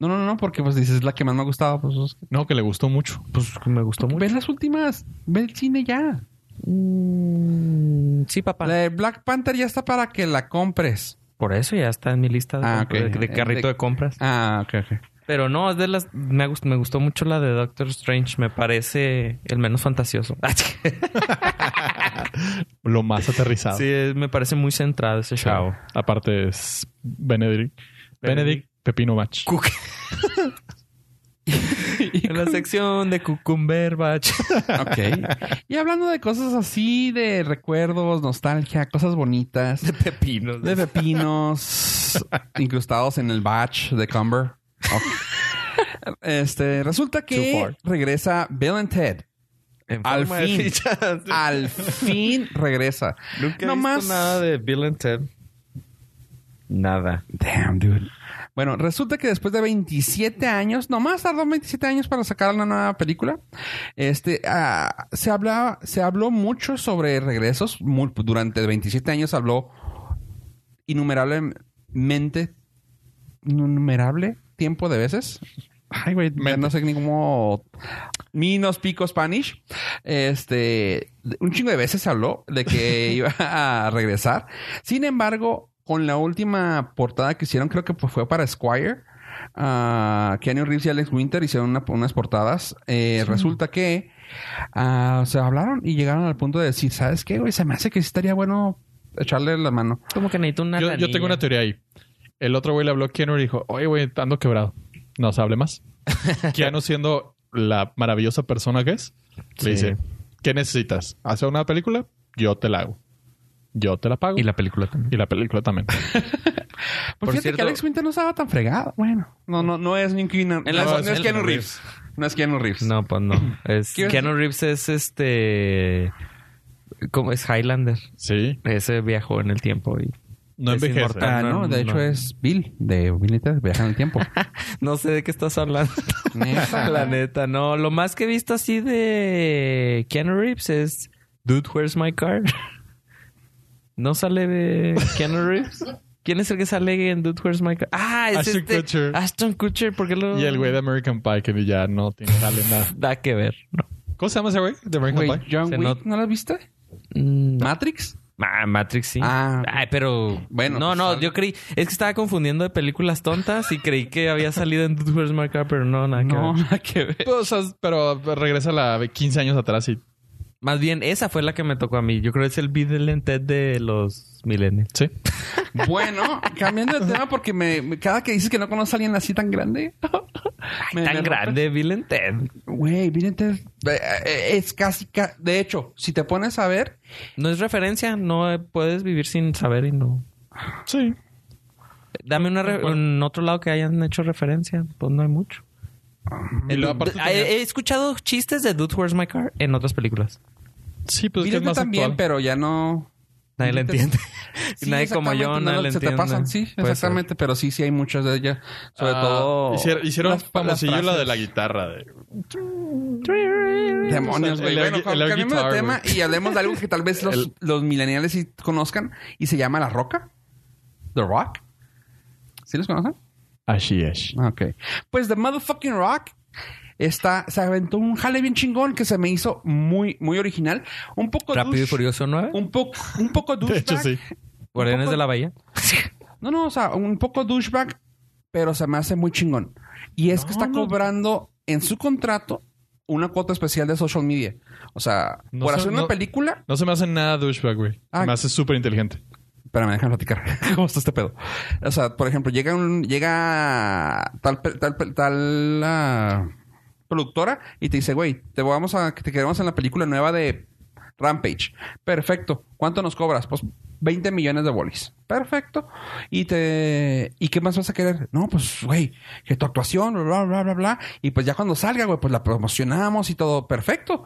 Speaker 2: No, no, no, porque pues dices es la que más me ha gustado. Pues, es que-
Speaker 3: No, que le gustó mucho.
Speaker 4: Pues me gustó
Speaker 2: Ve las últimas. Ve el cine ya.
Speaker 4: Mm, sí, papá.
Speaker 2: La de Black Panther ya está para que la compres.
Speaker 4: Por eso ya está en mi lista de,
Speaker 2: Ah,
Speaker 4: compra-
Speaker 2: ok.
Speaker 4: de- de carrito de compras.
Speaker 2: Ah, ok, ok.
Speaker 4: Pero no, es de las. Me, gust- me gustó mucho la de Doctor Strange. Me parece el menos fantasioso. [laughs]
Speaker 3: Lo más aterrizado.
Speaker 4: sí, es- me parece muy centrado ese show.
Speaker 3: Chao. Aparte es Benedict. Benedict Pepino Match.
Speaker 4: en la sección de Cucumberbatch.
Speaker 2: [laughs] Ok. y hablando de cosas así, de recuerdos, nostalgia, cosas bonitas,
Speaker 4: [laughs] de pepinos.
Speaker 2: de pepinos incrustados en el batch de Cumber. Ok. Este, resulta
Speaker 3: Too
Speaker 2: que
Speaker 3: far.
Speaker 2: regresa Bill and Ted.
Speaker 4: En
Speaker 2: Al
Speaker 4: forma de
Speaker 2: fin.
Speaker 3: [laughs]
Speaker 4: fichas.
Speaker 2: Al fin regresa.
Speaker 4: Nunca he
Speaker 2: No
Speaker 4: visto
Speaker 2: más.
Speaker 4: nada de Bill and Ted. Nada.
Speaker 2: Damn, dude. Bueno, resulta que después de 27 años, nomás tardó 27 años para sacar una nueva película. Este, ah, se hablaba, se habló mucho sobre regresos. Mu- durante 27 años habló innumerablemente, innumerable tiempo de veces. Ay, güey, ya no sé ni cómo. Ni nos pico Spanish. Este, un chingo de veces se habló de [laughs] que iba a regresar. Sin embargo, con la última portada que hicieron, creo que fue para Squire, ah, Keanu Reeves y Alex Winter hicieron una- unas portadas. Eh, Resulta que ah, se hablaron y llegaron al punto de decir, ¿sabes qué, güey? Se me hace que sí estaría bueno echarle la mano.
Speaker 4: Como que necesito una.
Speaker 3: Yo, yo tengo una teoría ahí. El otro güey le habló a Keanu y dijo, oye, güey, ando quebrado. No se
Speaker 4: [laughs]
Speaker 3: hable más. Keanu siendo la maravillosa persona que es,
Speaker 4: Sí.
Speaker 3: le dice, ¿qué necesitas? ¿Hacer una película? Yo te la hago. Yo te la pago.
Speaker 4: Y la película también.
Speaker 3: Y la película también.
Speaker 2: Por,
Speaker 4: Por
Speaker 2: cierto, que
Speaker 4: cierto-
Speaker 2: Alex Winter no estaba tan fregado. Bueno, no, no, no es ni Keanu-
Speaker 4: [laughs] En la-
Speaker 2: no, es- no es
Speaker 4: en-
Speaker 2: Keanu Reeves. No es Keanu Reeves.
Speaker 4: No, pues
Speaker 3: [clears throat]
Speaker 4: no. Es,
Speaker 2: ¿Qué ibas a
Speaker 4: Keanu Reeves es este. ¿Cómo es Highlander?
Speaker 3: Sí.
Speaker 4: Ese viajó en el tiempo y.
Speaker 3: No
Speaker 4: Es
Speaker 3: envejece.
Speaker 4: inmortal.
Speaker 2: Ah, no, de
Speaker 4: No.
Speaker 2: hecho es Bill de Bill y Ted, Viaja en el tiempo.
Speaker 4: No sé de qué estás hablando.
Speaker 2: [laughs]
Speaker 4: [laughs]
Speaker 2: Neta.
Speaker 4: La neta, no. Lo más que he visto así de Keanu Reeves es Dude, where's my car? [laughs] ¿No sale de Keanu Reeves? ¿Quién es el que sale en Dude, where's my car? Ah, es
Speaker 3: Ashton
Speaker 4: este-
Speaker 3: Kutcher.
Speaker 4: Ashton Kutcher, ¿por qué lo...?
Speaker 3: Y el güey de American Pie que ya no tiene jale nada.
Speaker 4: Da que ver. No.
Speaker 3: ¿Cómo se llama ese güey? De American
Speaker 2: Güey,
Speaker 3: Pie.
Speaker 2: John
Speaker 4: Se
Speaker 2: Wick,
Speaker 4: not-
Speaker 2: ¿no la viste?
Speaker 4: Mm,
Speaker 2: ¿Matrix?
Speaker 4: Ah, Matrix sí.
Speaker 2: Ah.
Speaker 4: Ay, pero. Bueno.
Speaker 2: Bueno,
Speaker 4: No,
Speaker 2: pues,
Speaker 4: no,
Speaker 2: sal-
Speaker 4: yo creí. Es que estaba confundiendo de películas tontas y creí que había salido en Dude, where's my car, pero no, nada que
Speaker 2: No,
Speaker 4: ver.
Speaker 2: nada que ver.
Speaker 3: Pues, o sea, pero regresa la 15 años atrás y...
Speaker 4: Más bien, esa fue la que me tocó a mí. Yo creo que es el Bill Ted de los millennials. [laughs]
Speaker 3: Sí.
Speaker 2: Bueno, cambiando de tema porque me, me- cada que dices que no conoces a alguien así tan grande, [laughs] Me- me
Speaker 4: Tan
Speaker 2: rompe-
Speaker 4: grande, Bill and Ted.
Speaker 2: Güey, miren, Ted, eh, eh, es casi... ca- De hecho, si te pones a ver...
Speaker 4: No es referencia, no eh, puedes vivir sin saber y no.
Speaker 3: Sí.
Speaker 4: Dame una re- un otro lado que hayan hecho referencia, pues no hay mucho.
Speaker 3: Y luego aparte
Speaker 4: he,
Speaker 3: tenía-
Speaker 4: he escuchado chistes de Dude Where's My Car en otras películas.
Speaker 3: Sí, pues es
Speaker 2: Bill
Speaker 3: que es
Speaker 2: and Ted
Speaker 3: más
Speaker 2: también,
Speaker 3: actual.
Speaker 2: pero ya no...
Speaker 4: Nadie la entiende.
Speaker 2: Sí,
Speaker 4: nadie como yo,
Speaker 2: exactamente,
Speaker 4: nadie
Speaker 2: no,
Speaker 4: la
Speaker 2: se
Speaker 4: entiende. Pues,
Speaker 2: te pasan, sí,
Speaker 4: Puede ser.
Speaker 2: exactamente. Pero sí, sí hay muchas de ellas. Sobre
Speaker 3: Ah,
Speaker 2: todo...
Speaker 3: Hicieron, hicieron
Speaker 2: las- las
Speaker 3: famosillo la
Speaker 2: frases.
Speaker 3: de la guitarra. de-
Speaker 2: Demonios,
Speaker 3: El
Speaker 2: güey.
Speaker 3: air
Speaker 2: Bueno,
Speaker 3: gui- el air
Speaker 2: cambiemos de
Speaker 3: guitar,
Speaker 2: tema
Speaker 3: güey.
Speaker 2: y hablemos de algo que tal vez los, los millennials sí conozcan y se llama La Roca. The Rock. ¿Sí los conocen?
Speaker 3: Así es.
Speaker 2: Ok. Pues The Motherfucking Rock está, se aventó un jale bien chingón que se me hizo muy, muy original. Un poco
Speaker 4: Rápido y
Speaker 2: douche-
Speaker 4: Furioso 9.
Speaker 2: Un poco, un poco
Speaker 3: De
Speaker 2: douchebag.
Speaker 3: hecho, sí.
Speaker 4: Guardianes
Speaker 2: poco-
Speaker 4: de la Bahía.
Speaker 2: No, no, o sea, un poco douchebag, pero se me hace muy chingón. Y es que está cobrando en su contrato una cuota especial de social media. O sea,
Speaker 3: No
Speaker 2: por
Speaker 3: sé,
Speaker 2: hacer una
Speaker 3: no-
Speaker 2: película,
Speaker 3: No se me hace nada douchebag, güey.
Speaker 2: Ah.
Speaker 3: Se me hace súper inteligente.
Speaker 2: Pero me dejan platicar. [laughs] ¿Cómo está este pedo? O sea, por ejemplo, llega un, llega tal pe- tal pe- tal ah, productora y te dice, güey, te vamos a te queremos en la película nueva de Rampage. Perfecto. ¿Cuánto nos cobras? Pues 20 millones de bolis. Perfecto. Y te ¿y qué más vas a querer? No, pues güey, que tu actuación, bla bla bla bla, y pues ya cuando salga, güey, pues la promocionamos y todo. Perfecto.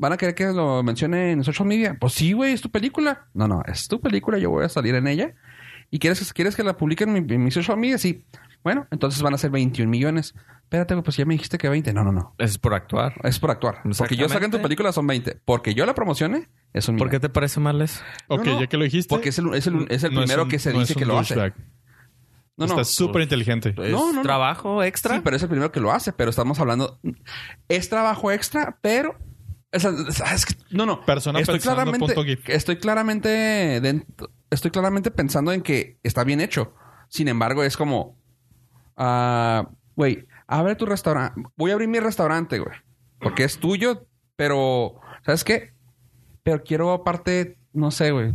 Speaker 2: ¿Van a querer que lo mencione en social media? Pues sí, güey, es tu película. No, no, es tu película, yo voy a salir en ella. ¿Y quieres, quieres que la publique en mi, en mi social media? Sí. Bueno, entonces van a ser 21 millones. Espérate, güey, pues ya me dijiste que 20. No, no, no.
Speaker 4: Es por actuar.
Speaker 2: Es por actuar. Porque yo saqué en tu
Speaker 4: Exactamente.
Speaker 2: película son 20. Porque yo la promocione es un
Speaker 4: ¿Por qué
Speaker 2: millón.
Speaker 4: te parece mal eso?
Speaker 3: Ok,
Speaker 2: No, no,
Speaker 3: ya que lo dijiste.
Speaker 2: Porque es el, es el- es el
Speaker 3: no
Speaker 2: primero
Speaker 3: un-
Speaker 2: que se
Speaker 3: no
Speaker 2: dice
Speaker 3: es un
Speaker 2: que lo hace.
Speaker 3: douchebag.
Speaker 2: No, no.
Speaker 3: Está súper inteligente.
Speaker 2: No, no, no.
Speaker 4: ¿Trabajo extra?
Speaker 2: Sí, pero es el primero que lo hace. Pero estamos hablando... Es trabajo extra, pero... o sea, es que- no, no.
Speaker 3: Persona
Speaker 2: estoy
Speaker 3: pensando,
Speaker 2: claramente,
Speaker 3: punto gif.
Speaker 2: estoy claramente... dent- estoy claramente pensando en que está bien hecho. Sin embargo, es como... ah, Güey, abre tu restaurante. Voy a abrir mi restaurante, güey. Porque es tuyo, pero... ¿Sabes qué? Pero quiero aparte... No sé, güey.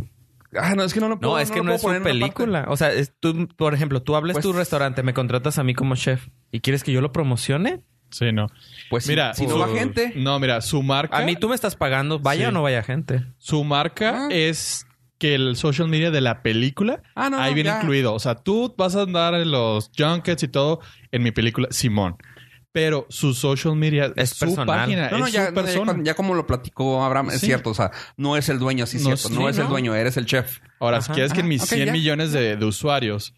Speaker 2: Ah, no, es que no lo puedo
Speaker 4: No, es
Speaker 2: no
Speaker 4: que
Speaker 2: lo
Speaker 4: no,
Speaker 2: puedo
Speaker 4: es tu
Speaker 2: poner en una parte.
Speaker 4: película. O sea, es tú, por ejemplo, tú hables
Speaker 2: Pues-
Speaker 4: tu restaurante, me contratas a mí como chef y quieres que yo lo promocione.
Speaker 3: Sí, no.
Speaker 2: Pues
Speaker 3: mira,
Speaker 2: mira, si, no
Speaker 3: su-
Speaker 2: va gente...
Speaker 3: No, mira, su marca.
Speaker 4: A mí tú me estás pagando, vaya
Speaker 3: Sí.
Speaker 4: o no vaya gente.
Speaker 3: Su marca
Speaker 2: Ah.
Speaker 3: es que el social media de la película
Speaker 2: Ah, no,
Speaker 3: ahí
Speaker 2: no,
Speaker 3: viene
Speaker 2: ya.
Speaker 3: incluido. O sea, tú vas a andar en los junkets y todo en mi película Simón. Pero su social media
Speaker 4: Es
Speaker 3: su
Speaker 4: personal.
Speaker 3: página,
Speaker 2: No, no,
Speaker 3: es
Speaker 2: ya, eh,
Speaker 3: su persona.
Speaker 2: ya, ya como lo platicó Abraham, es
Speaker 3: Sí.
Speaker 2: cierto, o sea, no es el dueño, sí, es
Speaker 3: No,
Speaker 2: cierto,
Speaker 3: sí,
Speaker 2: no es
Speaker 3: no.
Speaker 2: el dueño, eres el chef.
Speaker 3: Ahora,
Speaker 4: Ajá,
Speaker 3: si quieres que
Speaker 2: ajá,
Speaker 3: mis
Speaker 2: ok,
Speaker 3: 100
Speaker 2: ya.
Speaker 3: millones de, de usuarios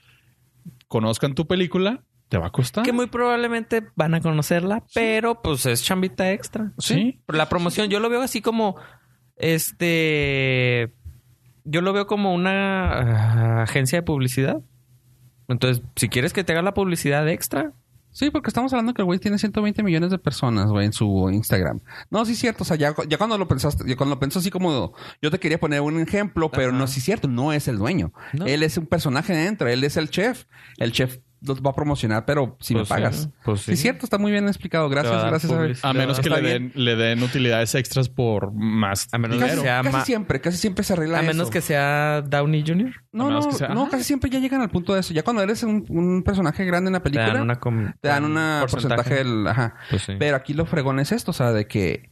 Speaker 3: conozcan tu película, te va a
Speaker 2: ¿Ah?
Speaker 3: costar.
Speaker 4: Que muy probablemente van a conocerla, pero pues es chambita extra.
Speaker 3: Sí.
Speaker 4: Pero La promoción, yo lo veo así como este. Yo lo veo como una ah, agencia de publicidad. Entonces, si quieres que te haga la publicidad extra,
Speaker 2: Sí, porque estamos hablando que el güey tiene 120 millones de personas, güey, en su Instagram. No, sí es cierto, o sea, ya, ya cuando lo pensaste, ya cuando lo pensó así como, yo te quería poner un ejemplo, pero
Speaker 4: Ajá.
Speaker 2: no, sí es cierto, no es el dueño.
Speaker 4: No.
Speaker 2: Él es un personaje dentro, él es el chef. El chef los va a promocionar, pero si
Speaker 4: Pues sí,
Speaker 2: me pagas.
Speaker 4: pues
Speaker 2: sí.
Speaker 4: sí.
Speaker 2: es cierto, está muy bien explicado.
Speaker 4: va a
Speaker 2: Gracias,
Speaker 4: dar
Speaker 2: gracias. a-
Speaker 4: publicidad.
Speaker 3: A menos que
Speaker 2: Está
Speaker 3: le den, le den utilidades extras por más.
Speaker 4: A menos que
Speaker 2: Casi,
Speaker 3: dinero.
Speaker 4: sea
Speaker 2: casi
Speaker 4: ma-
Speaker 2: siempre, casi siempre se arregla
Speaker 4: a
Speaker 2: eso.
Speaker 4: menos que sea Downey Jr.,
Speaker 2: No,
Speaker 3: A
Speaker 2: no,
Speaker 3: menos que sea-
Speaker 2: no,
Speaker 3: Ajá.
Speaker 2: casi siempre ya llegan al punto de eso. Ya cuando eres un, un personaje grande en la
Speaker 4: te
Speaker 2: película,
Speaker 4: dan una com-
Speaker 2: un porcentaje. del. Ajá.
Speaker 4: Pues sí.
Speaker 2: Pero aquí lo fregón es esto, o sea, de que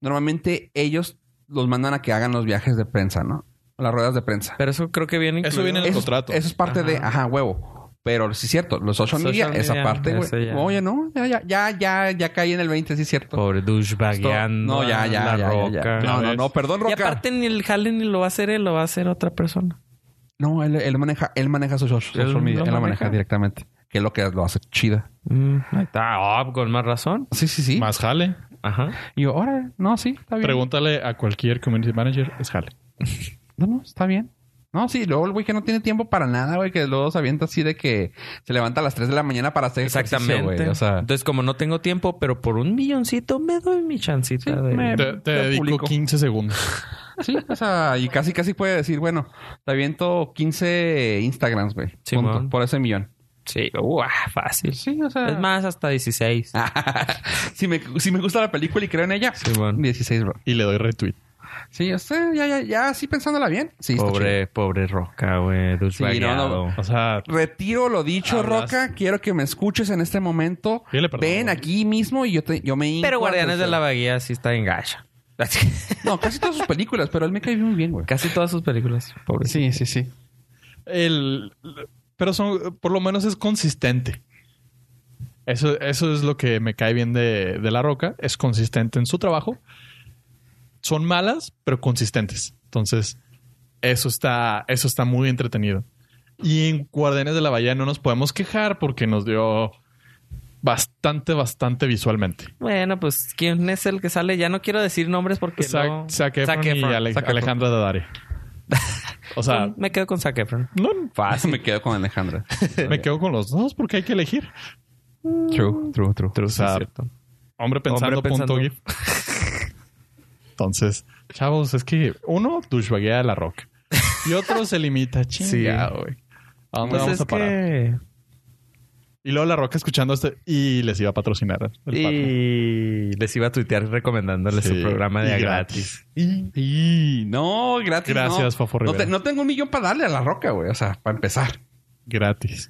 Speaker 2: normalmente ellos los mandan a que hagan los viajes de prensa, ¿no? Las ruedas de prensa.
Speaker 4: Pero eso creo que viene
Speaker 3: Eso
Speaker 4: incluido.
Speaker 3: viene en el
Speaker 2: eso,
Speaker 3: contrato.
Speaker 2: Eso es parte
Speaker 4: Ajá.
Speaker 2: de, ajá, huevo. Pero sí es cierto, los social,
Speaker 4: Social
Speaker 2: media, esa
Speaker 4: media,
Speaker 2: parte, güey.
Speaker 4: eso ya.
Speaker 2: Oye, no, ya, ya, ya, ya, ya caí en el 20, sí es cierto.
Speaker 4: Pobre
Speaker 2: Esto-
Speaker 4: douchebagueando.
Speaker 2: no, ya, ya,
Speaker 4: a la
Speaker 2: ya, ya,
Speaker 4: roca.
Speaker 2: ya. No, no, no, perdón,
Speaker 4: Y
Speaker 2: Roca.
Speaker 4: aparte ni el Halen ni lo va a hacer él, lo va a hacer otra persona.
Speaker 2: No, él, él maneja, él maneja social, social
Speaker 4: lo
Speaker 2: media, él la
Speaker 4: maneja.
Speaker 2: maneja directamente. Que es lo que lo hace chida.
Speaker 4: Mm, ahí está, Ah, con más razón.
Speaker 2: Sí, sí, sí.
Speaker 3: Más jale.
Speaker 4: Ajá.
Speaker 2: Y yo, ahora, no, sí, está bien.
Speaker 3: Pregúntale a cualquier community manager, es jale.
Speaker 2: No, no, está bien. No, sí, luego el güey que no tiene tiempo para nada, güey, que luego se avienta así de que se levanta a las 3 de la mañana para hacer ejercicio,
Speaker 4: Exactamente.
Speaker 2: güey. O sea,
Speaker 4: Entonces, como no tengo tiempo, pero por un milloncito me doy mi chancita
Speaker 2: Sí,
Speaker 4: de...
Speaker 2: me-
Speaker 3: Te, te
Speaker 2: lo
Speaker 3: dedico
Speaker 2: publico.
Speaker 3: 15 segundos.
Speaker 2: sí, o sea, y casi, casi puede decir, bueno, te aviento 15 Instagrams, güey.
Speaker 4: Simón.
Speaker 2: punto, por ese millón.
Speaker 4: Sí, uah, fácil.
Speaker 2: Sí, o sea.
Speaker 4: Es más, hasta 16.
Speaker 2: Ah, si, me, si me gusta la película y creo en ella,
Speaker 4: Simón.
Speaker 2: 16, bro.
Speaker 3: Y le doy retweet.
Speaker 2: Sí, yo sé, ya, ya, ya, así pensándola bien. Sí, está chido.
Speaker 4: Pobre, pobre Roca, güey.
Speaker 2: no,
Speaker 4: Desvariado.
Speaker 2: no.
Speaker 3: O sea,
Speaker 2: Retiro lo dicho,
Speaker 3: Hablaste.
Speaker 2: Roca. Quiero que me escuches en este momento.
Speaker 3: Pídele perdón.
Speaker 2: Ven aquí mismo y yo, te, yo me... hinco
Speaker 4: Pero Guardianes
Speaker 2: ante-
Speaker 4: de la Bahía sí está en
Speaker 2: [laughs]
Speaker 4: gacha.
Speaker 2: No, casi todas sus películas, pero él me cae muy bien, güey.
Speaker 4: Casi todas sus películas. Pobre.
Speaker 2: Sí, sí, sí.
Speaker 3: el. Pero son. Por lo menos es consistente. Eso, eso es lo que me cae bien de, de La Roca. Es consistente en su trabajo. Son malas, pero consistentes. Entonces, eso está, eso está muy entretenido. Y en Guardianes de la Bahía no nos podemos quejar porque nos dio bastante, bastante visualmente.
Speaker 4: Bueno, pues, ¿quién es el que sale? Ya no quiero decir nombres porque
Speaker 3: Zac,
Speaker 4: no...
Speaker 3: Zac Efron
Speaker 4: Zac
Speaker 3: y
Speaker 4: Efron.
Speaker 3: Ale-
Speaker 4: Zac Efron.
Speaker 3: Alejandra Daddario.
Speaker 4: [laughs]
Speaker 3: O sea,
Speaker 4: Me quedo con Zac Efron.
Speaker 3: no, [laughs]
Speaker 4: Fácil.
Speaker 2: me quedo con [laughs] Alejandra.
Speaker 3: me quedo con los dos porque hay que elegir.
Speaker 4: True, true, Ah, pues true.
Speaker 3: O sea, hombre pensando,
Speaker 4: Hombre pensando.
Speaker 3: punto gif. [laughs] Entonces, chavos, es que uno douchebaguea a la rock y otro se [laughs] limita. Chinga,
Speaker 4: Sí.
Speaker 3: güey. ¿A dónde
Speaker 4: Pues
Speaker 3: vamos
Speaker 4: es
Speaker 3: a parar?
Speaker 4: que...
Speaker 3: Y luego la roca escuchando este y les iba a patrocinar. el podcast.
Speaker 4: Y les iba a tuitear recomendándoles
Speaker 3: Sí.
Speaker 4: su programa de
Speaker 3: Y
Speaker 4: a gratis.
Speaker 3: Y-
Speaker 2: Y no, gratis.
Speaker 3: Gracias,
Speaker 2: no.
Speaker 3: Fafo
Speaker 2: No,
Speaker 3: Rivera.
Speaker 2: te- no tengo un millón para darle a la roca, güey. O sea, para empezar.
Speaker 3: gratis.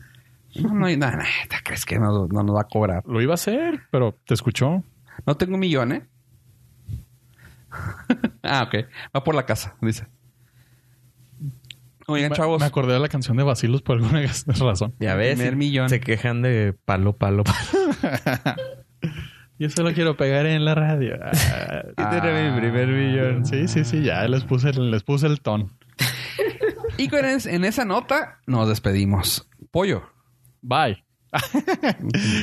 Speaker 2: No, no, hay nada. nada, ¿te crees que no, no nos va a cobrar?
Speaker 3: Lo iba a hacer, pero te escuchó.
Speaker 2: No tengo un millón, ¿eh? [laughs] ah, ok. Va por la casa, dice. Oigan,
Speaker 3: Me-
Speaker 2: chavos.
Speaker 3: Me acordé de la canción de Basilos por alguna [laughs] razón.
Speaker 4: Ya ves,
Speaker 2: Primer
Speaker 4: y
Speaker 2: millón.
Speaker 4: se quejan de palo, palo, palo. [laughs]
Speaker 3: Yo solo quiero pegar en la radio. [laughs] Ah, [laughs]
Speaker 4: Era mi primer millón.
Speaker 3: sí, sí, sí, ya les puse, el- les puse el ton.
Speaker 2: Y con es- en esa nota nos despedimos. Pollo.
Speaker 3: Bye.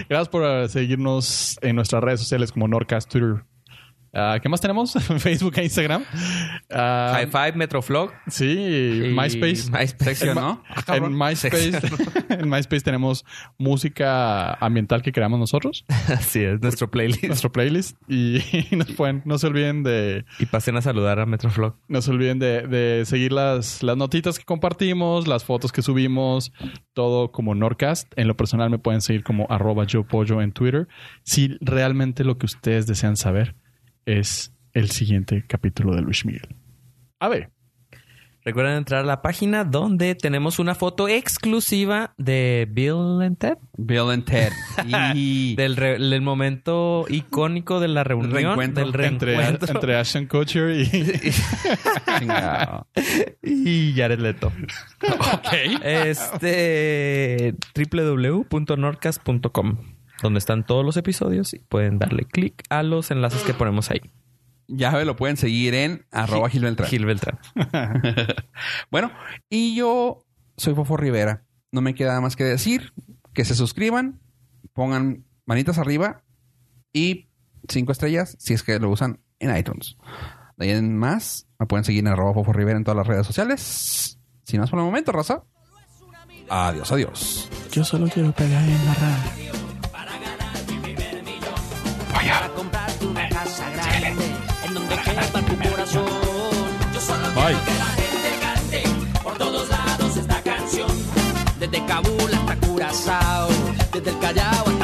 Speaker 3: Gracias por eh, seguirnos en nuestras redes sociales como Norcast Twitter. Ah, ¿Qué más tenemos? [laughs] Facebook e Instagram. Ah,
Speaker 4: High Five, Metroflog.
Speaker 3: sí,
Speaker 4: y
Speaker 3: MySpace.
Speaker 4: MySpace.
Speaker 2: Sección, ¿no? Ah,
Speaker 3: En
Speaker 2: cabrón.
Speaker 3: MySpace, [laughs] en MySpace tenemos música ambiental que
Speaker 2: [laughs]
Speaker 3: creamos nosotros,
Speaker 4: [laughs] Así es, nuestro playlist.
Speaker 3: nuestro playlist. Y, [laughs] nos pueden, no se olviden de
Speaker 4: Y pasen a saludar a Metroflog.
Speaker 3: No se olviden de, de seguir las, las notitas que compartimos, las fotos que subimos, todo como Norcast. En lo personal me pueden seguir como arroba yo pollo en Twitter. Si realmente lo que ustedes desean saber es el siguiente capítulo de Luis Miguel. A ver,
Speaker 4: Recuerden entrar a la página donde tenemos una foto exclusiva de Bill and Ted.
Speaker 2: Bill and Ted. Y...
Speaker 4: Del, re- del momento icónico de la reunión.
Speaker 2: Reencuentro.
Speaker 4: Del [laughs]
Speaker 3: entre,
Speaker 4: reencuentro.
Speaker 3: entre Ashton Kutcher y...
Speaker 2: Chingado.
Speaker 4: Y Jared Leto. Este www.norcas.com donde están todos los episodios y pueden darle clic a los enlaces que ponemos ahí.
Speaker 2: Ya ve, lo pueden seguir en arroba Gil Beltrán.
Speaker 4: Gil Beltrán.
Speaker 2: Bueno, y yo soy Fofo Rivera. No me queda nada más que decir que se suscriban, pongan manitas arriba y cinco estrellas si es que lo usan en iTunes. De ahí en más, me pueden seguir en arroba Fofo Rivera en todas las redes sociales. Sin más por el momento, raza. Adiós, adiós.
Speaker 3: Yo solo quiero pegar en la radio.
Speaker 5: para comprarte una casa grande en donde quepa tu corazón. Yo solo
Speaker 3: Bye.
Speaker 5: quiero que la gente cante por todos lados esta canción. Desde Kabul hasta Curazao, desde el Callao hasta